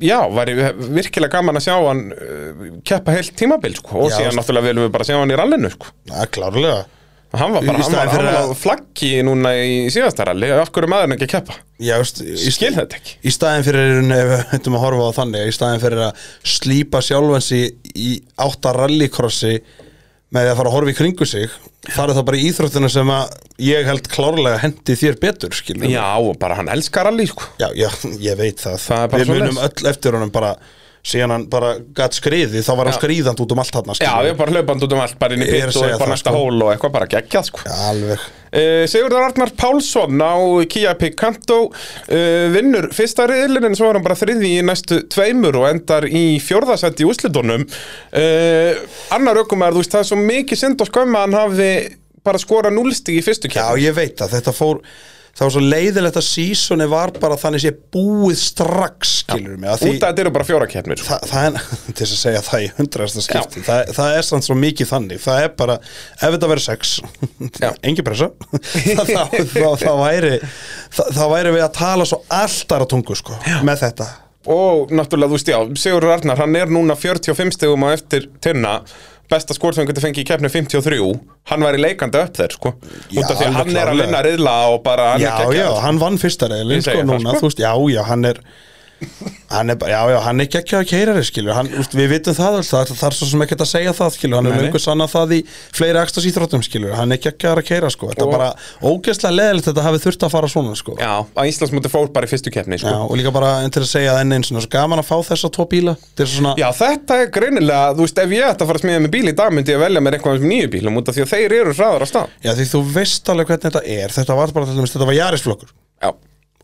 [SPEAKER 1] já, væri virkilega gaman að sjá hann uh, keppa heilt tímabil sko, og
[SPEAKER 2] Já,
[SPEAKER 1] síðan
[SPEAKER 2] veist-
[SPEAKER 1] náttúrulega viljum við bara sjá hann í rallinu sko.
[SPEAKER 2] Það er klárlega
[SPEAKER 1] Hann var
[SPEAKER 2] Í
[SPEAKER 1] bara, hann var,
[SPEAKER 2] staðinn
[SPEAKER 1] hann
[SPEAKER 2] fyrir
[SPEAKER 1] var
[SPEAKER 2] að-
[SPEAKER 1] flaggi núna í síðastaralli, af hverju er maðurinn ekki að keppa?
[SPEAKER 2] Já, veist, í,
[SPEAKER 1] Skil þetta ekki.
[SPEAKER 2] Í staðin fyrir, ef við hættum að horfa á þannig Í staðin fyrir að slípa sjálfansi Í átta rallycrossi Með því að fara að horfa í kringu sig Farið þá bara í íþróttina sem að Ég held klárlega hendi þér betur, skilur
[SPEAKER 1] Já, og bara hann elskar rally, sko.
[SPEAKER 2] Já, já, ég veit það,
[SPEAKER 1] Það er bara
[SPEAKER 2] Við munum
[SPEAKER 1] svoleiðis.
[SPEAKER 2] öll eftir honum bara Síðan hann bara gatt skriði Þá var hann
[SPEAKER 1] Já.
[SPEAKER 2] skriðand út um allt hann
[SPEAKER 1] Já, við erum bara hlaupandi út um allt, bara inn í
[SPEAKER 2] Ég
[SPEAKER 1] pitt
[SPEAKER 2] er að
[SPEAKER 1] og
[SPEAKER 2] segja
[SPEAKER 1] upp á
[SPEAKER 2] það,
[SPEAKER 1] næsta
[SPEAKER 2] sko.
[SPEAKER 1] hól og eitthvað bara geggjað, sko.
[SPEAKER 2] Alveg
[SPEAKER 1] Uh, Sigurðar Arnar Pálsson á Kia Picanto uh, vinnur fyrsta riðlinn en svo er hann bara þriði í næstu tveimur og endar í fjórðasætt í úslitunum. Uh, annar ökumar, þú veist, það er svo mikið synd og skömmi að hann hafi bara skorað núlstig í fyrstu
[SPEAKER 2] Já,
[SPEAKER 1] kemur.
[SPEAKER 2] ég veit það, þetta fór Það var svo leiðilegt að sísoni var bara þannig sé búið strax, skilur mig að því,
[SPEAKER 1] Út að þetta eru bara sko. fjóra kemur.
[SPEAKER 2] það, það er, til þess að segja það í hundraðasta skipti það, það er samt svo mikið þannig það er bara, ef þetta verður sex
[SPEAKER 1] Já.
[SPEAKER 2] engin pressa það, það, það, það væri það, það væri við að tala svo alltara tungu sko, með þetta
[SPEAKER 1] og náttúrulega þú veist já, Sigur Arnar hann er núna 45 stegum á eftir tinna besta skor sem hann getur fengið í keppni 53 hann væri leikandi upp þeir sko út af því að
[SPEAKER 2] alveg
[SPEAKER 1] hann er að
[SPEAKER 2] klárlega.
[SPEAKER 1] vinna riðla og bara hann
[SPEAKER 2] já,
[SPEAKER 1] er
[SPEAKER 2] já,
[SPEAKER 1] geggjaður.
[SPEAKER 2] hann vann fyrsta reyðin
[SPEAKER 1] Ég
[SPEAKER 2] sko,
[SPEAKER 1] segi það,
[SPEAKER 2] núna,
[SPEAKER 1] sko.
[SPEAKER 2] þú veist, já, já, hann er hann er bara, já, já, hann er geggjaður keirari, skilur hann, úst, við vitum það alls, það, það er svo sem ekkert að segja það, skilur, hann
[SPEAKER 1] Nei,
[SPEAKER 2] er
[SPEAKER 1] nei.
[SPEAKER 2] löngu sanna það í fleiri ekstas íþróttum, skilur, hann er geggjaður að keira, sko, þetta
[SPEAKER 1] Og-
[SPEAKER 2] er bara ógeðslega leðilegt þetta hafi þurft að fara svona, sko
[SPEAKER 1] Já, að Íslandsmóti fór bara í fyrstu keppni sko.
[SPEAKER 2] Já, og líka bara en til að segja það enn eins og svo gaman að fá þessa tvo bíla Þetta er svona,
[SPEAKER 1] Já, þetta er greinilega, þú veist, ef ég ætti að fara að smíða með bíl í dag myndi ég velja mér eitthvað um nýju bílum út af því að þeir eru hraðar á stað
[SPEAKER 2] já því þú veist alveg hvernig þetta er Þetta var bara, til dæmis, þetta var Jarisflokkur
[SPEAKER 1] Já,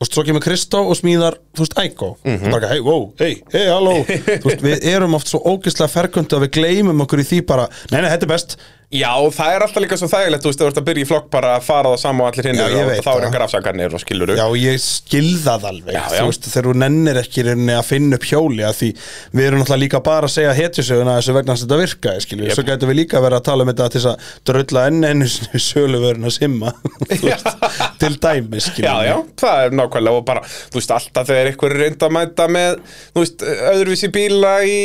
[SPEAKER 2] Og svo kemur Kristó og smíðar, þú veist, Ægó mm
[SPEAKER 1] Mhm.
[SPEAKER 2] -hmm. Bara, hei, wow, hei, hei, halló Þú veist, við erum oft svo ógeðslega ferkundi að við gleymum okkur í því bara Nei, nei, þetta er best
[SPEAKER 1] já og það er alltaf líka svo þægilegt, þú veist, þú ert að byrja í flokk bara að fara það saman og allir hinn
[SPEAKER 2] Já, ég
[SPEAKER 1] og
[SPEAKER 2] veit
[SPEAKER 1] þá er
[SPEAKER 2] það.
[SPEAKER 1] engar afsakarnir og skilur
[SPEAKER 2] Já, ég skil það alveg
[SPEAKER 1] Já, já.
[SPEAKER 2] Þú veist, þegar þú nennir ekki í rauninni að finna upp hjóli að því við erum náttúrulega líka bara að segja hetjusöguna þessu vegna þess að þetta virka skilur,
[SPEAKER 1] Jep.
[SPEAKER 2] svo gætum við líka að vera að tala um þetta til þess að drölla enn einu sinni söluvöruna simma þú veist, til dæmi skilur
[SPEAKER 1] Já, já, það er nákvæmlega og bara, þú veist, alltaf þegar einhver er reynd að mæta með, þú veist, öðruvísi bíla í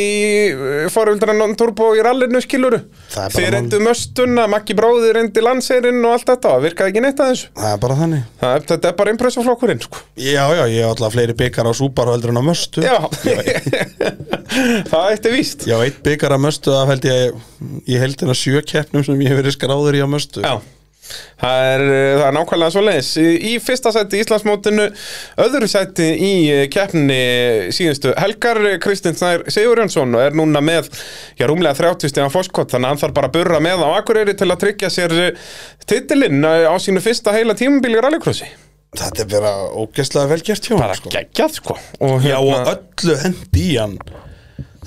[SPEAKER 1] eh, foröldra non-turbo í rallinu skiluru.
[SPEAKER 2] Það er bara
[SPEAKER 1] Þeir
[SPEAKER 2] mál.
[SPEAKER 1] reyndu möstuna, Maggi bróði reyndi landseirinn og allt þetta, það virkaði ekki neitt aðeins.
[SPEAKER 2] Það er bara þannig
[SPEAKER 1] Það, er- þetta er bara impressaflokkurinn, sko.
[SPEAKER 2] Já, já, ég hef alltaf fleiri byggar á súparu heldur en á möstu
[SPEAKER 1] Já, það eitt er víst.
[SPEAKER 2] Já, eitt byggar á möstu af held ég ég held hérna sjö keppnum sem ég hef verið skráður í á möstu
[SPEAKER 1] Já. Það er, uh, það er nákvæmlega svo leiðis. Í fyrsta sæti í Íslandsmótinu, öðru sæti í uh, keppni síðustu Helgar uh, Kristinn Snær Sigurjónsson og er núna með já, rúmlega 30 stegan fórskott þannig að hann þarf bara að burra með á Akureyri til að tryggja sér eh, titilinn eh, á sínu fyrsta heila tímubíl í rallycrossi.
[SPEAKER 2] Þetta er bara ógeðslega vel gert hjá honum,
[SPEAKER 1] Bara geggjað sko. Og,
[SPEAKER 2] Já og öllu hendi í hann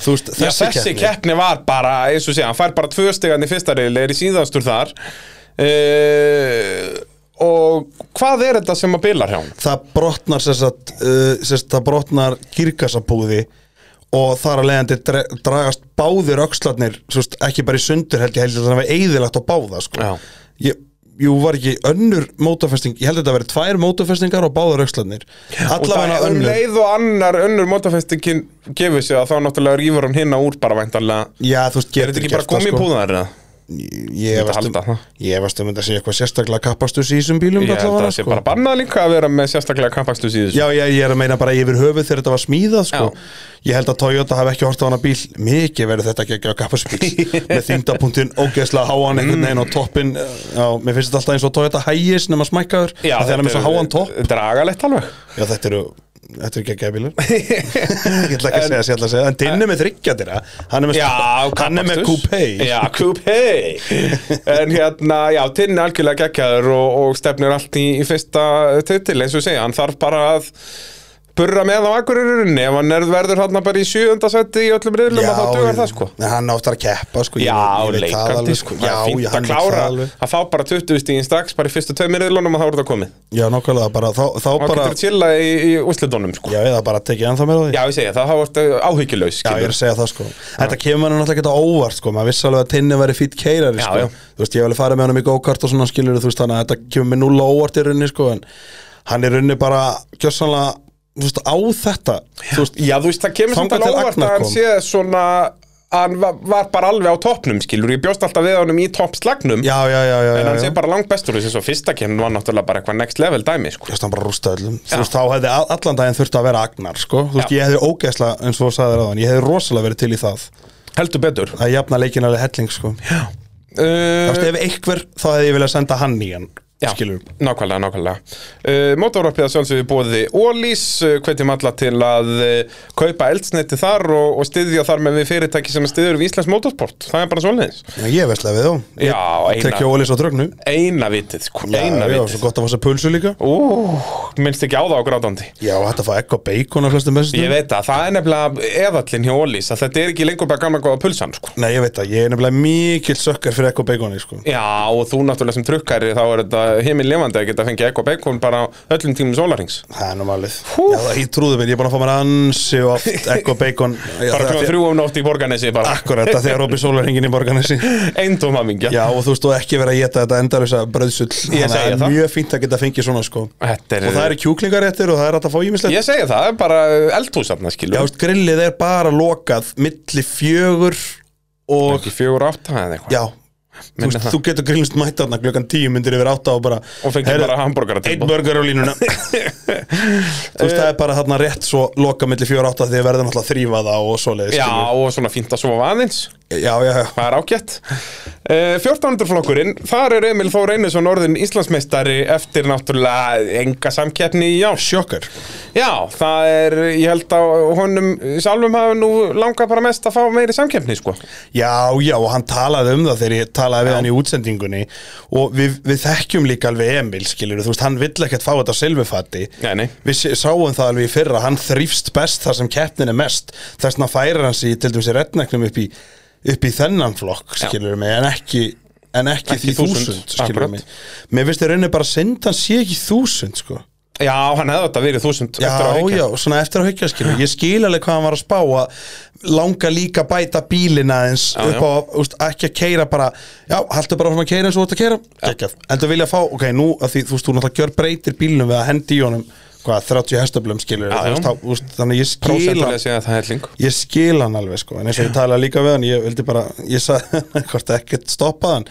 [SPEAKER 2] Þú veist,
[SPEAKER 1] Já,
[SPEAKER 2] þessi,
[SPEAKER 1] þessi
[SPEAKER 2] keppni
[SPEAKER 1] keppni var bara, eins og sé, hann fær bara tvö stegan í fyrsta reyli, er í síðastur þar uh, og hvað er þetta sem að bilar hjá hann?
[SPEAKER 2] Það brotnar sess að uh, sess, Það brotnar kirkasabúði Og þar að leiðandi dre- dragast báðir öxlarnir svo veist, Ekki bara í sundur held ég held að það var eyðilagt á báða sko.
[SPEAKER 1] Já.
[SPEAKER 2] ég, Jú var ekki önnur mótafesting Ég held að þetta verið tvær mótafestingar og báðar öxlarnir Allavega
[SPEAKER 1] og það um
[SPEAKER 2] önnur
[SPEAKER 1] leið og annar önnur mótafestingin gefur sig að þá náttúrulega rýfur hann hinna úr bara væntanlega
[SPEAKER 2] Já, þú veist,
[SPEAKER 1] Er þetta ekki bara komið
[SPEAKER 2] sko.
[SPEAKER 1] púðar eða?
[SPEAKER 2] Ég
[SPEAKER 1] Myndi
[SPEAKER 2] efast um,
[SPEAKER 1] halda það.
[SPEAKER 2] ég efast um þetta sé eitthvað sérstaklega kappastusi í þessum bílum
[SPEAKER 1] Ég held að
[SPEAKER 2] allavega,
[SPEAKER 1] það sé
[SPEAKER 2] sko.
[SPEAKER 1] bara bannað líka að vera með sérstaklega sko. kampakstus í þessu
[SPEAKER 2] Já, já, ég er að meina bara yfir höfuð þegar þetta var smíðað sko. Ég held að Toyota hafi ekki hort á hana bíl Mikið verður þetta ekki ekki að kappa spil Með þingdapunktin ógeðslega háan einhvern veginn
[SPEAKER 1] Mm.
[SPEAKER 2] og toppin Já, mér finnst þetta alltaf eins og Toyota hægis nema smækkaður Það er hann er með svo háan topp
[SPEAKER 1] Dragalegt alveg
[SPEAKER 2] Já, þetta eru, þetta eru ekki ekki að bílar Ég ætla ekki að segja, ég ætla að segja En Dinni með þryggjaðira Hann er með,
[SPEAKER 1] Já,
[SPEAKER 2] hann er með
[SPEAKER 1] kappaksturs.
[SPEAKER 2] coupé
[SPEAKER 1] Já, coupé En hérna, já, tinn er algjörlega geggjaður og, og stefnir allt í, í fyrsta titil eins og segja, hann þarf bara að burra með á akkuririnni ef hann er, verður hann bara í sjöunda seti í öllum riðlum að þá dugar það sko
[SPEAKER 2] en Hann áttar að keppa sko ég-
[SPEAKER 1] Já,
[SPEAKER 2] ég veit það
[SPEAKER 1] leikandi
[SPEAKER 2] alveg,
[SPEAKER 1] sko, það
[SPEAKER 2] Já,
[SPEAKER 1] er fínt
[SPEAKER 2] já, hann
[SPEAKER 1] að
[SPEAKER 2] veit
[SPEAKER 1] klára
[SPEAKER 2] það alveg.
[SPEAKER 1] að fá bara 20 stíðin strax bara í fyrstu tveimur riðlunum og þá er það komið
[SPEAKER 2] Já, nákvæmlega bara Þá, þá
[SPEAKER 1] og
[SPEAKER 2] bara
[SPEAKER 1] getur chilla í, í úslitunum sko.
[SPEAKER 2] Já, eða bara tekið ennþá meira á því
[SPEAKER 1] Já, ég segja það, þá ertu áhyggjulegs
[SPEAKER 2] Já, ég er að segja það sko Þetta kemur manni náttúrulega ekki á óvart sko maður vissi alveg að Tinni væri fýtt keirari
[SPEAKER 1] Já,
[SPEAKER 2] sko
[SPEAKER 1] já.
[SPEAKER 2] Þú veist, ég hef alveg farið með hann í go-kart og svona skilur þú veist þannig að þetta kemur með nulla á óvart í runni sko en hann er runni bara gjössanlega þú veist á þetta þú veist
[SPEAKER 1] Já, þú veist, það kemur samt alveg
[SPEAKER 2] Þangað til
[SPEAKER 1] óvart
[SPEAKER 2] Agnar
[SPEAKER 1] að hann
[SPEAKER 2] kom.
[SPEAKER 1] sé svona að hann va- var bara alveg á toppnum, skilur ég bjóst alltaf við honum í toppslagnum
[SPEAKER 2] Já, já, já, já,
[SPEAKER 1] en
[SPEAKER 2] já,
[SPEAKER 1] hann sé
[SPEAKER 2] já.
[SPEAKER 1] bara langt bestur þessi svo fyrsta kemur var náttúrulega bara eitthvað next level dæmi sko.
[SPEAKER 2] Þú veist, hann bara rústa öllum Þú veist, þá hefði all- allan daginn þurft að vera Agnar sko Þú veist,
[SPEAKER 1] Já.
[SPEAKER 2] ég hefði ógeðslega, eins og þú sagðir að ég hefði rosalega verið til í það
[SPEAKER 1] heldur betur
[SPEAKER 2] að jafna leikin alveg helling sko Þú
[SPEAKER 1] uh,
[SPEAKER 2] veist, ef einhver, þá hefði ég viljað senda hann í hann
[SPEAKER 1] Já,
[SPEAKER 2] skilur
[SPEAKER 1] nákvæmlega, nákvæmlega uh, Mótorvarpið að sjálfsögðu bóði Ólís uh, hvetjum alla til að uh, kaupa eldsneiti þar og, og styðja þar með við fyrirtæki sem styður við Íslands motorsport það er bara svoleiðis
[SPEAKER 2] Já, ég veistlega við þá
[SPEAKER 1] Já, eina,
[SPEAKER 2] Tekja ólís á drögnu
[SPEAKER 1] eina vitið, sko, eina
[SPEAKER 2] já, já, svo
[SPEAKER 1] vitið
[SPEAKER 2] gott að fassa pulsu líka
[SPEAKER 1] Ú, minnst ekki á það á grátandi
[SPEAKER 2] Já, þetta fá ekko bacon á flestum mestum
[SPEAKER 1] Ég veit að það er nefnilega eðallinn hjá Ólís að þetta er ekki lengur bara gamla góða pulsan sko.
[SPEAKER 2] Nei, ég veit það, ég er nefnilega mikill sökkar fyrir ekko baconi sko.
[SPEAKER 1] Já og þú náttúrulega sem trukkari þá er þetta heiminn lifandi að geta fengið ekko bacon bara á öllum tímum sólarings
[SPEAKER 2] Það er nú málið
[SPEAKER 1] Hú.
[SPEAKER 2] Já, það- Ég trúði mér, ég er búin að fá mér ansi oft ekko bacon Já,
[SPEAKER 1] Bara
[SPEAKER 2] það-
[SPEAKER 1] kljóðan þrjú um nótt í borganesi bara
[SPEAKER 2] Akkurat, það þegar Róbi Sólar hringin í borganessi
[SPEAKER 1] Eindóma mingja
[SPEAKER 2] Já, og þú veist, og ekki vera að geta þetta endalösa bröðsull
[SPEAKER 1] Ég
[SPEAKER 2] Þannig að
[SPEAKER 1] segi
[SPEAKER 2] er
[SPEAKER 1] það.
[SPEAKER 2] Mjög fínt að geta fengið svona sko.
[SPEAKER 1] Þetta er-
[SPEAKER 2] Og það eru kjúklingaréttir og það er hægt að fá ímislegt
[SPEAKER 1] Ég segi það, það er bara uh, eldhúsarna
[SPEAKER 2] Já, sko.
[SPEAKER 1] skilur
[SPEAKER 2] þú
[SPEAKER 1] Já,
[SPEAKER 2] veist, grillið er bara lokað milli fjögur og
[SPEAKER 1] ekki fjögur og átta eða eitthvað
[SPEAKER 2] Já, þú,
[SPEAKER 1] Minna
[SPEAKER 2] veist,
[SPEAKER 1] það.
[SPEAKER 2] þú getur grínst mættarna klukkan tíu myndir yfir átta og bara
[SPEAKER 1] Og fengið
[SPEAKER 2] heyrðu,
[SPEAKER 1] bara hamborgara
[SPEAKER 2] einn
[SPEAKER 1] tilbúð.
[SPEAKER 2] burger á línuna þú veist það er bara þarna rétt svo loka milli fjögur og átta því að verða náttúrulega að þrýfa það og svoleiðis
[SPEAKER 1] Já,
[SPEAKER 2] skilur.
[SPEAKER 1] og svona fínt að sofa aðeins
[SPEAKER 2] já, já, já
[SPEAKER 1] Það er ágætt. Uh, 1400 flokkurinn, þar er Emil Þór Einarsson orðin Íslandsmeistari eftir náttúrulega enga samkeppni í ár.
[SPEAKER 2] sjokkar
[SPEAKER 1] Já, það er, ég held að honum sjálfum hafa nú langað bara mest að fá meiri samkeppni, sko.
[SPEAKER 2] Já, já, og hann talaði um það þegar ég talaði við hann í útsendingunni og við, við þekkjum líka alveg Emil, skilur þú veist, hann vill ekkert fá þetta á silfufati
[SPEAKER 1] Nei, nei.
[SPEAKER 2] Við sé- sáum það alveg í fyrra, hann þrýfst best þar sem keppnin er mest þess vegna færir hann sig, í, til dæmis í reddnæknum upp í, upp í þennan flokk,
[SPEAKER 1] Já.
[SPEAKER 2] skilur mig, en ekki en ekki,
[SPEAKER 1] Ekki
[SPEAKER 2] því þúsund,
[SPEAKER 1] þúsund,
[SPEAKER 2] skilur
[SPEAKER 1] akkurat.
[SPEAKER 2] mig Mér finnst þér rauninni bara synd hann sé ekki þúsund, sko
[SPEAKER 1] Já, hann hefði þetta verið þúsund
[SPEAKER 2] Já, já, svona eftir að hugja skilur Ég skil alveg hvað hann var að spá að langa líka að bæta bílina eins
[SPEAKER 1] Já,
[SPEAKER 2] upp
[SPEAKER 1] já.
[SPEAKER 2] á, úst, ekki að keira bara Já, haltu bara áfram að keira eins og þú ert að keira Gekjað, en þú vilja fá, ok, nú að því, þú veist, þú náttúrulega gjör breytir bílnum við að hendi í honum hvað, 30 hestöflum
[SPEAKER 1] Já,
[SPEAKER 2] skilur þú
[SPEAKER 1] já.
[SPEAKER 2] veist, þá, úst, þannig ég skil
[SPEAKER 1] Prósentulega
[SPEAKER 2] hann
[SPEAKER 1] segja að það er helling.
[SPEAKER 2] Ég skil hann alveg sko, en eins og ég talaði líka við hann Ég vildi bara, ég sagði hvort ekkert stoppað hann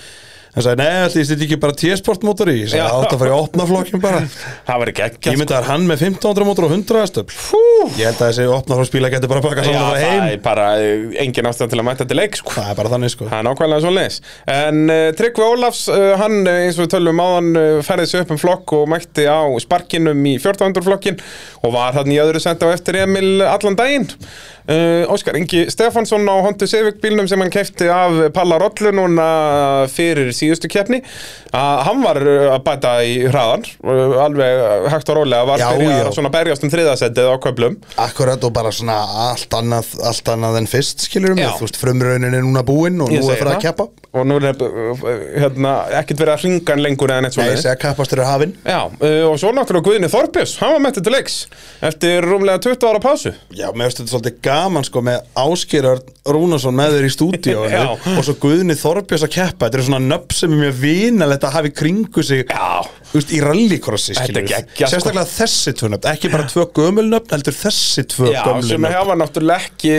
[SPEAKER 2] Hann sagði, nei, ætli, ég stýtti ekki bara T-sportmótor í Ég sagði,
[SPEAKER 1] Já.
[SPEAKER 2] átt að fara í opna flokkin bara
[SPEAKER 1] Það var ekki ekki.
[SPEAKER 2] Ég myndi að hann með 1500 mótur og 100 hestöfl Ég held að þessi opnafólksbíla getur bara að pakka
[SPEAKER 1] Já,
[SPEAKER 2] saman og
[SPEAKER 1] það
[SPEAKER 2] fara heim
[SPEAKER 1] er bara eh, engin ástæðan til að mæta til leik, sko.
[SPEAKER 2] Það er bara þannig sko
[SPEAKER 1] Það er nákvæmlega svo leis En uh, Tryggvi Ólafs, uh, hann eh, eins og við tölum áðan uh, ferði sig upp um flokk og mætti á sparkinum í 1400 flokkin og var hann í öðru sendi á eftir Emil allan daginn uh, Óskar Ingi Stefansson á Honda Civic bílnum sem hann kefti af Palla Rollu núna fyrir síðustu keppni að hann var uh, að bæta í hraðan uh, alveg hægt og rólega var
[SPEAKER 2] Já,
[SPEAKER 1] byrjað
[SPEAKER 2] já.
[SPEAKER 1] að svona berjast um þriðasettið á köflum
[SPEAKER 2] Akkurat og bara svona allt annað, allt annað en fyrst skilur mig
[SPEAKER 1] Já.
[SPEAKER 2] Þú veist, frumraunin er núna búinn og
[SPEAKER 1] Ég
[SPEAKER 2] nú er
[SPEAKER 1] segi
[SPEAKER 2] fyrir að
[SPEAKER 1] það.
[SPEAKER 2] keppa
[SPEAKER 1] og nú er eh, hérna, ekkert verið að hringa hann lengur eða neitt
[SPEAKER 2] Nei,
[SPEAKER 1] svo
[SPEAKER 2] ég segja kappastur er hafinn
[SPEAKER 1] Já, uh, og svo náttúrulega Guðni Þorbjörns, hann var mættið til leiks eftir rúmlega 20 ára pásu.
[SPEAKER 2] Já, mér finnst þetta svolítið gaman sko með Áskeirar Rúnarsson með þér í stúdíóinu
[SPEAKER 1] Já.
[SPEAKER 2] og svo Guðni Þorbjörns að keppa Þetta er svona nöpp sem er mjög vinalegt að hafa í kringu sig
[SPEAKER 1] Já.
[SPEAKER 2] Þú veist, í rallycrossi
[SPEAKER 1] Þetta er
[SPEAKER 2] skilur við.
[SPEAKER 1] geggjað, sko.
[SPEAKER 2] Sérstaklega þessi tvö nöfn, ekki bara tvö gömul nöfn heldur þessi tvö
[SPEAKER 1] Já,
[SPEAKER 2] gömlu
[SPEAKER 1] sem
[SPEAKER 2] nöfn
[SPEAKER 1] hafa náttúrulega ekki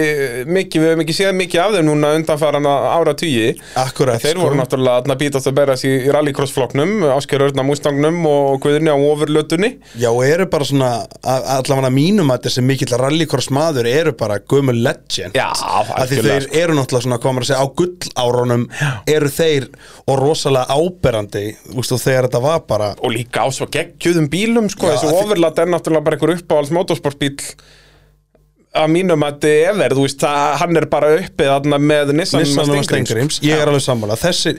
[SPEAKER 1] mikið, við hefum ekki séð mikið af þeim núna undanfarana ára tugi.
[SPEAKER 2] Akkurat,
[SPEAKER 1] Þeir voru náttúrulega þarna að býtast að berjast í í rallycrossflokknum, Ásker Örna Mústangnum og Guðni á ofurlötunni.
[SPEAKER 2] Já, og eru bara svona, a- allavega mínum að þessi mikill rallycross maður eru bara gömul legend
[SPEAKER 1] Já,
[SPEAKER 2] Af Því
[SPEAKER 1] algjörlega, sko.
[SPEAKER 2] þeir eru náttúrulega svona, hvað maður að segja, á gullárunum eru þeir og rosalega áberandi Ústu, þegar þetta var bara
[SPEAKER 1] Og líka á svo geggjuðum bílum, sko,
[SPEAKER 2] Já,
[SPEAKER 1] þessu
[SPEAKER 2] að því-
[SPEAKER 1] ofurlöt er náttúrulega bara einhver uppáhalds motorsportbíl að mínum að þið efer, þú veist, það, hann er bara uppið þarna með Nissan,
[SPEAKER 2] Nissan og Stengrims, ég er alveg sammála þessi,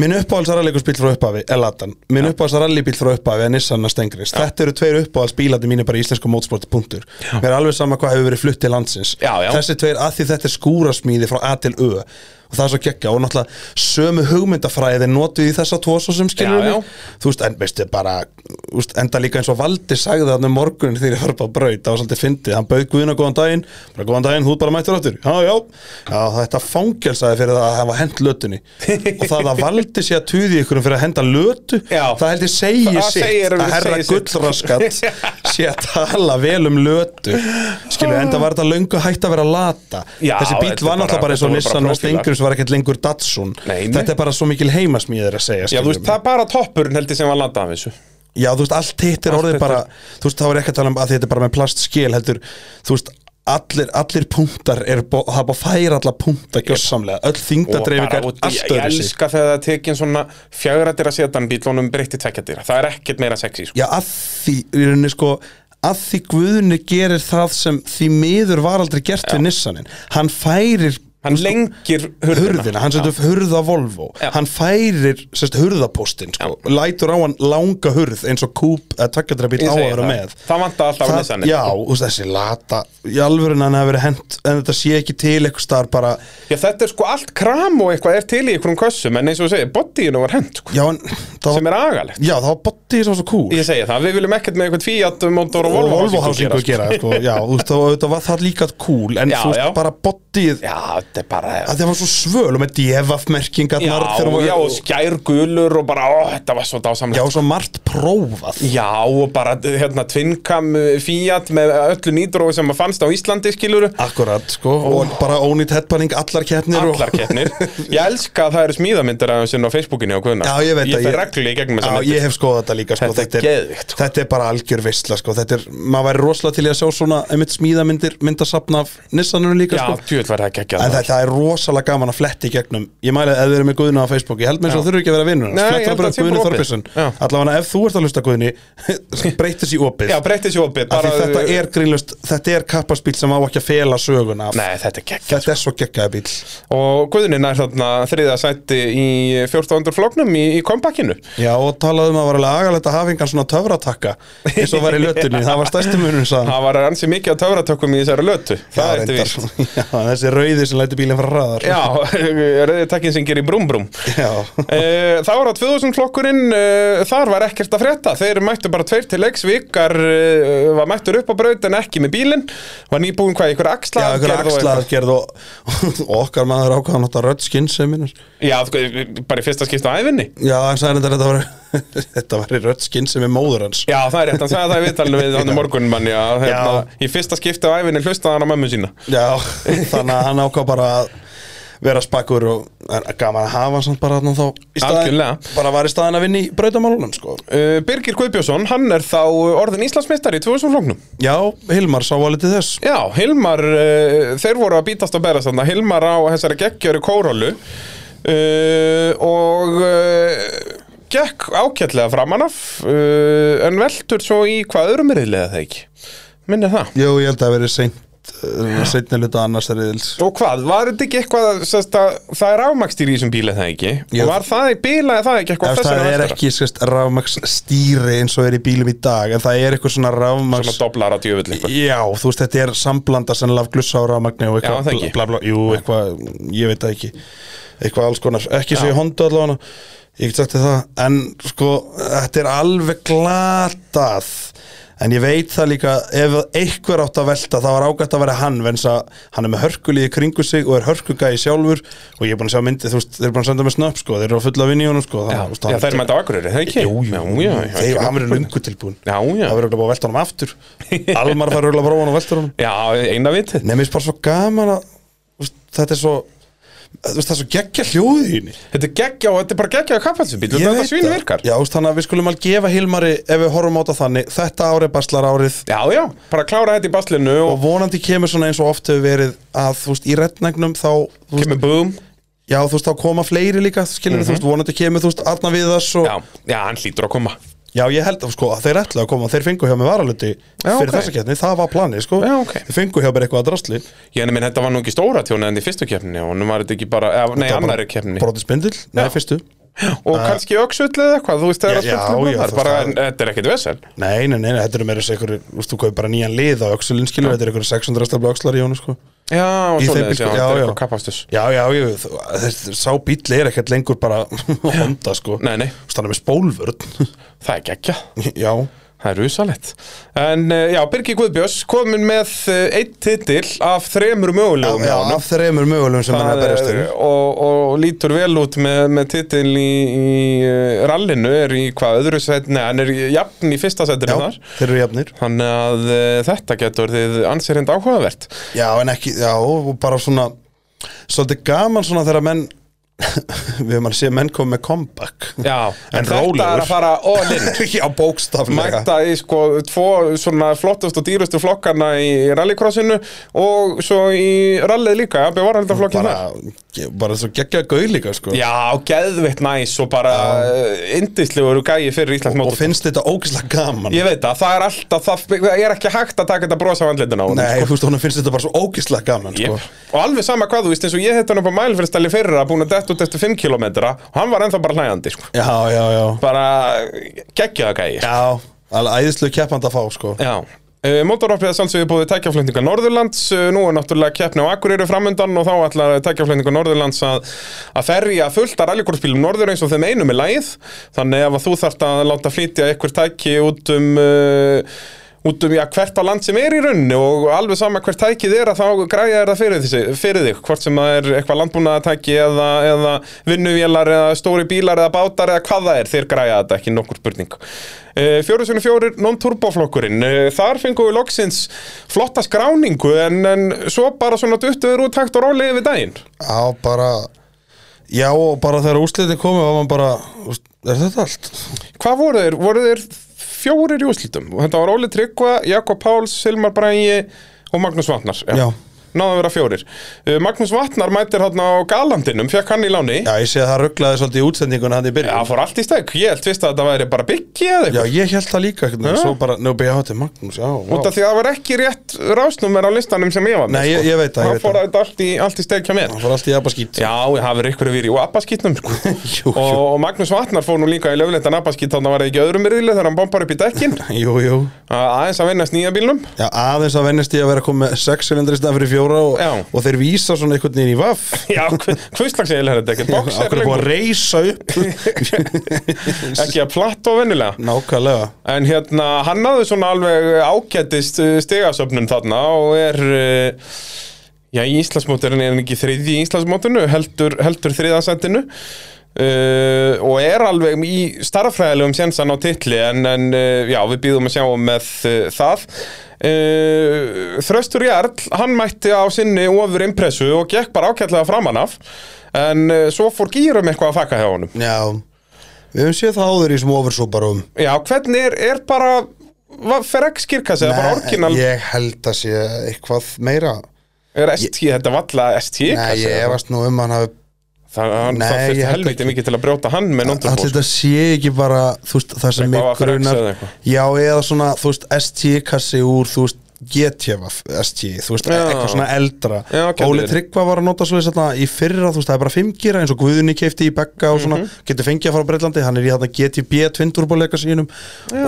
[SPEAKER 2] minn uppáhaldsaralleikursbíl frá upphafi er Latan, minn uppáhaldsarallibíl frá upphafi er Nissan og Stengrims, þetta eru tveir uppáhaldsbílandi mínu bara í íslensku mótsporti punktur mér er alveg sama hvað hefur verið flutt til landsins
[SPEAKER 1] Já, já.
[SPEAKER 2] þessi tveir að því þetta er skúrasmíði frá A til Ö og það er svo geggja og náttúrulega sömu hugmyndafræði notuð í þessa tvo svo sem skilur
[SPEAKER 1] Já, já.
[SPEAKER 2] þú veist, en veistu bara þú veist, enda líka eins og Valdi sagði þarna um morgunin þegar ég var upp á braut, það var svolítið fyndið hann bauð Guðna góðan daginn, bara góðan daginn þú ert bara mættur áttur, já, já, já þetta fangelsaði fyrir það að hafa hent lötunni og það að Valdi sé að tuði ykkur fyrir að henda lötu,
[SPEAKER 1] Já.
[SPEAKER 2] það held ég segi
[SPEAKER 1] Það
[SPEAKER 2] sitt,
[SPEAKER 1] segir- um-
[SPEAKER 2] að herra
[SPEAKER 1] segir sitt.
[SPEAKER 2] gullraskat sé að tala vel um lötu skilur, enda var þetta löngu hægt að vera lata,
[SPEAKER 1] Já,
[SPEAKER 2] þessi bíl
[SPEAKER 1] þetta er
[SPEAKER 2] var
[SPEAKER 1] bara-
[SPEAKER 2] náttúrulega bara eins
[SPEAKER 1] þetta voru
[SPEAKER 2] og
[SPEAKER 1] bara
[SPEAKER 2] Nissan og
[SPEAKER 1] prófílar.
[SPEAKER 2] Stengrims var ekkert lengur Datsun,
[SPEAKER 1] Nei, nei.
[SPEAKER 2] þetta er bara svo mikil heimasmíðir að
[SPEAKER 1] Já,
[SPEAKER 2] segja,
[SPEAKER 1] þú
[SPEAKER 2] skilurðu
[SPEAKER 1] veist,
[SPEAKER 2] mig.
[SPEAKER 1] það er bara toppurinn held ég sem var landað af þessu.
[SPEAKER 2] Já, þú veist, allt hitt er
[SPEAKER 1] Allt
[SPEAKER 2] orðið
[SPEAKER 1] hitt
[SPEAKER 2] bara Þú veist, þá er ekki að tala um að þetta er bara með plastskil heldur, þú veist, allir, allir punktar er bó, það er búið að færa alla punkta gjössamlega, öll
[SPEAKER 1] og bara
[SPEAKER 2] þyngdadreifingar
[SPEAKER 1] út, ég,
[SPEAKER 2] allt
[SPEAKER 1] ég
[SPEAKER 2] öðru sig
[SPEAKER 1] elska þegar það er tekin svona fjögrættira setan bíl og hún breytti tvekkjadira það er ekkert meira sexy sko.
[SPEAKER 2] Já, að því, í rauninni sko að því Guðni gerir það sem því miður var aldrei gert við Nissanin hann færir
[SPEAKER 1] hann lengir hurðina,
[SPEAKER 2] hurðina, hann setur upp hurða Volvo
[SPEAKER 1] Já.
[SPEAKER 2] hann færir sérst hurðapóstinn sko, lætur á hann langa hurð eins og kúp eða takkjadreipil
[SPEAKER 1] Ég
[SPEAKER 2] á að
[SPEAKER 1] segi
[SPEAKER 2] vera
[SPEAKER 1] það.
[SPEAKER 2] með
[SPEAKER 1] það vanta alltaf
[SPEAKER 2] það,
[SPEAKER 1] nesanir
[SPEAKER 2] Já, þú veist, þessi lata í alvörun hann hafi verið hent en þetta sé ekki til eitthvað starf bara
[SPEAKER 1] Já, þetta er sko allt kram og eitthvað er til í einhverjum kössum en eins og þú segir, bodyinu var hend sko,
[SPEAKER 2] já, en, það,
[SPEAKER 1] sem er agalegt
[SPEAKER 2] já, það var botti sem var svo cool
[SPEAKER 1] ég segi það, við viljum ekkert með einhvern Fiat motor og
[SPEAKER 2] og
[SPEAKER 1] Volvo
[SPEAKER 2] sko. Volvo hásingu að gera sko, já, þú veist, þá- það var það líka cool en
[SPEAKER 1] Já,
[SPEAKER 2] þú veist,
[SPEAKER 1] já.
[SPEAKER 2] bara bottið
[SPEAKER 1] Já, þetta er bara
[SPEAKER 2] að það var svo svöl og með
[SPEAKER 1] Já,
[SPEAKER 2] devafmerkingarnar þegar hún var-
[SPEAKER 1] já, og skær gulur og bara, ó, þetta var svo
[SPEAKER 2] já,
[SPEAKER 1] dásamlega
[SPEAKER 2] svo margt prófað
[SPEAKER 1] Já, og bara hérna tvinnkam uh, Fiat með öllu nýdrói sem að fannst á Íslandi skiluru
[SPEAKER 2] Akkurat, sko, og bara ónýtt headbanning allar keppnir og-
[SPEAKER 1] Allar keppnir Ég elska að það eru smíðamyndir af sinna á Facebookinu og hvernig
[SPEAKER 2] Já, ég veit
[SPEAKER 1] Ég
[SPEAKER 2] að
[SPEAKER 1] fer reglulega í gegnum þessa
[SPEAKER 2] Já,
[SPEAKER 1] myndir
[SPEAKER 2] ég hef skoðað þetta líka sko.
[SPEAKER 1] Þetta er geðvikt, sko.
[SPEAKER 2] Þetta er bara algjör veistla sko. Þetta er, maður væri rosalega til í að sjá svona einmitt smíðamyndir, myndasafna af Nissanunum líka
[SPEAKER 1] Já,
[SPEAKER 2] sko.
[SPEAKER 1] djúið var það geggjað
[SPEAKER 2] En
[SPEAKER 1] maður.
[SPEAKER 2] þetta er rosalega gaman að fletti í gegnum Ég mæli að ef þið eru með Guðna á Facebook Ég held með þess
[SPEAKER 1] Já.
[SPEAKER 2] að þurfi ekki að vera vinnur
[SPEAKER 1] Nei, ég held að sé bara
[SPEAKER 2] Guðni
[SPEAKER 1] opið.
[SPEAKER 2] Þorbjörnsson
[SPEAKER 1] Já.
[SPEAKER 2] Allavega ef þú ert að hlusta Guðni Breytir sér í opið
[SPEAKER 1] Já, breytti sér opið
[SPEAKER 2] Af
[SPEAKER 1] bara-
[SPEAKER 2] því
[SPEAKER 1] eh,
[SPEAKER 2] Þetta er grínlust, þetta er kappaspíl sem á ekki að fela söguna af.
[SPEAKER 1] Nei, þetta er geggjað
[SPEAKER 2] Þetta er svo geggjaði bíl
[SPEAKER 1] Og Guðnin er þarna þriða sætti í 1400 flóknum í, í kompakinu
[SPEAKER 2] Já, og talaðu um að var alveg agalegt að hafa engan svona töfratakka eins og var í lötunni, það var stærstu munum sann.
[SPEAKER 1] Það var ansi mikið að töfratökkum í þessari lötu Það er
[SPEAKER 2] sko.
[SPEAKER 1] þetta víst
[SPEAKER 2] Já, þessi rauði sem læti bílinn fara hraðar
[SPEAKER 1] Já, rauði takkin sem gerir brum brum
[SPEAKER 2] Já.
[SPEAKER 1] Eh, Það var á 2000 flokkurinn, eh, þar var ekkert að frétta Þeir mættu bara tveir til leiks, vikar eh, var mættur upp á braut en ekki með bílinn Var nýbúin hvað, ykkur
[SPEAKER 2] Já,
[SPEAKER 1] axla
[SPEAKER 2] ykkur axlargerð og, og okkar maður ákvaðan átt að rödd skinnseminir
[SPEAKER 1] Já, sko, bara í fyrsta skipta á æfinni
[SPEAKER 2] Já, hann sagði þetta var þetta var í rödd skinnsemi móður hans
[SPEAKER 1] Já, það er rétt, hann sagði það í viðtalinu við hann morgunmanni að hérna, í fyrsta skipta á æfinni hlustaði hann á mömmu sína
[SPEAKER 2] Já, þannig að hann ákvað bara að vera spakkur og en gaman að hafa hann samt bara þarna þá í staðinn,
[SPEAKER 1] Algjörlega.
[SPEAKER 2] bara var í staðin að vinna í brautamálunum sko.
[SPEAKER 1] uh, Birgir Guðbjörnsson, hann er þá orðin Íslandsmeistar í 2000 floknum
[SPEAKER 2] Já, Hilmar sá að litið þess
[SPEAKER 1] Já, Hilmar, uh, þeir voru að bítast og berast þarna Hilmar á þessari geggjöru kórólu uh, og uh, gekk ákjallega framan af uh, en veltur svo í hvað öðrum riðlega það ekki Minnir það
[SPEAKER 2] Jú, ég held að það verið seint uh, seinni hluta annars riðils
[SPEAKER 1] Og hvað, var þetta ekki eitthvað, sérst, að, það er ámakstýr í þessum bíl er það ekki
[SPEAKER 2] Jú.
[SPEAKER 1] og var það í bílaði það ekki eitthvað
[SPEAKER 2] Ef það er
[SPEAKER 1] vestara?
[SPEAKER 2] ekki skast, rafmaks stýri eins og er í bílum í dag en það er eitthvað svona rafmaks
[SPEAKER 1] Svona doblar að djöfull eitthvað
[SPEAKER 2] Já, þú veist, þetta er samblanda sennilega af glussa á rafmagni og
[SPEAKER 1] Já, það
[SPEAKER 2] eitthvað
[SPEAKER 1] ekki.
[SPEAKER 2] bla, bla, Jú, eitthvað, ég veit það ekki eitthvað alls konar, ekki svo ég honda allavega ég get sagt þér það en sko, þetta er alveg glatað en ég veit það líka ef einhver átt að velta það var ágætt að vera hann vegna þess að hann er með hörkulíði kringu sig og er hörkugæði sjálfur og ég er búin að sjá myndi, þú veist, þeir eru búin að senda með snöpp sko, þeir eru að fulla vinni í honum sko
[SPEAKER 1] Já,
[SPEAKER 2] þannig, þú veist, hann-
[SPEAKER 1] já þeir mæta á Akureyri, það ekki?
[SPEAKER 2] Jú,
[SPEAKER 1] já,
[SPEAKER 2] jú,
[SPEAKER 1] já, já,
[SPEAKER 2] þeir,
[SPEAKER 1] ekki
[SPEAKER 2] hann verður
[SPEAKER 1] nokkuð.
[SPEAKER 2] löngu tilbúin
[SPEAKER 1] Já, já.
[SPEAKER 2] Það verður örugglega búið að velta honum aftur Almar fær örugglega að prófa hann og velta honum
[SPEAKER 1] Já, eina vitið
[SPEAKER 2] Nei, mér finnst bara svo gaman að þú veist, Þetta er svo þú veist, Það er svo geggja hljóðið í henni
[SPEAKER 1] Þetta er geggja og þetta er bara geggja að kappansubíl Þetta svín virkar
[SPEAKER 2] Já, þú veist, þannig að við skulum alveg gefa Hilmari Ef við horfum á þetta þannig Þetta árið baslar árið
[SPEAKER 1] Já, já, bara klára þetta í baslinu
[SPEAKER 2] Og
[SPEAKER 1] og,
[SPEAKER 2] vonandi kemur svona eins og oft hefur verið Að þú veist, í reddnegnum þá þú veist,
[SPEAKER 1] kemur búm
[SPEAKER 2] Já, þú veist, þá koma fleiri líka Skilur
[SPEAKER 1] Mhm.
[SPEAKER 2] þú veist, vonandi kemur, þú veist, Arna Viðars og,
[SPEAKER 1] Já, já, hann hlýtur að koma
[SPEAKER 2] Já, ég held að, sko, að þeir ætlaðu að koma Þeir fengu hjá mig varaluti
[SPEAKER 1] Já,
[SPEAKER 2] fyrir
[SPEAKER 1] ok.
[SPEAKER 2] þessa keppni, það var planið, sko
[SPEAKER 1] Já, ok.
[SPEAKER 2] Þeir fengu hjá mér eitthvað að drasli
[SPEAKER 1] Ég nefnir, þetta var nú ekki stóra tjónið en í fyrstu keppninni og nú var þetta ekki bara, eða, nei, annari keppninni
[SPEAKER 2] Broti spindil, nei,
[SPEAKER 1] Já.
[SPEAKER 2] fyrstu
[SPEAKER 1] og kannski öksull eða eitthvað, þú veist það er
[SPEAKER 2] Já,
[SPEAKER 1] að
[SPEAKER 2] já,
[SPEAKER 1] spilna
[SPEAKER 2] já,
[SPEAKER 1] þar
[SPEAKER 2] þú
[SPEAKER 1] bara,
[SPEAKER 2] veist,
[SPEAKER 1] en, þetta er ekkit vesen
[SPEAKER 2] Nei, nei, nei, nei, þetta eru meira þessi einhverju, þú veist, þú kaupir bara nýjan lið á öxulinn, skilur, þetta eru einhverju 600 stafla öxlar í honum, sko.
[SPEAKER 1] Já, og
[SPEAKER 2] Í
[SPEAKER 1] svo
[SPEAKER 2] þeim
[SPEAKER 1] leðis, já,
[SPEAKER 2] bíl, sko,
[SPEAKER 1] þetta
[SPEAKER 2] já,
[SPEAKER 1] er
[SPEAKER 2] já.
[SPEAKER 1] eitthvað kappastus
[SPEAKER 2] Já, já, ég, þú- þessi, sá bíll er ekkert lengur bara honda, sko.
[SPEAKER 1] Nei, nei.
[SPEAKER 2] Þú veist, hann er með spólvörn.
[SPEAKER 1] Það er geggja,
[SPEAKER 2] já.
[SPEAKER 1] það er usalett En eh, já, Birgi Guðbjörns komin með eh, einn titil af þremur mögulegum
[SPEAKER 2] já,
[SPEAKER 1] hjá honum.
[SPEAKER 2] af þreymur mögulegum sem hann er að
[SPEAKER 1] Það
[SPEAKER 2] berjast
[SPEAKER 1] er-
[SPEAKER 2] um.
[SPEAKER 1] eh, og, og lítur vel út með, með titil í, í eh, rallinu er í hvað öðru set, nei, hann er í- jafn í fyrsta setinu
[SPEAKER 2] Já,
[SPEAKER 1] þar
[SPEAKER 2] þeir eru jafnir.
[SPEAKER 1] þannig að uh, þetta getur þið ansýrind áhugavert
[SPEAKER 2] Já, en ekki, já, og bara svona, svolítið gaman svona þegar menn, við höfum að sé menn komið með comeback.
[SPEAKER 1] Já,
[SPEAKER 2] En
[SPEAKER 1] en, þetta
[SPEAKER 2] rólegur.
[SPEAKER 1] er að fara all in
[SPEAKER 2] já, bókstaflega.
[SPEAKER 1] mæta í sko tvo svona flottust og dýrustu flokkana í rallycrossinu og svo í rallið líka, já, bevarhaldaflokkin þar
[SPEAKER 2] Bara, bara svo geggjaði gauð líka, sko.
[SPEAKER 1] Já, geðveitt næs og bara eh, yndislegur gæi fyrir Íslands
[SPEAKER 2] Og
[SPEAKER 1] mótur
[SPEAKER 2] finnst þetta ógeðslega gaman.
[SPEAKER 1] Ég veit að það er alltaf, það, það er ekki hægt að taka þetta brosa á andlindina á honum
[SPEAKER 2] Nei, þú veist, hún finnst þetta bara svo ógislega gaman
[SPEAKER 1] Yep.
[SPEAKER 2] sko.
[SPEAKER 1] Og alveg sama hvað þú veist eins og ég hitt hann upp á mælfyrstæli fyrra búin að dett út eftir 5 km og hann var ennþá bara hlæjandi sko.
[SPEAKER 2] Já, já, já
[SPEAKER 1] bara geggjaða gæi
[SPEAKER 2] Já, alveg æðislega keppand að fá sko.
[SPEAKER 1] Já. Uh, Mótorvarpiða sannsögðu búið tækjaflendinga Norðurlands, uh, nú er náttúrulega keppni á Akureyri framundan og þá ætlar tækjaflendinga Norðurlands að, að ferja fullt að rallikorsbílum Norður eins og þeim einum er lægið, þannig ef að þú þarft að láta flytja ykkur tæki út um uh, út um já, hvert á land sem er í rauninni og alveg sama hvert tækið er að þá græja er það fyrir, þessi, fyrir þig hvort sem það er eitthvað landbúnaðatæki eða, eða vinnuvélar eða stóri bílar eða bátar eða hvað það er þeir græja þetta ekki nokkur spurning Fjórusunni fjórir non-turboflokkurinn Eh, þar fengum við loksins flotta skráningu en, en svo bara svona duttuður út takt og róli yfir daginn
[SPEAKER 2] Já, bara Já, og bara þegar úrslitin komið var maður bara, úst, er þetta allt?
[SPEAKER 1] Hvað voru þeir? Voru þeir fjórir í úslitum? Þetta var Óli Tryggva, Jakob Páls, Silmar Brægi og Magnús Vatnar.
[SPEAKER 2] Já.
[SPEAKER 1] Náðu að vera fjórir. Uh, Magnús Vatnar mætir hérna á galandinum, fekk hann í láni.
[SPEAKER 2] Já, ég sé að það rugglaði svolítið í útsendingunni hann í
[SPEAKER 1] Já,
[SPEAKER 2] byrjun
[SPEAKER 1] fór allt í steg. Ég held fyrst að þetta væri bara byggi eða
[SPEAKER 2] Já,
[SPEAKER 1] eitthvað.
[SPEAKER 2] ég held það líka, ja. svo bara, nú beða hátti Magnús, já,
[SPEAKER 1] Út af
[SPEAKER 2] já.
[SPEAKER 1] því að það var ekki rétt rásnúmer á listanum sem ég var með.
[SPEAKER 2] Nei, ég- ég veit það, ég
[SPEAKER 1] Það
[SPEAKER 2] veit
[SPEAKER 1] fór
[SPEAKER 2] það.
[SPEAKER 1] þetta allt í, allt í steg hjá mér.
[SPEAKER 2] Það fór allt í abaskýt
[SPEAKER 1] Já, ég hafi ykkur verið í abbaskýtnum sko.
[SPEAKER 2] Jú, jú.
[SPEAKER 1] og, og Magnús Vatnar fór nú líka í löflindan abbaskýt þannig að var það ekki öðrum yrðileg þegar hann bombar upp í dekkin
[SPEAKER 2] Jú, jú
[SPEAKER 1] aðeins að vinna snýja bílnum
[SPEAKER 2] Já, aðeins að vennist ég að vera að koma með 6 silindri staðan fyrir fjóra
[SPEAKER 1] Já.
[SPEAKER 2] og, og þeir vísa svona einhvern veginn í vaff
[SPEAKER 1] Já, hvistlags eiginlega er þetta ekki Boxer
[SPEAKER 2] Akkur er búin að
[SPEAKER 1] lengur,
[SPEAKER 2] reysa upp
[SPEAKER 1] ekki að platt og vennilega
[SPEAKER 2] Nákvæmlega
[SPEAKER 1] En hérna, hann hafði svona alveg ágættist stegasöfnun þarna og er eh, Já, í Íslandsmóturinn er hann ekki þriði í Íslandsmóturinu heldur, heldur þriðasendinu Uh, og er alveg í starffræðilegum sjensan á titli en, en uh, já, við býðum að sjá með uh, það uh, Þröstur Jarl, hann mætti á sinni ofur impressu og gekk bara ágætlega framan af en uh, svo fór gýrum eitthvað að faka hjá honum
[SPEAKER 2] Já, við höfum séð það áður í sem oversóparum
[SPEAKER 1] Já, hvernig er, er bara hvað, fer ekki skýrkassi, eða bara orginal
[SPEAKER 2] Ég held að sé eitthvað meira
[SPEAKER 1] er ST, þetta valla ST
[SPEAKER 2] Nei,
[SPEAKER 1] kassi
[SPEAKER 2] ég efast nú um hann hafi
[SPEAKER 1] það, hann-
[SPEAKER 2] Nei,
[SPEAKER 1] það
[SPEAKER 2] ég
[SPEAKER 1] fyrir
[SPEAKER 2] held
[SPEAKER 1] helviti mikið til að brjóta hann með
[SPEAKER 2] Allir
[SPEAKER 1] nóndurból
[SPEAKER 2] þetta sé ekki bara, þú veist, það sem mig
[SPEAKER 1] Eitthvað AFRX
[SPEAKER 2] grunar
[SPEAKER 1] eða eitthvað.
[SPEAKER 2] Já, eða svona, þú veist, ST-kassi úr, þú veist, GTF ST, þú veist,
[SPEAKER 1] Já.
[SPEAKER 2] eitthvað svona eldra
[SPEAKER 1] Já, gæti
[SPEAKER 2] Óli
[SPEAKER 1] verið.
[SPEAKER 2] Tryggva var að nota svo þess að í fyrra, þú veist, það er bara 5 gíra eins og Guðunni keifti í Begga og svona
[SPEAKER 1] Mhm.
[SPEAKER 2] getur fengið að fara á Breitlandi, hann er í þarna GTB tvindurbóleika sínum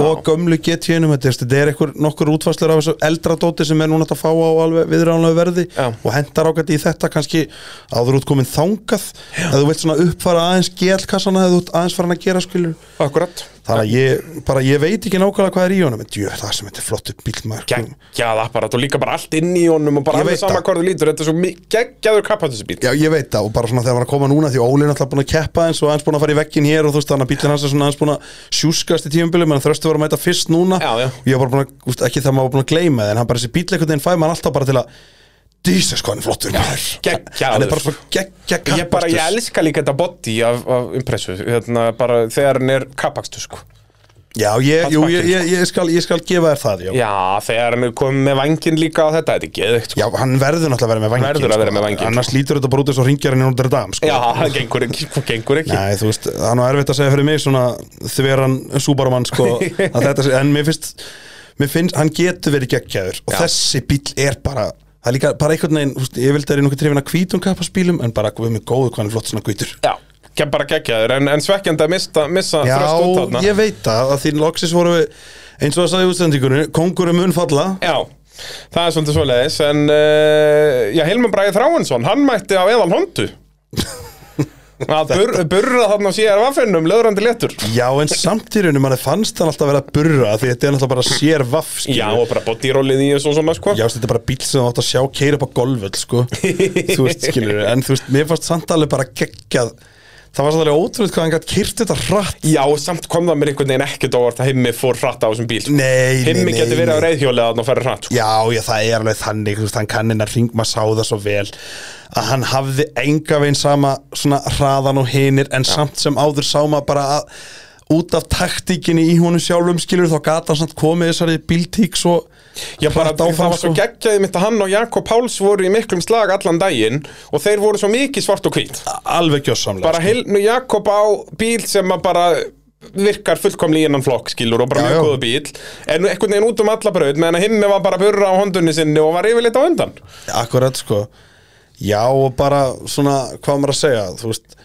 [SPEAKER 2] og gömlu GT-num, þetta er, þetta er eitthvað nokkur útfæslur af þessu eldra dóti sem er núna hægt að fá á alveg viðránlega verði
[SPEAKER 1] Já.
[SPEAKER 2] og hendar ágætt í þetta kannski áður útkomin þangað að þú veit svona uppfara aðeins gelkassana eða þú ert aðeins farin að gera skilur
[SPEAKER 1] Akkurat
[SPEAKER 2] þannig að ég, bara, ég veit ekki nákvæmlega hvað er í honum en djö, það sem þetta er flottu bílmaður
[SPEAKER 1] geggjað apparat og líka bara allt inn í honum og bara
[SPEAKER 2] Ég
[SPEAKER 1] alveg
[SPEAKER 2] veit
[SPEAKER 1] sama
[SPEAKER 2] það.
[SPEAKER 1] hvað þú lítur, þetta er svo mi- geggjaður kappatisbíl
[SPEAKER 2] Já, ég veit það og bara svona þegar hann var að koma núna því Óli er náttúrulega búin að keppa eins og aðeins búin að fara í veggin hér og þú veist þannig að bílinn hans er svona aðeins búin að sjúskast í tífumbili menn þröstu var að mæta fyrst núna
[SPEAKER 1] Já, já.
[SPEAKER 2] ég var bara búin að, úst, ekki það maður var búin að gleyma það, en hann bara þessi bíl einhvern veginn fæði mann alltaf bara til að Jesus hvað hann er flottur maður.
[SPEAKER 1] geggjaður.
[SPEAKER 2] Hann er bara svo geggja
[SPEAKER 1] Ég bara, ég elska líka þetta body af, af impressu, hérna bara þegar hann er kappakstur sko
[SPEAKER 2] Já, ég, jú,
[SPEAKER 1] Hans
[SPEAKER 2] ég, ég, ég, skal, ég skal gefa þér það já.
[SPEAKER 1] Já, þegar hann er komið með vangin líka á þetta, þetta er geðveikt sko
[SPEAKER 2] já, hann verður náttúrulega að vera með vangin
[SPEAKER 1] Verður að vera með vænginn, sko.
[SPEAKER 2] Annars lítur þetta bara út eins og ringjar hann í Notre Dame sko.
[SPEAKER 1] Já, það gengur ekki, sko, gengur ekki.
[SPEAKER 2] Nei, þú veist, það er nú erfitt að segja fyrir mig svona þveran súbarumann sko, að þetta sé, en mér finnst, mér finnst hann getur verið geggjaður og
[SPEAKER 1] Já.
[SPEAKER 2] þessi bíll er bara það er líka bara einhvern veginn, þú veist, ég vildi að það er nokkuð trefin að hvítum kappaspílum en bara við mig góðu hvað hann er flott svona hvítur
[SPEAKER 1] Já, kem bara geggjaður en, en svekkjandi að mista, missa
[SPEAKER 2] Já,
[SPEAKER 1] þröst út þarna
[SPEAKER 2] ég veit það, að því loksis voru við, eins og það sagði í útsendingunni kongurum mun falla
[SPEAKER 1] Já, það er svolítið svoleiðis en uh, já, Hilmar Bræði Þráinsson hann mætti á eðal hondu að bur, burra þarna á sér vaffinnum löðrandi letur
[SPEAKER 2] Já, en samt í rauninu, mann fannst hann alltaf vera að burra því þetta er alltaf bara sér vaff skilur.
[SPEAKER 1] Já, og bara bodyrólið í þessu og svona sko
[SPEAKER 2] Já, veist, þetta er bara bíl sem þú átt að sjá keira upp á golföld, sko Þú veist, skilur En þú veist, mér fannst samt alveg bara geggjað Það var samt alveg ótrúlega hvað hann gætt kyrt þetta hratt
[SPEAKER 1] Já, og samt kom það mér einhvern veginn ekkert óvart að himmi fór hratt á þessum bíl sko.
[SPEAKER 2] Nei, nei,
[SPEAKER 1] Himmi
[SPEAKER 2] nei,
[SPEAKER 1] getur verið á
[SPEAKER 2] nei.
[SPEAKER 1] reyðhjólið þarna og færi hratt sko.
[SPEAKER 2] Já, já, það er alveg þannig, þú veist, hann kann hennar hring, maður sá það svo vel að hann hafði enga veginn sama svona hraðan og hinir en samt sem áður sá maður bara að út af taktíkinni í honum sjálfum skilur þá gata hann samt komið þessari bíltík svo
[SPEAKER 1] Já, bara
[SPEAKER 2] hratt áfram,
[SPEAKER 1] það var svo
[SPEAKER 2] sko.
[SPEAKER 1] geggjaði mitt að hann og Jakob Páls voru í miklum slag allan daginn og þeir voru svo mikið svart og hvít
[SPEAKER 2] alveg sko. gjössamlega
[SPEAKER 1] bara Hilnu Jakob á bíl sem að bara virkar fullkomlega í innan flokk skilur og bara
[SPEAKER 2] Já,
[SPEAKER 1] mjög
[SPEAKER 2] já.
[SPEAKER 1] góða bíl en einhvern veginn út um alla braut meðan að himmi var bara að burra á hondunni sinni og var yfirleitt á undan
[SPEAKER 2] Akkurat sko Já og bara svona hvað á maður að segja þú veist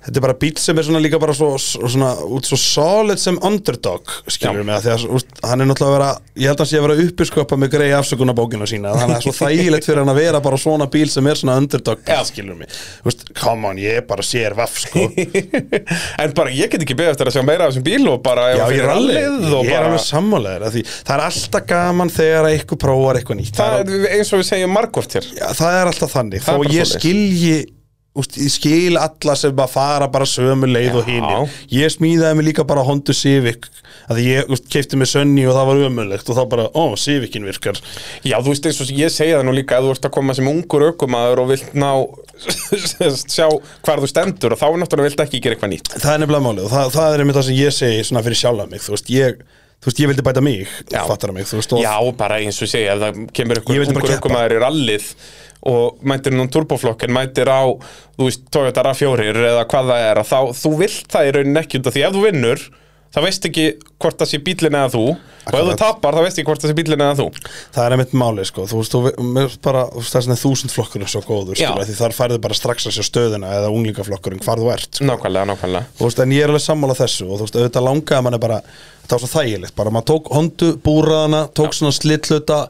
[SPEAKER 2] þetta er bara bíl sem er svona líka bara svo, svo- svona, út svo solid sem underdog skilur mig að því að úst, hann er náttúrulega að vera, ég held að hann sé að vera uppisköpa með greið afsökunarbókina sína þannig að það er svo þægilegt fyrir hann að vera bara svona bíl sem er svona underdog bíl, skilur mig úst, come on, ég er bara sér vaff sko
[SPEAKER 1] en bara ég get ekki beðið eftir að sjá meira af þessum bíl og bara ef
[SPEAKER 2] Já,
[SPEAKER 1] hann
[SPEAKER 2] ég
[SPEAKER 1] fer
[SPEAKER 2] er alveg,
[SPEAKER 1] rallið og
[SPEAKER 2] ég er
[SPEAKER 1] bara-
[SPEAKER 2] alveg sammálaður af því Það er alltaf gaman þegar að eitthvað prófar eitthvað nýtt
[SPEAKER 1] það er eins og við segjum margóft hér
[SPEAKER 2] Já, það er alltaf þannig
[SPEAKER 1] Það er
[SPEAKER 2] Þó
[SPEAKER 1] bara
[SPEAKER 2] ég
[SPEAKER 1] svoleiðis.
[SPEAKER 2] skilji úst, Ég skil alla sem bara fara bara sömu leið og
[SPEAKER 1] Já.
[SPEAKER 2] hinir Ég smíðaði mig líka bara Honda Civic af Því ég úst, keipti mig Sunny og það var ömulegt Og þá bara, ó, Civicin virkar
[SPEAKER 1] Já, þú veist eins og ég segi það nú líka að þú ert að koma sem ungur ökumaður og vilt ná sjá hvar þú stendur og þá er náttúrulega vilt ekki gera eitthvað nýtt
[SPEAKER 2] Það er nefnilega málið og það, það er einmitt það sem ég segi Svona fyrir sjálfa mig, þú veist, ég Þú veist, ég vildi bæta mig,
[SPEAKER 1] Já.
[SPEAKER 2] fattar mig, þú veist, og
[SPEAKER 1] Já, bara eins og ég segi að það kemur
[SPEAKER 2] Ég
[SPEAKER 1] einhver
[SPEAKER 2] vildi bara
[SPEAKER 1] ungur
[SPEAKER 2] keppa.
[SPEAKER 1] ökumaður í rallið og mætir nú turboflokk en mætir á, þú veist, Toyota RAV4 eða hvað það er að þá, þú vilt það í rauninni ekki út af því ef þú vinnur þá veist ekki hvort það sé bílinn eða þú og ef þú
[SPEAKER 2] Akkurat.
[SPEAKER 1] tapar þá veist ekki hvort það sé bílinn eða þú
[SPEAKER 2] það er einmitt málið sko þú veist, þú ve- mér finnst bara, þú veist, það er svona þúsund flokkur er svo góður,
[SPEAKER 1] Já.
[SPEAKER 2] skilur, því þar færðu bara strax að sjá stöðina eða unglingaflokkurinn hvar þú ert sko.
[SPEAKER 1] Nákvæmlega, nákvæmlega
[SPEAKER 2] þú veist, en ég er alveg sammála þessu og þú veist, auðvitað langaði mann er bara það var svo þægilegt, bara maður tók hondu búraðana, tók svona slitluta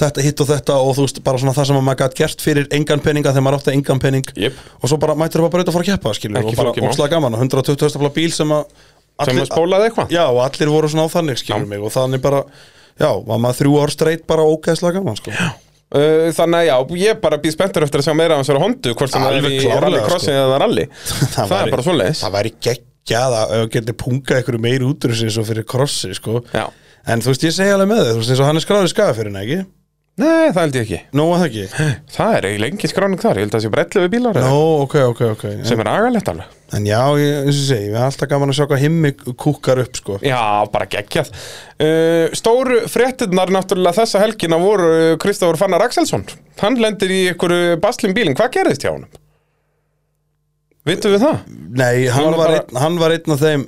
[SPEAKER 2] þetta hitt og þetta og þú veist, bara svona það sem maður gætt gert fyrir engan peninga þegar maður átti engan pening
[SPEAKER 1] Jep.
[SPEAKER 2] og svo bara mættur bara braut að fara að keppa skilur,
[SPEAKER 1] Ekki
[SPEAKER 2] og bara
[SPEAKER 1] flókið mál.
[SPEAKER 2] óslega gaman, og 120 hestafla bíl sem að
[SPEAKER 1] Sem að spólaði eitthvað
[SPEAKER 2] Já, og allir voru svona á þannig, skilur
[SPEAKER 1] Já.
[SPEAKER 2] mig og þannig bara, já, var maður þrjú ár streitt bara ógeðslega gaman, sko já.
[SPEAKER 1] Uh, Þannig að já, ég bara býð spenntur eftir að sjá meira af þessari hondu hvort sem það er
[SPEAKER 2] Alveg
[SPEAKER 1] í
[SPEAKER 2] klárlega,
[SPEAKER 1] rallycrossin eða rally Það,
[SPEAKER 2] væri-
[SPEAKER 1] er bara svoleiðis
[SPEAKER 2] Það væri geggjað að ef geti pungað einhverju meir útrús eins og fyrir krossi sko.
[SPEAKER 1] Já.
[SPEAKER 2] En þú veist, ég segi alveg með þau, þú veist, eins og hann er skráður í skafa fyrir henni, ekki?
[SPEAKER 1] Nei, það held ég ekki
[SPEAKER 2] Nó að það ekki?
[SPEAKER 1] Það er eiginlega engin skráning þar, ég held að það sé bara 11 bílar
[SPEAKER 2] Nó,
[SPEAKER 1] eða-
[SPEAKER 2] ok, ok, ok en,
[SPEAKER 1] sem er agalegt alveg
[SPEAKER 2] en já, ég, eins og ég segi, við erum alltaf gaman að sjá hvað himmi kúkar upp, sko
[SPEAKER 1] Já, bara geggjað uh, Stóru fréttinnar náttúrulega þessa helgina voru uh, Kristofur Fannar Axelsson Hann lendir í einhverju baslin bílinn, hvað gerðist hjá honum? Vittu við það?
[SPEAKER 2] Nei, hann
[SPEAKER 1] var
[SPEAKER 2] var,
[SPEAKER 1] bara-
[SPEAKER 2] einn, hann var einn af þeim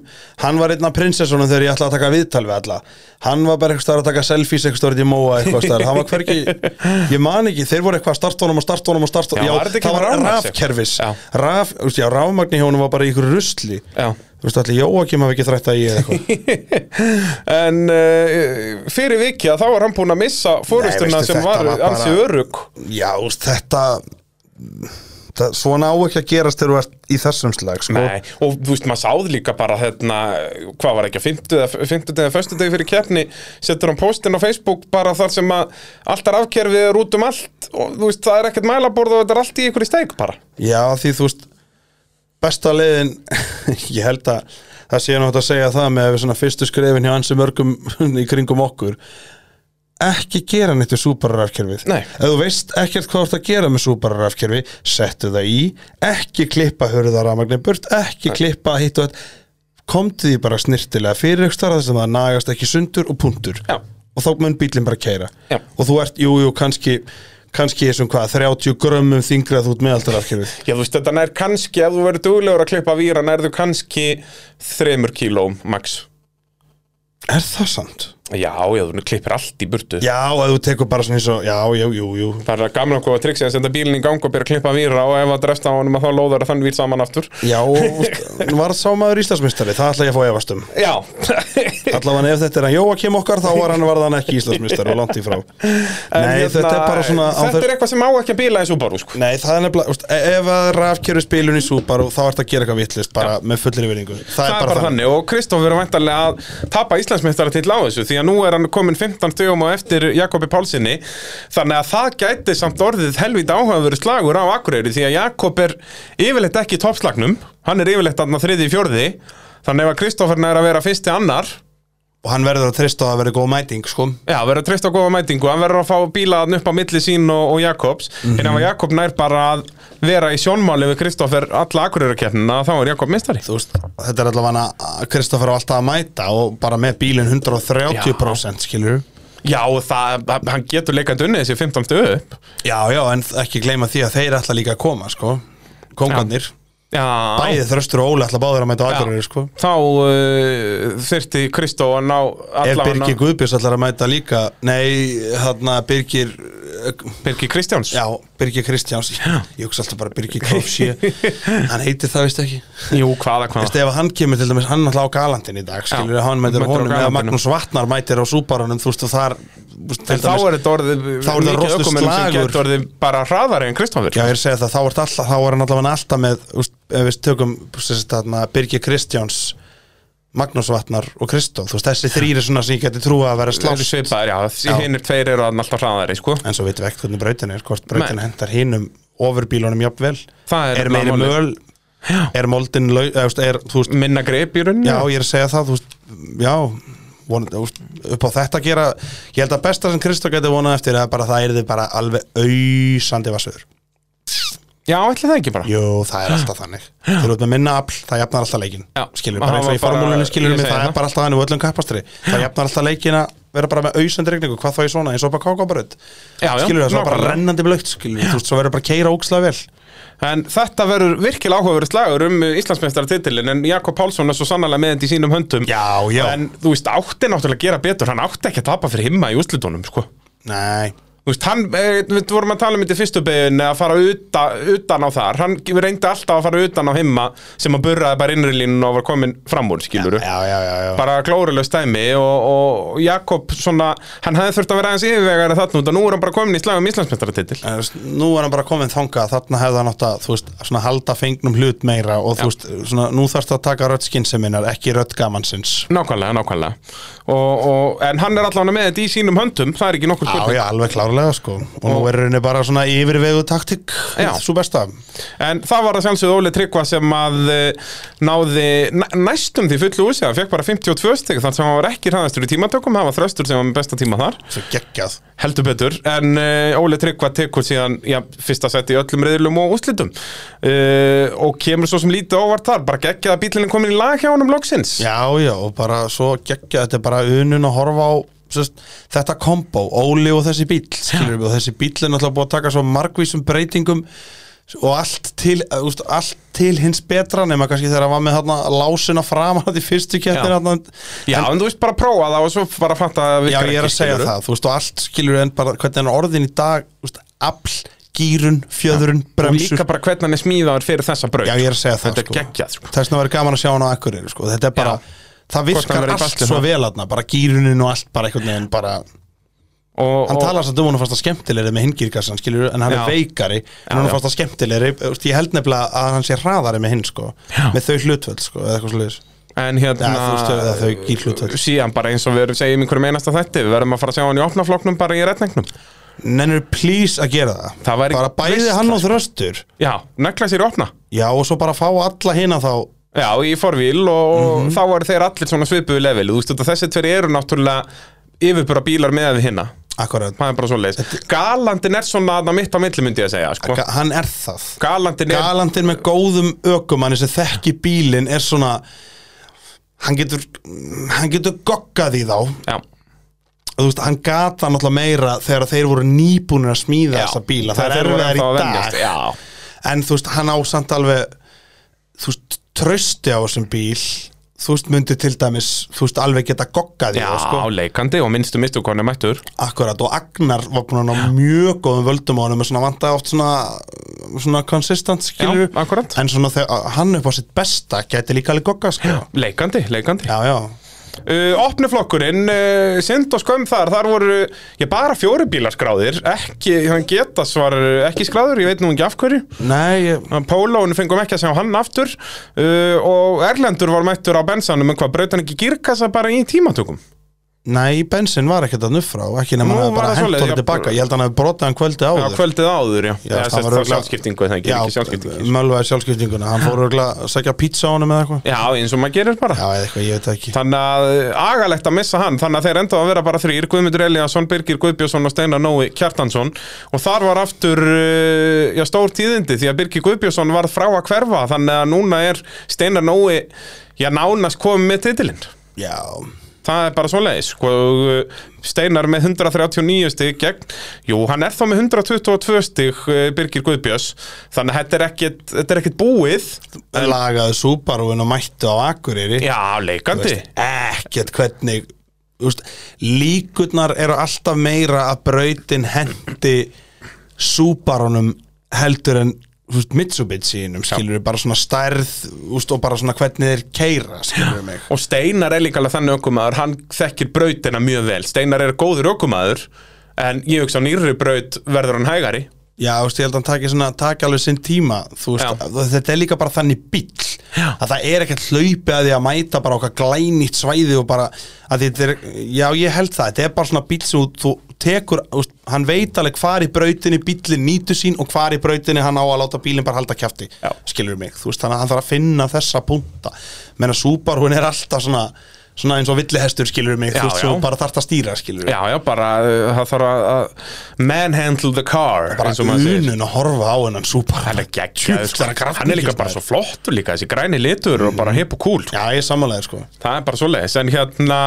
[SPEAKER 2] Hann var einn af prinsessunum þegar ég ætlaði að taka viðtal við alla Hann var bara eitthvað staðar að taka selfies eitthvað staðar í móa eitthvað staðar Hann var hvergi, ég man ekki, þeir voru eitthvað að startónum og startónum og startónum
[SPEAKER 1] Já, var þetta ekki
[SPEAKER 2] það var
[SPEAKER 1] rafmagns-
[SPEAKER 2] rafkerfis
[SPEAKER 1] Já.
[SPEAKER 2] Raf, þú veist, já, rafmagni hjá honum var bara í ykkur rusli
[SPEAKER 1] Já.
[SPEAKER 2] Þú veist, allir Jóakim hafi ekki þrætt að ég eitthvað
[SPEAKER 1] En uh, fyrir vikið að þá var hann búinn að missa fórustuna
[SPEAKER 2] veistu,
[SPEAKER 1] sem
[SPEAKER 2] þetta
[SPEAKER 1] var,
[SPEAKER 2] var bara-
[SPEAKER 1] ansi örugg
[SPEAKER 2] Já, þú veist, þetta það, Svona á ekki að gerast þegar þú ert í þessum slag, sko
[SPEAKER 1] Nei, og þú veist, maður sáð líka bara hérna, hvað var ekki, að 50 eða 50 eða 50 degi fyrir keppni, setur hann postin á Facebook bara þar sem að allt er afkerfið er út um allt og þú veist, það er ekkert mælaborð og þetta er allt í ykkur í steik bara.
[SPEAKER 2] Já, því þú veist besta leiðin ég held að það sé nátt að segja það með svona fyrstu skrefin hjá ansi mörgum í kringum okkur ekki gera neitt við súpararafkerfið
[SPEAKER 1] Nei.
[SPEAKER 2] ef þú veist ekkert hvað þú ert að gera með súpararafkerfi settu það í, ekki klippa hurðarafmagnin burt, ekki klippa hitt og þetta, komdu því bara snirtilega fyrir ykkur starf sem það nagast ekki sundur og puntur
[SPEAKER 1] Já.
[SPEAKER 2] og þá mun bílinn bara keira
[SPEAKER 1] Já.
[SPEAKER 2] og þú ert, jú, jú, kannski kannski þessum hvað, 30 grömmum þingrað út meðaldarafkerfið
[SPEAKER 1] Já, þú veist, þetta nær kannski, ef þú verður duglegur að klippa víra, nærðu kannski þremur kílóm, max.
[SPEAKER 2] Er það sant?
[SPEAKER 1] Já, já, þú klippir allt í burtu.
[SPEAKER 2] Já, að þú tekur bara svona eins og, já, já, jú, jú
[SPEAKER 1] Það er gamla okkur að triksi að senda bílinn í gang og byrja að klippa víra og ef það drefst á honum að þá lóðar þann vír saman aftur.
[SPEAKER 2] Já, og var sá maður Íslandsmyndstari, það ætla ég að fá efast um
[SPEAKER 1] Já,
[SPEAKER 2] Allavega ef þetta er hann Jóakim okkar, þá var hann varðan ekki Íslandsmyndstari og langt í frá Nei,
[SPEAKER 1] En hérna,
[SPEAKER 2] þetta er bara svona á
[SPEAKER 1] Þetta
[SPEAKER 2] þess-
[SPEAKER 1] er eitthvað sem á ekki að bíla eins og bara sko.
[SPEAKER 2] Nei, það er nefnilega, úst, ef að rafkjöru spilun í Subaru, þá ert að gera eitthvað vitlist bara með fullir yfirningu Það,
[SPEAKER 1] Það er bara þannig og Kristoffer er væntanlega að tapa Íslandsmeistara til á þessu því að nú er hann komin 15 stugum á eftir Jakobi Pálsini þannig að það gæti samt orðið helvít áhugaveru slagur á Akureyri því að Jakob er yfirleitt ekki í toppslagnum hann er yfirleitt aðna þriði í fjórði þannig ef að Kristoffer er að vera fyrsti annar
[SPEAKER 2] Og hann verður að treysta á að vera góð mæting, sko
[SPEAKER 1] Já, verður að treysta á góða mætingu, hann verður að fá bílaðan upp á milli sín og, og Jakobs en
[SPEAKER 2] Mhm.
[SPEAKER 1] ef að Jakob nær bara að vera í sjónmáli við Kristoffer alla Akureyrakeppnina þá er Jakob mistari
[SPEAKER 2] Þú veist, þetta er allavega að Kristoffer á alltaf að mæta og bara með bílinn 130% skilur
[SPEAKER 1] Já, og það, hann getur leikandi unnið þessi 15 stu upp
[SPEAKER 2] Já, já, en ekki gleyma því að þeir ætla líka að koma, sko Kongarnir,
[SPEAKER 1] Já,
[SPEAKER 2] bæði þröstur og óli ætla báður að mæta á Akureyri, sko
[SPEAKER 1] þá uh, þyrfti Kristó að ná
[SPEAKER 2] Ef
[SPEAKER 1] alla
[SPEAKER 2] Birgir Guðbjörns ætlar að mæta líka Nei, hann að Birgir
[SPEAKER 1] Birgir Kristjáns
[SPEAKER 2] Já, Birgir Kristjáns Ég hugsa alltaf bara Birgir Krófsjö Hann heitir það veist ekki
[SPEAKER 1] Jú, hvaða,
[SPEAKER 2] Veistu,
[SPEAKER 1] hvaða
[SPEAKER 2] ef hann kemur til dæmis, hann alltaf á galandin í dag skilur, hann mætir
[SPEAKER 1] mætir á
[SPEAKER 2] á honum eða
[SPEAKER 1] Galantinu.
[SPEAKER 2] Magnús Vatnar mætir á súbaranum þú veist, og þar úst,
[SPEAKER 1] En þá er þetta orðið
[SPEAKER 2] Þá er þetta
[SPEAKER 1] mikið
[SPEAKER 2] rosalega
[SPEAKER 1] ökumönnum sem
[SPEAKER 2] slagur.
[SPEAKER 1] geta orðið bara hraðari en Kristoffer
[SPEAKER 2] Já, ég er að segja það, þá er, alltaf, þá er hann allavega alltaf með, úst, ef við tökum sérst, þarna, Birgir Kristjáns Magnús Vatnar og Kristó þú veist, þessi þrýri svona sem ég geti trúa að vera
[SPEAKER 1] Slátt
[SPEAKER 2] slást
[SPEAKER 1] svipaðir, já, þessi
[SPEAKER 2] Já.
[SPEAKER 1] hinnir tveir eru þarna alltaf hraðari, sko
[SPEAKER 2] en svo veitum við ekkert hvernig brautin er hvort brautin
[SPEAKER 1] Nei.
[SPEAKER 2] hendar hinum ofurbílunum jafnvel
[SPEAKER 1] Það er
[SPEAKER 2] er meiri
[SPEAKER 1] málið. Mm.
[SPEAKER 2] möl
[SPEAKER 1] Já.
[SPEAKER 2] er moldin lau, eða, þú veist, er, þú veist,
[SPEAKER 1] Minna greip í rauninni
[SPEAKER 2] Já, ég er að segja það, þú veist Já, von, þú veist, upp á þetta að gera Ég held að besta sem Kristó gæti vonað eftir er bara það yrði bara alveg auðsandi vassur
[SPEAKER 1] já ætli það ekki bara
[SPEAKER 2] Jú, það er alltaf þannig Þegar þú ert með minna afl, það jafnar alltaf leikin
[SPEAKER 1] Já.
[SPEAKER 2] Skilur,
[SPEAKER 1] Og
[SPEAKER 2] bara eins
[SPEAKER 1] hann
[SPEAKER 2] og í
[SPEAKER 1] var bara-
[SPEAKER 2] formúlunni skilur
[SPEAKER 1] ég
[SPEAKER 2] mig,
[SPEAKER 1] segi
[SPEAKER 2] það
[SPEAKER 1] það.
[SPEAKER 2] er bara alltaf hann og öllum kappastri Það jafnar alltaf leikin að vera bara með auðsandi regningu Hvað þá ég svona, eins og bara kákábröð
[SPEAKER 1] Já, já,
[SPEAKER 2] Skilur það, svo bara
[SPEAKER 1] nákvæmlega.
[SPEAKER 2] rennandi blögt Skilur, þú veist, svo verður bara að keira ókslega vel
[SPEAKER 1] En þetta verður virkilega áhugaverið slagur um Íslandsmeistaratitilin en Jakob Pálsson er svo sannlega með þetta í sínum höndum
[SPEAKER 2] Já, já,
[SPEAKER 1] En þú veist, átti náttúrulega að gera betur hann átti ekki að tapa fyrir himma í úrslitunum, sko
[SPEAKER 2] nei
[SPEAKER 1] Þú veist, hann, eh, við vorum að tala um þetta í fyrstu beginn að fara uta, utan á þar hann reyndi alltaf að fara utan á himma sem að burraði bara innri línun og var komin fram úr, skiluru
[SPEAKER 2] Já, já, já, já.
[SPEAKER 1] bara glórilega stæmi og, og Jakob svona, hann hefði þurft að vera aðeins yfirvegari þarna út og nú er hann bara komin í slag um Íslandsmeistaratitil
[SPEAKER 2] En, þú veist, Nú er hann bara komin þangað þarna hefði hann átt að þú veist, svona, halda fengnum hlut meira og þú veist, svona, nú þarfst að taka rödd skynseminar, ekki rödd gamansins
[SPEAKER 1] Nákvæmlega, nákvæmlega og, og, En hann er allavega með þetta í sínum höndum Það er ekki nokkur
[SPEAKER 2] Já,
[SPEAKER 1] spurning
[SPEAKER 2] já, alveg klárlega sko og nú er henni bara svona yfirvegu taktik
[SPEAKER 1] Já.
[SPEAKER 2] svo besta
[SPEAKER 1] En það var að sjálfsögðu Óli Tryggva sem að eh, náði næ, næstum því fullu úr sig Hann fekk bara 52 stig þar sem hann var ekki hraðastur í tímatökum Það var þröstur sem var með besta tíma þar
[SPEAKER 2] svo geggjað
[SPEAKER 1] Heldur betur En uh, Óli Tryggva tekur síðan já, fyrsta sett í öllum reyðlum og úslitum uh, Og kemur svo sem lítið óvart þar Bara geggjað að bílinn er komin í lag hjá honum loksins
[SPEAKER 2] Já, já, og bara svo geggjað þetta er bara unun að horfa á sérst, þetta kombo, Óli og þessi bíl skilur við, og þessi bíl er náttúrulega búið að taka svo margvísum breytingum og allt til, uh, úst, allt til hins betra nema kannski þegar hann var með þarna lásina framar í fyrstu kettin
[SPEAKER 1] Já.
[SPEAKER 2] þarna,
[SPEAKER 1] Já, en þú veist bara prófa það og svo bara fatta að það
[SPEAKER 2] já
[SPEAKER 1] virkar
[SPEAKER 2] ég er
[SPEAKER 1] ekki,
[SPEAKER 2] að segja
[SPEAKER 1] skilurðu.
[SPEAKER 2] það þú veist og allt skilur en bara hvernig hann er orðin í dag úst, afl, gýrun, fjöðrun,
[SPEAKER 1] og
[SPEAKER 2] bremsur
[SPEAKER 1] líka bara hvernig hann er smíðaður fyrir þessa braut
[SPEAKER 2] Já, ég er að segja það
[SPEAKER 1] Þetta er geggjað, sko.
[SPEAKER 2] Þess vegna verður gaman að sjá hann á Akureyri sko. Þetta er bara, það
[SPEAKER 1] Hvort hann
[SPEAKER 2] virkar
[SPEAKER 1] verður í
[SPEAKER 2] allt
[SPEAKER 1] basli,
[SPEAKER 2] svo
[SPEAKER 1] það.
[SPEAKER 2] vel aðna Bara gýrunin og allt, bara einhvern veginn bara,
[SPEAKER 1] og,
[SPEAKER 2] Hann
[SPEAKER 1] og,
[SPEAKER 2] talar samt um hún að fasta skemmtilegri með hingirkassan skilur, En hann
[SPEAKER 1] Já.
[SPEAKER 2] er veikari En hún
[SPEAKER 1] já.
[SPEAKER 2] að fasta skemmtilegri þú veist, Ég held nefnilega að hann sé hraðari með hinn sko,
[SPEAKER 1] Já.
[SPEAKER 2] Með þau hlutvöld, sko, eða eitthvað sliðis
[SPEAKER 1] en hérna
[SPEAKER 2] Já, þú veist, eða þau gíl hlutföll.
[SPEAKER 1] síðan bara eins og við erum- segjum einhverjum einasta þætti við verðum að fara að sjá hann í opnafloknum bara í retningnum
[SPEAKER 2] Nennir please að gera það,
[SPEAKER 1] Það væri sko.
[SPEAKER 2] Bara bæði
[SPEAKER 1] veistla,
[SPEAKER 2] hann og þröstur
[SPEAKER 1] já, negla sér í opna
[SPEAKER 2] Já, og svo bara fá alla hina þá
[SPEAKER 1] já, í forvíl og
[SPEAKER 2] Mhm.
[SPEAKER 1] þá eru þeir allir svona svipuðu level þú veist, þetta- þessi tveri eru náttúrulega yfirbúra bílar með við hinna
[SPEAKER 2] Akkurat,
[SPEAKER 1] það er bara svo leiðis galandin er svona að mitt á milli myndi ég að segja sko.
[SPEAKER 2] hann er það
[SPEAKER 1] galandin er
[SPEAKER 2] Galandin með góðum ökumanni sem þekki bílinn er svona hann getur hann getur goggað í þá
[SPEAKER 1] já,
[SPEAKER 2] þú veist, hann gata náttúrulega meira þegar þeir voru nýbúnir að smíða þessa bíla það
[SPEAKER 1] þeir
[SPEAKER 2] er
[SPEAKER 1] voru
[SPEAKER 2] erfiðar
[SPEAKER 1] ennþá að
[SPEAKER 2] í
[SPEAKER 1] venjast,
[SPEAKER 2] dag
[SPEAKER 1] já
[SPEAKER 2] en þú veist, hann ásamt alveg þú veist, trösti á þessum bíl þú veist, myndi til dæmis þú veist, alveg geta goggað í
[SPEAKER 1] Já,
[SPEAKER 2] þá sko.
[SPEAKER 1] leikandi og minnstu mistu hvað hann er mættur
[SPEAKER 2] akkurat, og Agnar var búin að ná mjög góðum völdum á hann með svona vantaði oft svona svona konsistant skilur
[SPEAKER 1] Já, akkurat.
[SPEAKER 2] en svona þegar hann upp á sitt besta gæti líka alveg goggað sko.
[SPEAKER 1] Leikandi, leikandi
[SPEAKER 2] já, já,
[SPEAKER 1] uh, Opni flokkurinn, uh, sind og skömm þar Þar voru, ég bara fjóri bílar skráðir Ekki, hann getas var uh, ekki skráður Ég veit nú ekki af hverju
[SPEAKER 2] nei, ég-
[SPEAKER 1] Pólón fengum ekki að sjá hann aftur uh, Og Erlendur var mættur á bensanum En hvað, braut hann ekki gírkassa bara í tímatökum
[SPEAKER 2] Nei, bensin var ekkert að nuffra og ekki nema
[SPEAKER 1] Nú
[SPEAKER 2] hann hafi
[SPEAKER 1] var
[SPEAKER 2] bara
[SPEAKER 1] það
[SPEAKER 2] hent
[SPEAKER 1] svoleiðis,
[SPEAKER 2] honum
[SPEAKER 1] já,
[SPEAKER 2] tilbaka Ég held að hann hafi brotað hann kvöldi
[SPEAKER 1] Já,
[SPEAKER 2] áður
[SPEAKER 1] kvöldið áður, já, já
[SPEAKER 2] það var
[SPEAKER 1] Það var
[SPEAKER 2] örugglega-
[SPEAKER 1] sjálfskiptingu, það er ekki sjálfskiptingu
[SPEAKER 2] mölvaði sjálfskiptinguna Hann fór örgulega að segja pizza á honum eða eitthvað
[SPEAKER 1] Já, eins og maður gerir bara
[SPEAKER 2] Já, eða eitthvað, ég veit það ekki
[SPEAKER 1] Þannig að uh, agalegt að missa hann Þannig að þeir enda að vera bara þrýr Guðmundur Eliasson, Birgir Guðbjörnsson og Steinar Nói Kjartansson Og þar var aftur uh, já, stór tíðindi Því að Birgir Guðbjörnsson var frá að hverfa Þannig að núna er Steinar Nói Já, nánast komið með titilinn
[SPEAKER 2] Já,
[SPEAKER 1] Það er bara svoleiðis sko, og, uh, Steinar með 139 stig gegn Jú, hann er þá með 122 stig uh, Birgir Guðbjörns Þannig að þetta er ekkit, þetta er ekkit búið
[SPEAKER 2] lagaði Subaruinn og mættu á Akureyri
[SPEAKER 1] Já, leikandi
[SPEAKER 2] Ekkert hvernig þú þú veist, líkurnar eru alltaf meira að brautin hendi súbarunum heldur en þú veist, Mitsubishiinum skilur við bara svona stærð þú veist, og bara svona hvernig þeir keira skilur við mig
[SPEAKER 1] Og Steinar er líka alveg þannig ökumaður, hann þekkir brautina mjög vel. Steinar er góður ökumaður, en ég hugsa á nýrri braut verður hann hægari.
[SPEAKER 2] Já, þú veist, ég held að hann taki, svona, taki alveg sinn tíma þú veist,
[SPEAKER 1] Já.
[SPEAKER 2] að- þetta er líka bara þannig bíll að það er ekkert hlaupi að því að mæta bara okkar glænýtt svæði og bara að þetta er, já ég held það þetta er bara svona bíll sem þú- þú tekur þú veist, hann veit alveg hvar í brautinni bíllinn nýtur sín og hvar í brautinni hann á að láta bílinn bara halda kjafti,
[SPEAKER 1] Já.
[SPEAKER 2] skilur mig þú veist, þannig að hann þarf að finna þessa punta menna Subaru hún er alltaf svona svona eins og villihestur skilur mig,
[SPEAKER 1] Já,
[SPEAKER 2] þú veist,
[SPEAKER 1] já.
[SPEAKER 2] sem þú bara þarft að stýra skilur
[SPEAKER 1] Já, já, bara uh, það þarf að- að manhandle the car,
[SPEAKER 2] bara
[SPEAKER 1] eins og maður segir.
[SPEAKER 2] unun að horfa á hennan Subaru
[SPEAKER 1] Hann er geggjaður,
[SPEAKER 2] Djöfull,
[SPEAKER 1] sko.
[SPEAKER 2] er hann kraftmikill,
[SPEAKER 1] hann er líka bara
[SPEAKER 2] maður.
[SPEAKER 1] svo flottur líka, þessi græni litur og bara hip og cool, sko.
[SPEAKER 2] Já, ég er sammálaðið sko
[SPEAKER 1] það er bara svo leiðis, en hérna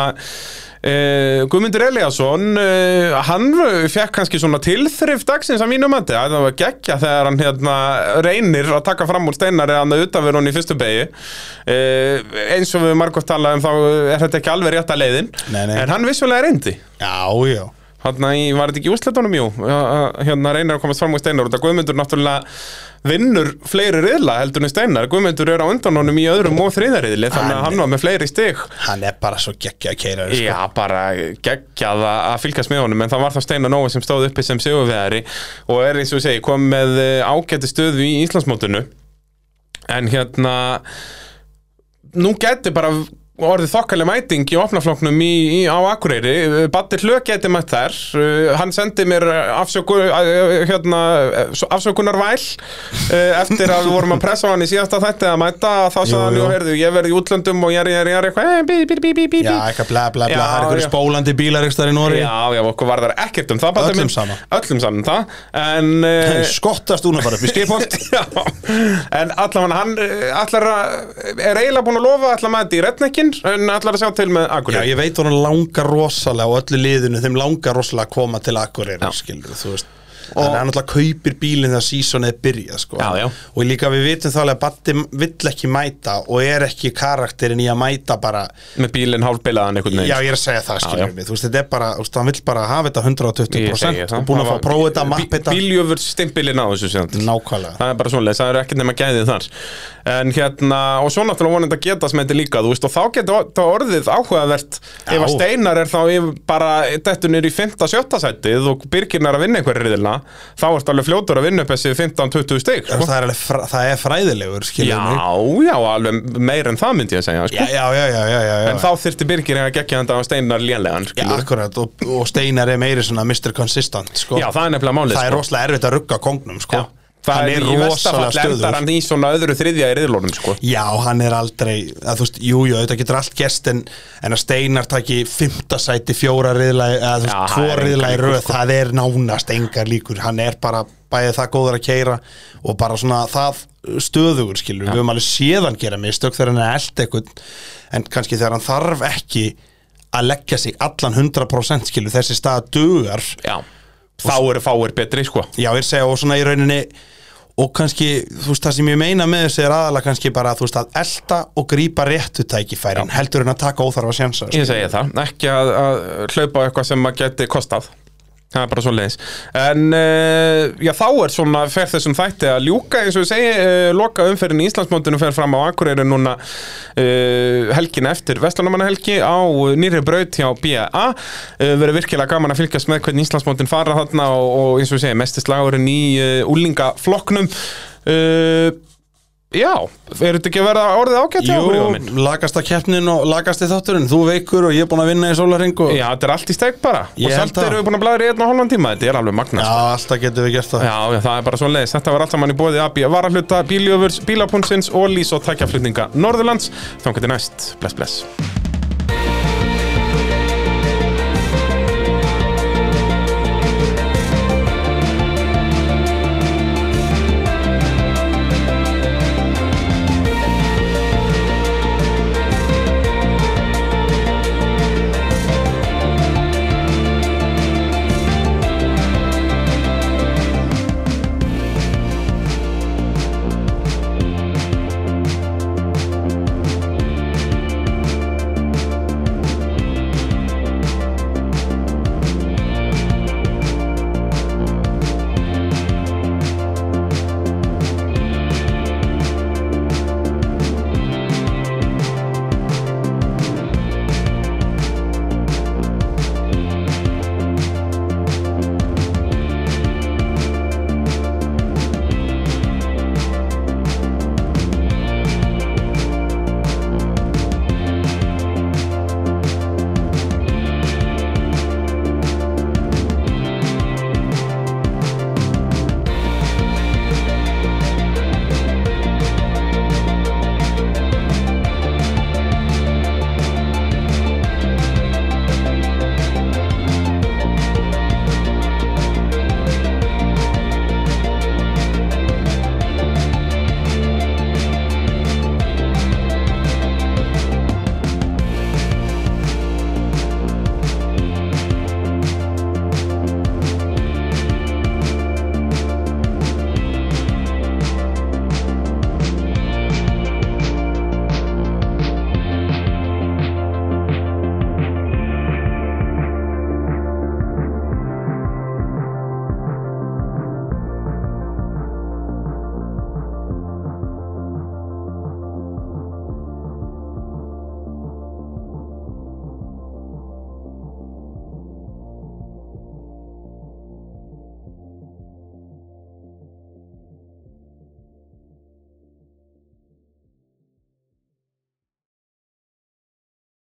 [SPEAKER 1] uh, Guðmundur Eliasson uh, hann fekk kannski svona tilþrif dagsins að mínum mati, það var geggja þegar hann hérna reynir að taka fram úr steinar eða hann að utanverð hún í fyrstu begi uh, eins og við margótt talaðum þá er þetta ekki alveg rétta leiðin
[SPEAKER 2] Nei, nei.
[SPEAKER 1] en hann vissulega reyndi
[SPEAKER 2] Já, já
[SPEAKER 1] Hanna í, var þetta ekki í úrslitunum, jú að- að, hérna reynir að komast fram úr steinar út að Guðmundur náttúrulega vinnur fleiri riðla heldur en steinar, Guðmundur er á undan honum í öðrum og þriðariðli þannig að
[SPEAKER 2] Hann-
[SPEAKER 1] hann var með fleiri stig
[SPEAKER 2] Hann er bara svo geggja að keira sko.
[SPEAKER 1] Já, bara geggjað að að fylgjast með honum en það var þá Steinar Nóa sem stóð uppi sem sigurveðari og er eins og ég segi, kom með eh, ágæti stöðu í Íslandsmótinu en hérna nú geti bara orðið þokkalega mæting í opnafloknum í, í, á Akureyri Eh, Batti Hlög geti mætt þær Uh, hann sendi mér afsöku, eh, hérna, eh, svo- afsökunarvæl eh, eftir að við vorum að pressa á hann í síðasta þætti að mæta þá sagði
[SPEAKER 2] Jú,
[SPEAKER 1] hann,
[SPEAKER 2] jú.
[SPEAKER 1] jú, heyrðu, ég verði í útlöndum og ég er, ég er, ég er eitthvað eh, bí, bí, bí, bí, bí,
[SPEAKER 2] já eitthvað bla bla bla
[SPEAKER 1] Já,
[SPEAKER 2] Það er einhverju
[SPEAKER 1] já.
[SPEAKER 2] spólandi bílar ekstra í Nóri
[SPEAKER 1] Já, já, okkur varðar ekkert um það Baddi
[SPEAKER 2] Öllum
[SPEAKER 1] minn.
[SPEAKER 2] sama.
[SPEAKER 1] Öllum saman það En, uh,
[SPEAKER 2] Skottast hún að fara upp í skipholt
[SPEAKER 1] já, en allan hann eh, ætlar að er eiginlega búin að lofa allar maður þetta í retnekkin en allar að sjá til með
[SPEAKER 2] Já,
[SPEAKER 1] Akureyri
[SPEAKER 2] ég veit hún langar rosalega og öllu liðinu, þeim langar rosalega að koma til Akureyri, skilur, þú veist og hann náttúrulega kaupir bílinn þegar sísonið er byrjað, sko,
[SPEAKER 1] Já, já.
[SPEAKER 2] og líka við vitum þá alveg að Batti vill ekki mæta og er ekki karakterinn í að mæta bara
[SPEAKER 1] með bílinn hálfbilaðan einhvern
[SPEAKER 2] Já,
[SPEAKER 1] veginn
[SPEAKER 2] ég er að segja það,
[SPEAKER 1] já.
[SPEAKER 2] skilur mig, þú veist, þetta er bara, þú veist, hann vill bara hafa þetta 120% og búin að fá að prófa þetta, mappa þetta,
[SPEAKER 1] Bíljöfur stimpilinn á þessu sem
[SPEAKER 2] nákvæmlega
[SPEAKER 1] það er bara svoleiðis, það er ekkert nema gæðið þar en hérna, og svo náttúrulega vonandi að geta smeti líka, þú veist, og þá geta það orðið áhugavert
[SPEAKER 2] Já.
[SPEAKER 1] ef að steinar er þá yfir- bara dettur niður í 5-7 sætið og byrgirnar að vinna einhverju riðilna, þá ertu alveg fljótur að vinna upp þessi 15-20 stig
[SPEAKER 2] Þú veist,
[SPEAKER 1] sko.
[SPEAKER 2] það er, alveg fræ, það er fræðilegur,
[SPEAKER 1] Já,
[SPEAKER 2] skilur mig
[SPEAKER 1] já, alveg meir en það myndi ég að segja, sko
[SPEAKER 2] Já, já, já, já, já, já, já.
[SPEAKER 1] En þá þyrfti Birgir að gegja þetta á steinar lélegan, sko.
[SPEAKER 2] Já,
[SPEAKER 1] skilur.
[SPEAKER 2] sko. akkurat, og, og Steinar er meiri svona Mr. Consistent, sko
[SPEAKER 1] Já, það er nefnilega málið,
[SPEAKER 2] það er
[SPEAKER 1] sko.
[SPEAKER 2] rosalega erfitt að rugga kongnum sko.
[SPEAKER 1] Já. Það
[SPEAKER 2] hann
[SPEAKER 1] er,
[SPEAKER 2] er
[SPEAKER 1] í versta
[SPEAKER 2] rosalega
[SPEAKER 1] fall endar
[SPEAKER 2] stöður
[SPEAKER 1] hann í svona öðru þriðja í riðlónum, sko.
[SPEAKER 2] já, hann er aldrei að, þú veist, jú, jú, þetta getur allt gerst en, en að Steinar taki fymta sæti fjóra riðla, eða þú
[SPEAKER 1] Já,
[SPEAKER 2] veist,
[SPEAKER 1] það
[SPEAKER 2] tvo
[SPEAKER 1] er sko.
[SPEAKER 2] riðla í
[SPEAKER 1] engar
[SPEAKER 2] röð það er nánast engar líkur hann er bara bæðið það góður að keira og bara svona það stöðugur skilur, við höfum alveg séðan gera mistök þegar hann er eld eitthvað en kannski þegar hann þarf ekki að leggja sig allan 100% skilur, þessi stað dugar
[SPEAKER 1] Já. Þá eru fáir betri, sko.
[SPEAKER 2] Já, ég segja, og svona í rauninni og kannski, þú veist, það sem ég meina með þessu er aðalega kannski bara, þú veist, að elta og grípa réttu tækifærin, heldur en að taka óþarfa sjansa sko.
[SPEAKER 1] Ég segi það, ekki að, að hlaupa á eitthvað sem að geti kostað Það er bara svo leiðis En uh, já, þá er svona fer þessum þætti að ljúka eins og ég segi uh, Loka umferðin í Íslandsmóndinu fer fram á Akureyri núna uh, helgin eftir Vestlunumannahelgi á nýri braut hjá BA uh, Verið virkilega gaman að fylgjast með hvernig Íslandsmóndin fara þarna og, og eins og ég segi mesti slagurinn í uh, úlingaflokknum uh, Já, eru þetta ekki að verða orðið ágætt hjá okkur, Jóhann minn?
[SPEAKER 2] lagast að keppnin og lagast í þátturinn þú veikur og ég er búin að vinna í sólarring og...
[SPEAKER 1] Já, þetta er allt í steg bara
[SPEAKER 2] sko. Ég
[SPEAKER 1] Og
[SPEAKER 2] held
[SPEAKER 1] samt
[SPEAKER 2] það.
[SPEAKER 1] erum við búin að blæða í einn og hálfan tíma Þetta er alveg
[SPEAKER 2] Já,
[SPEAKER 1] magnast
[SPEAKER 2] alltaf getum við gert það
[SPEAKER 1] Já, já, það er bara svo leiðis. Þetta var allt saman í bóði AB Varahluta, Bíljöfurs, Bílapúnsins, Ólís og Tækjaflutninga Norðurlands. Þannig til næst. Bless, bless.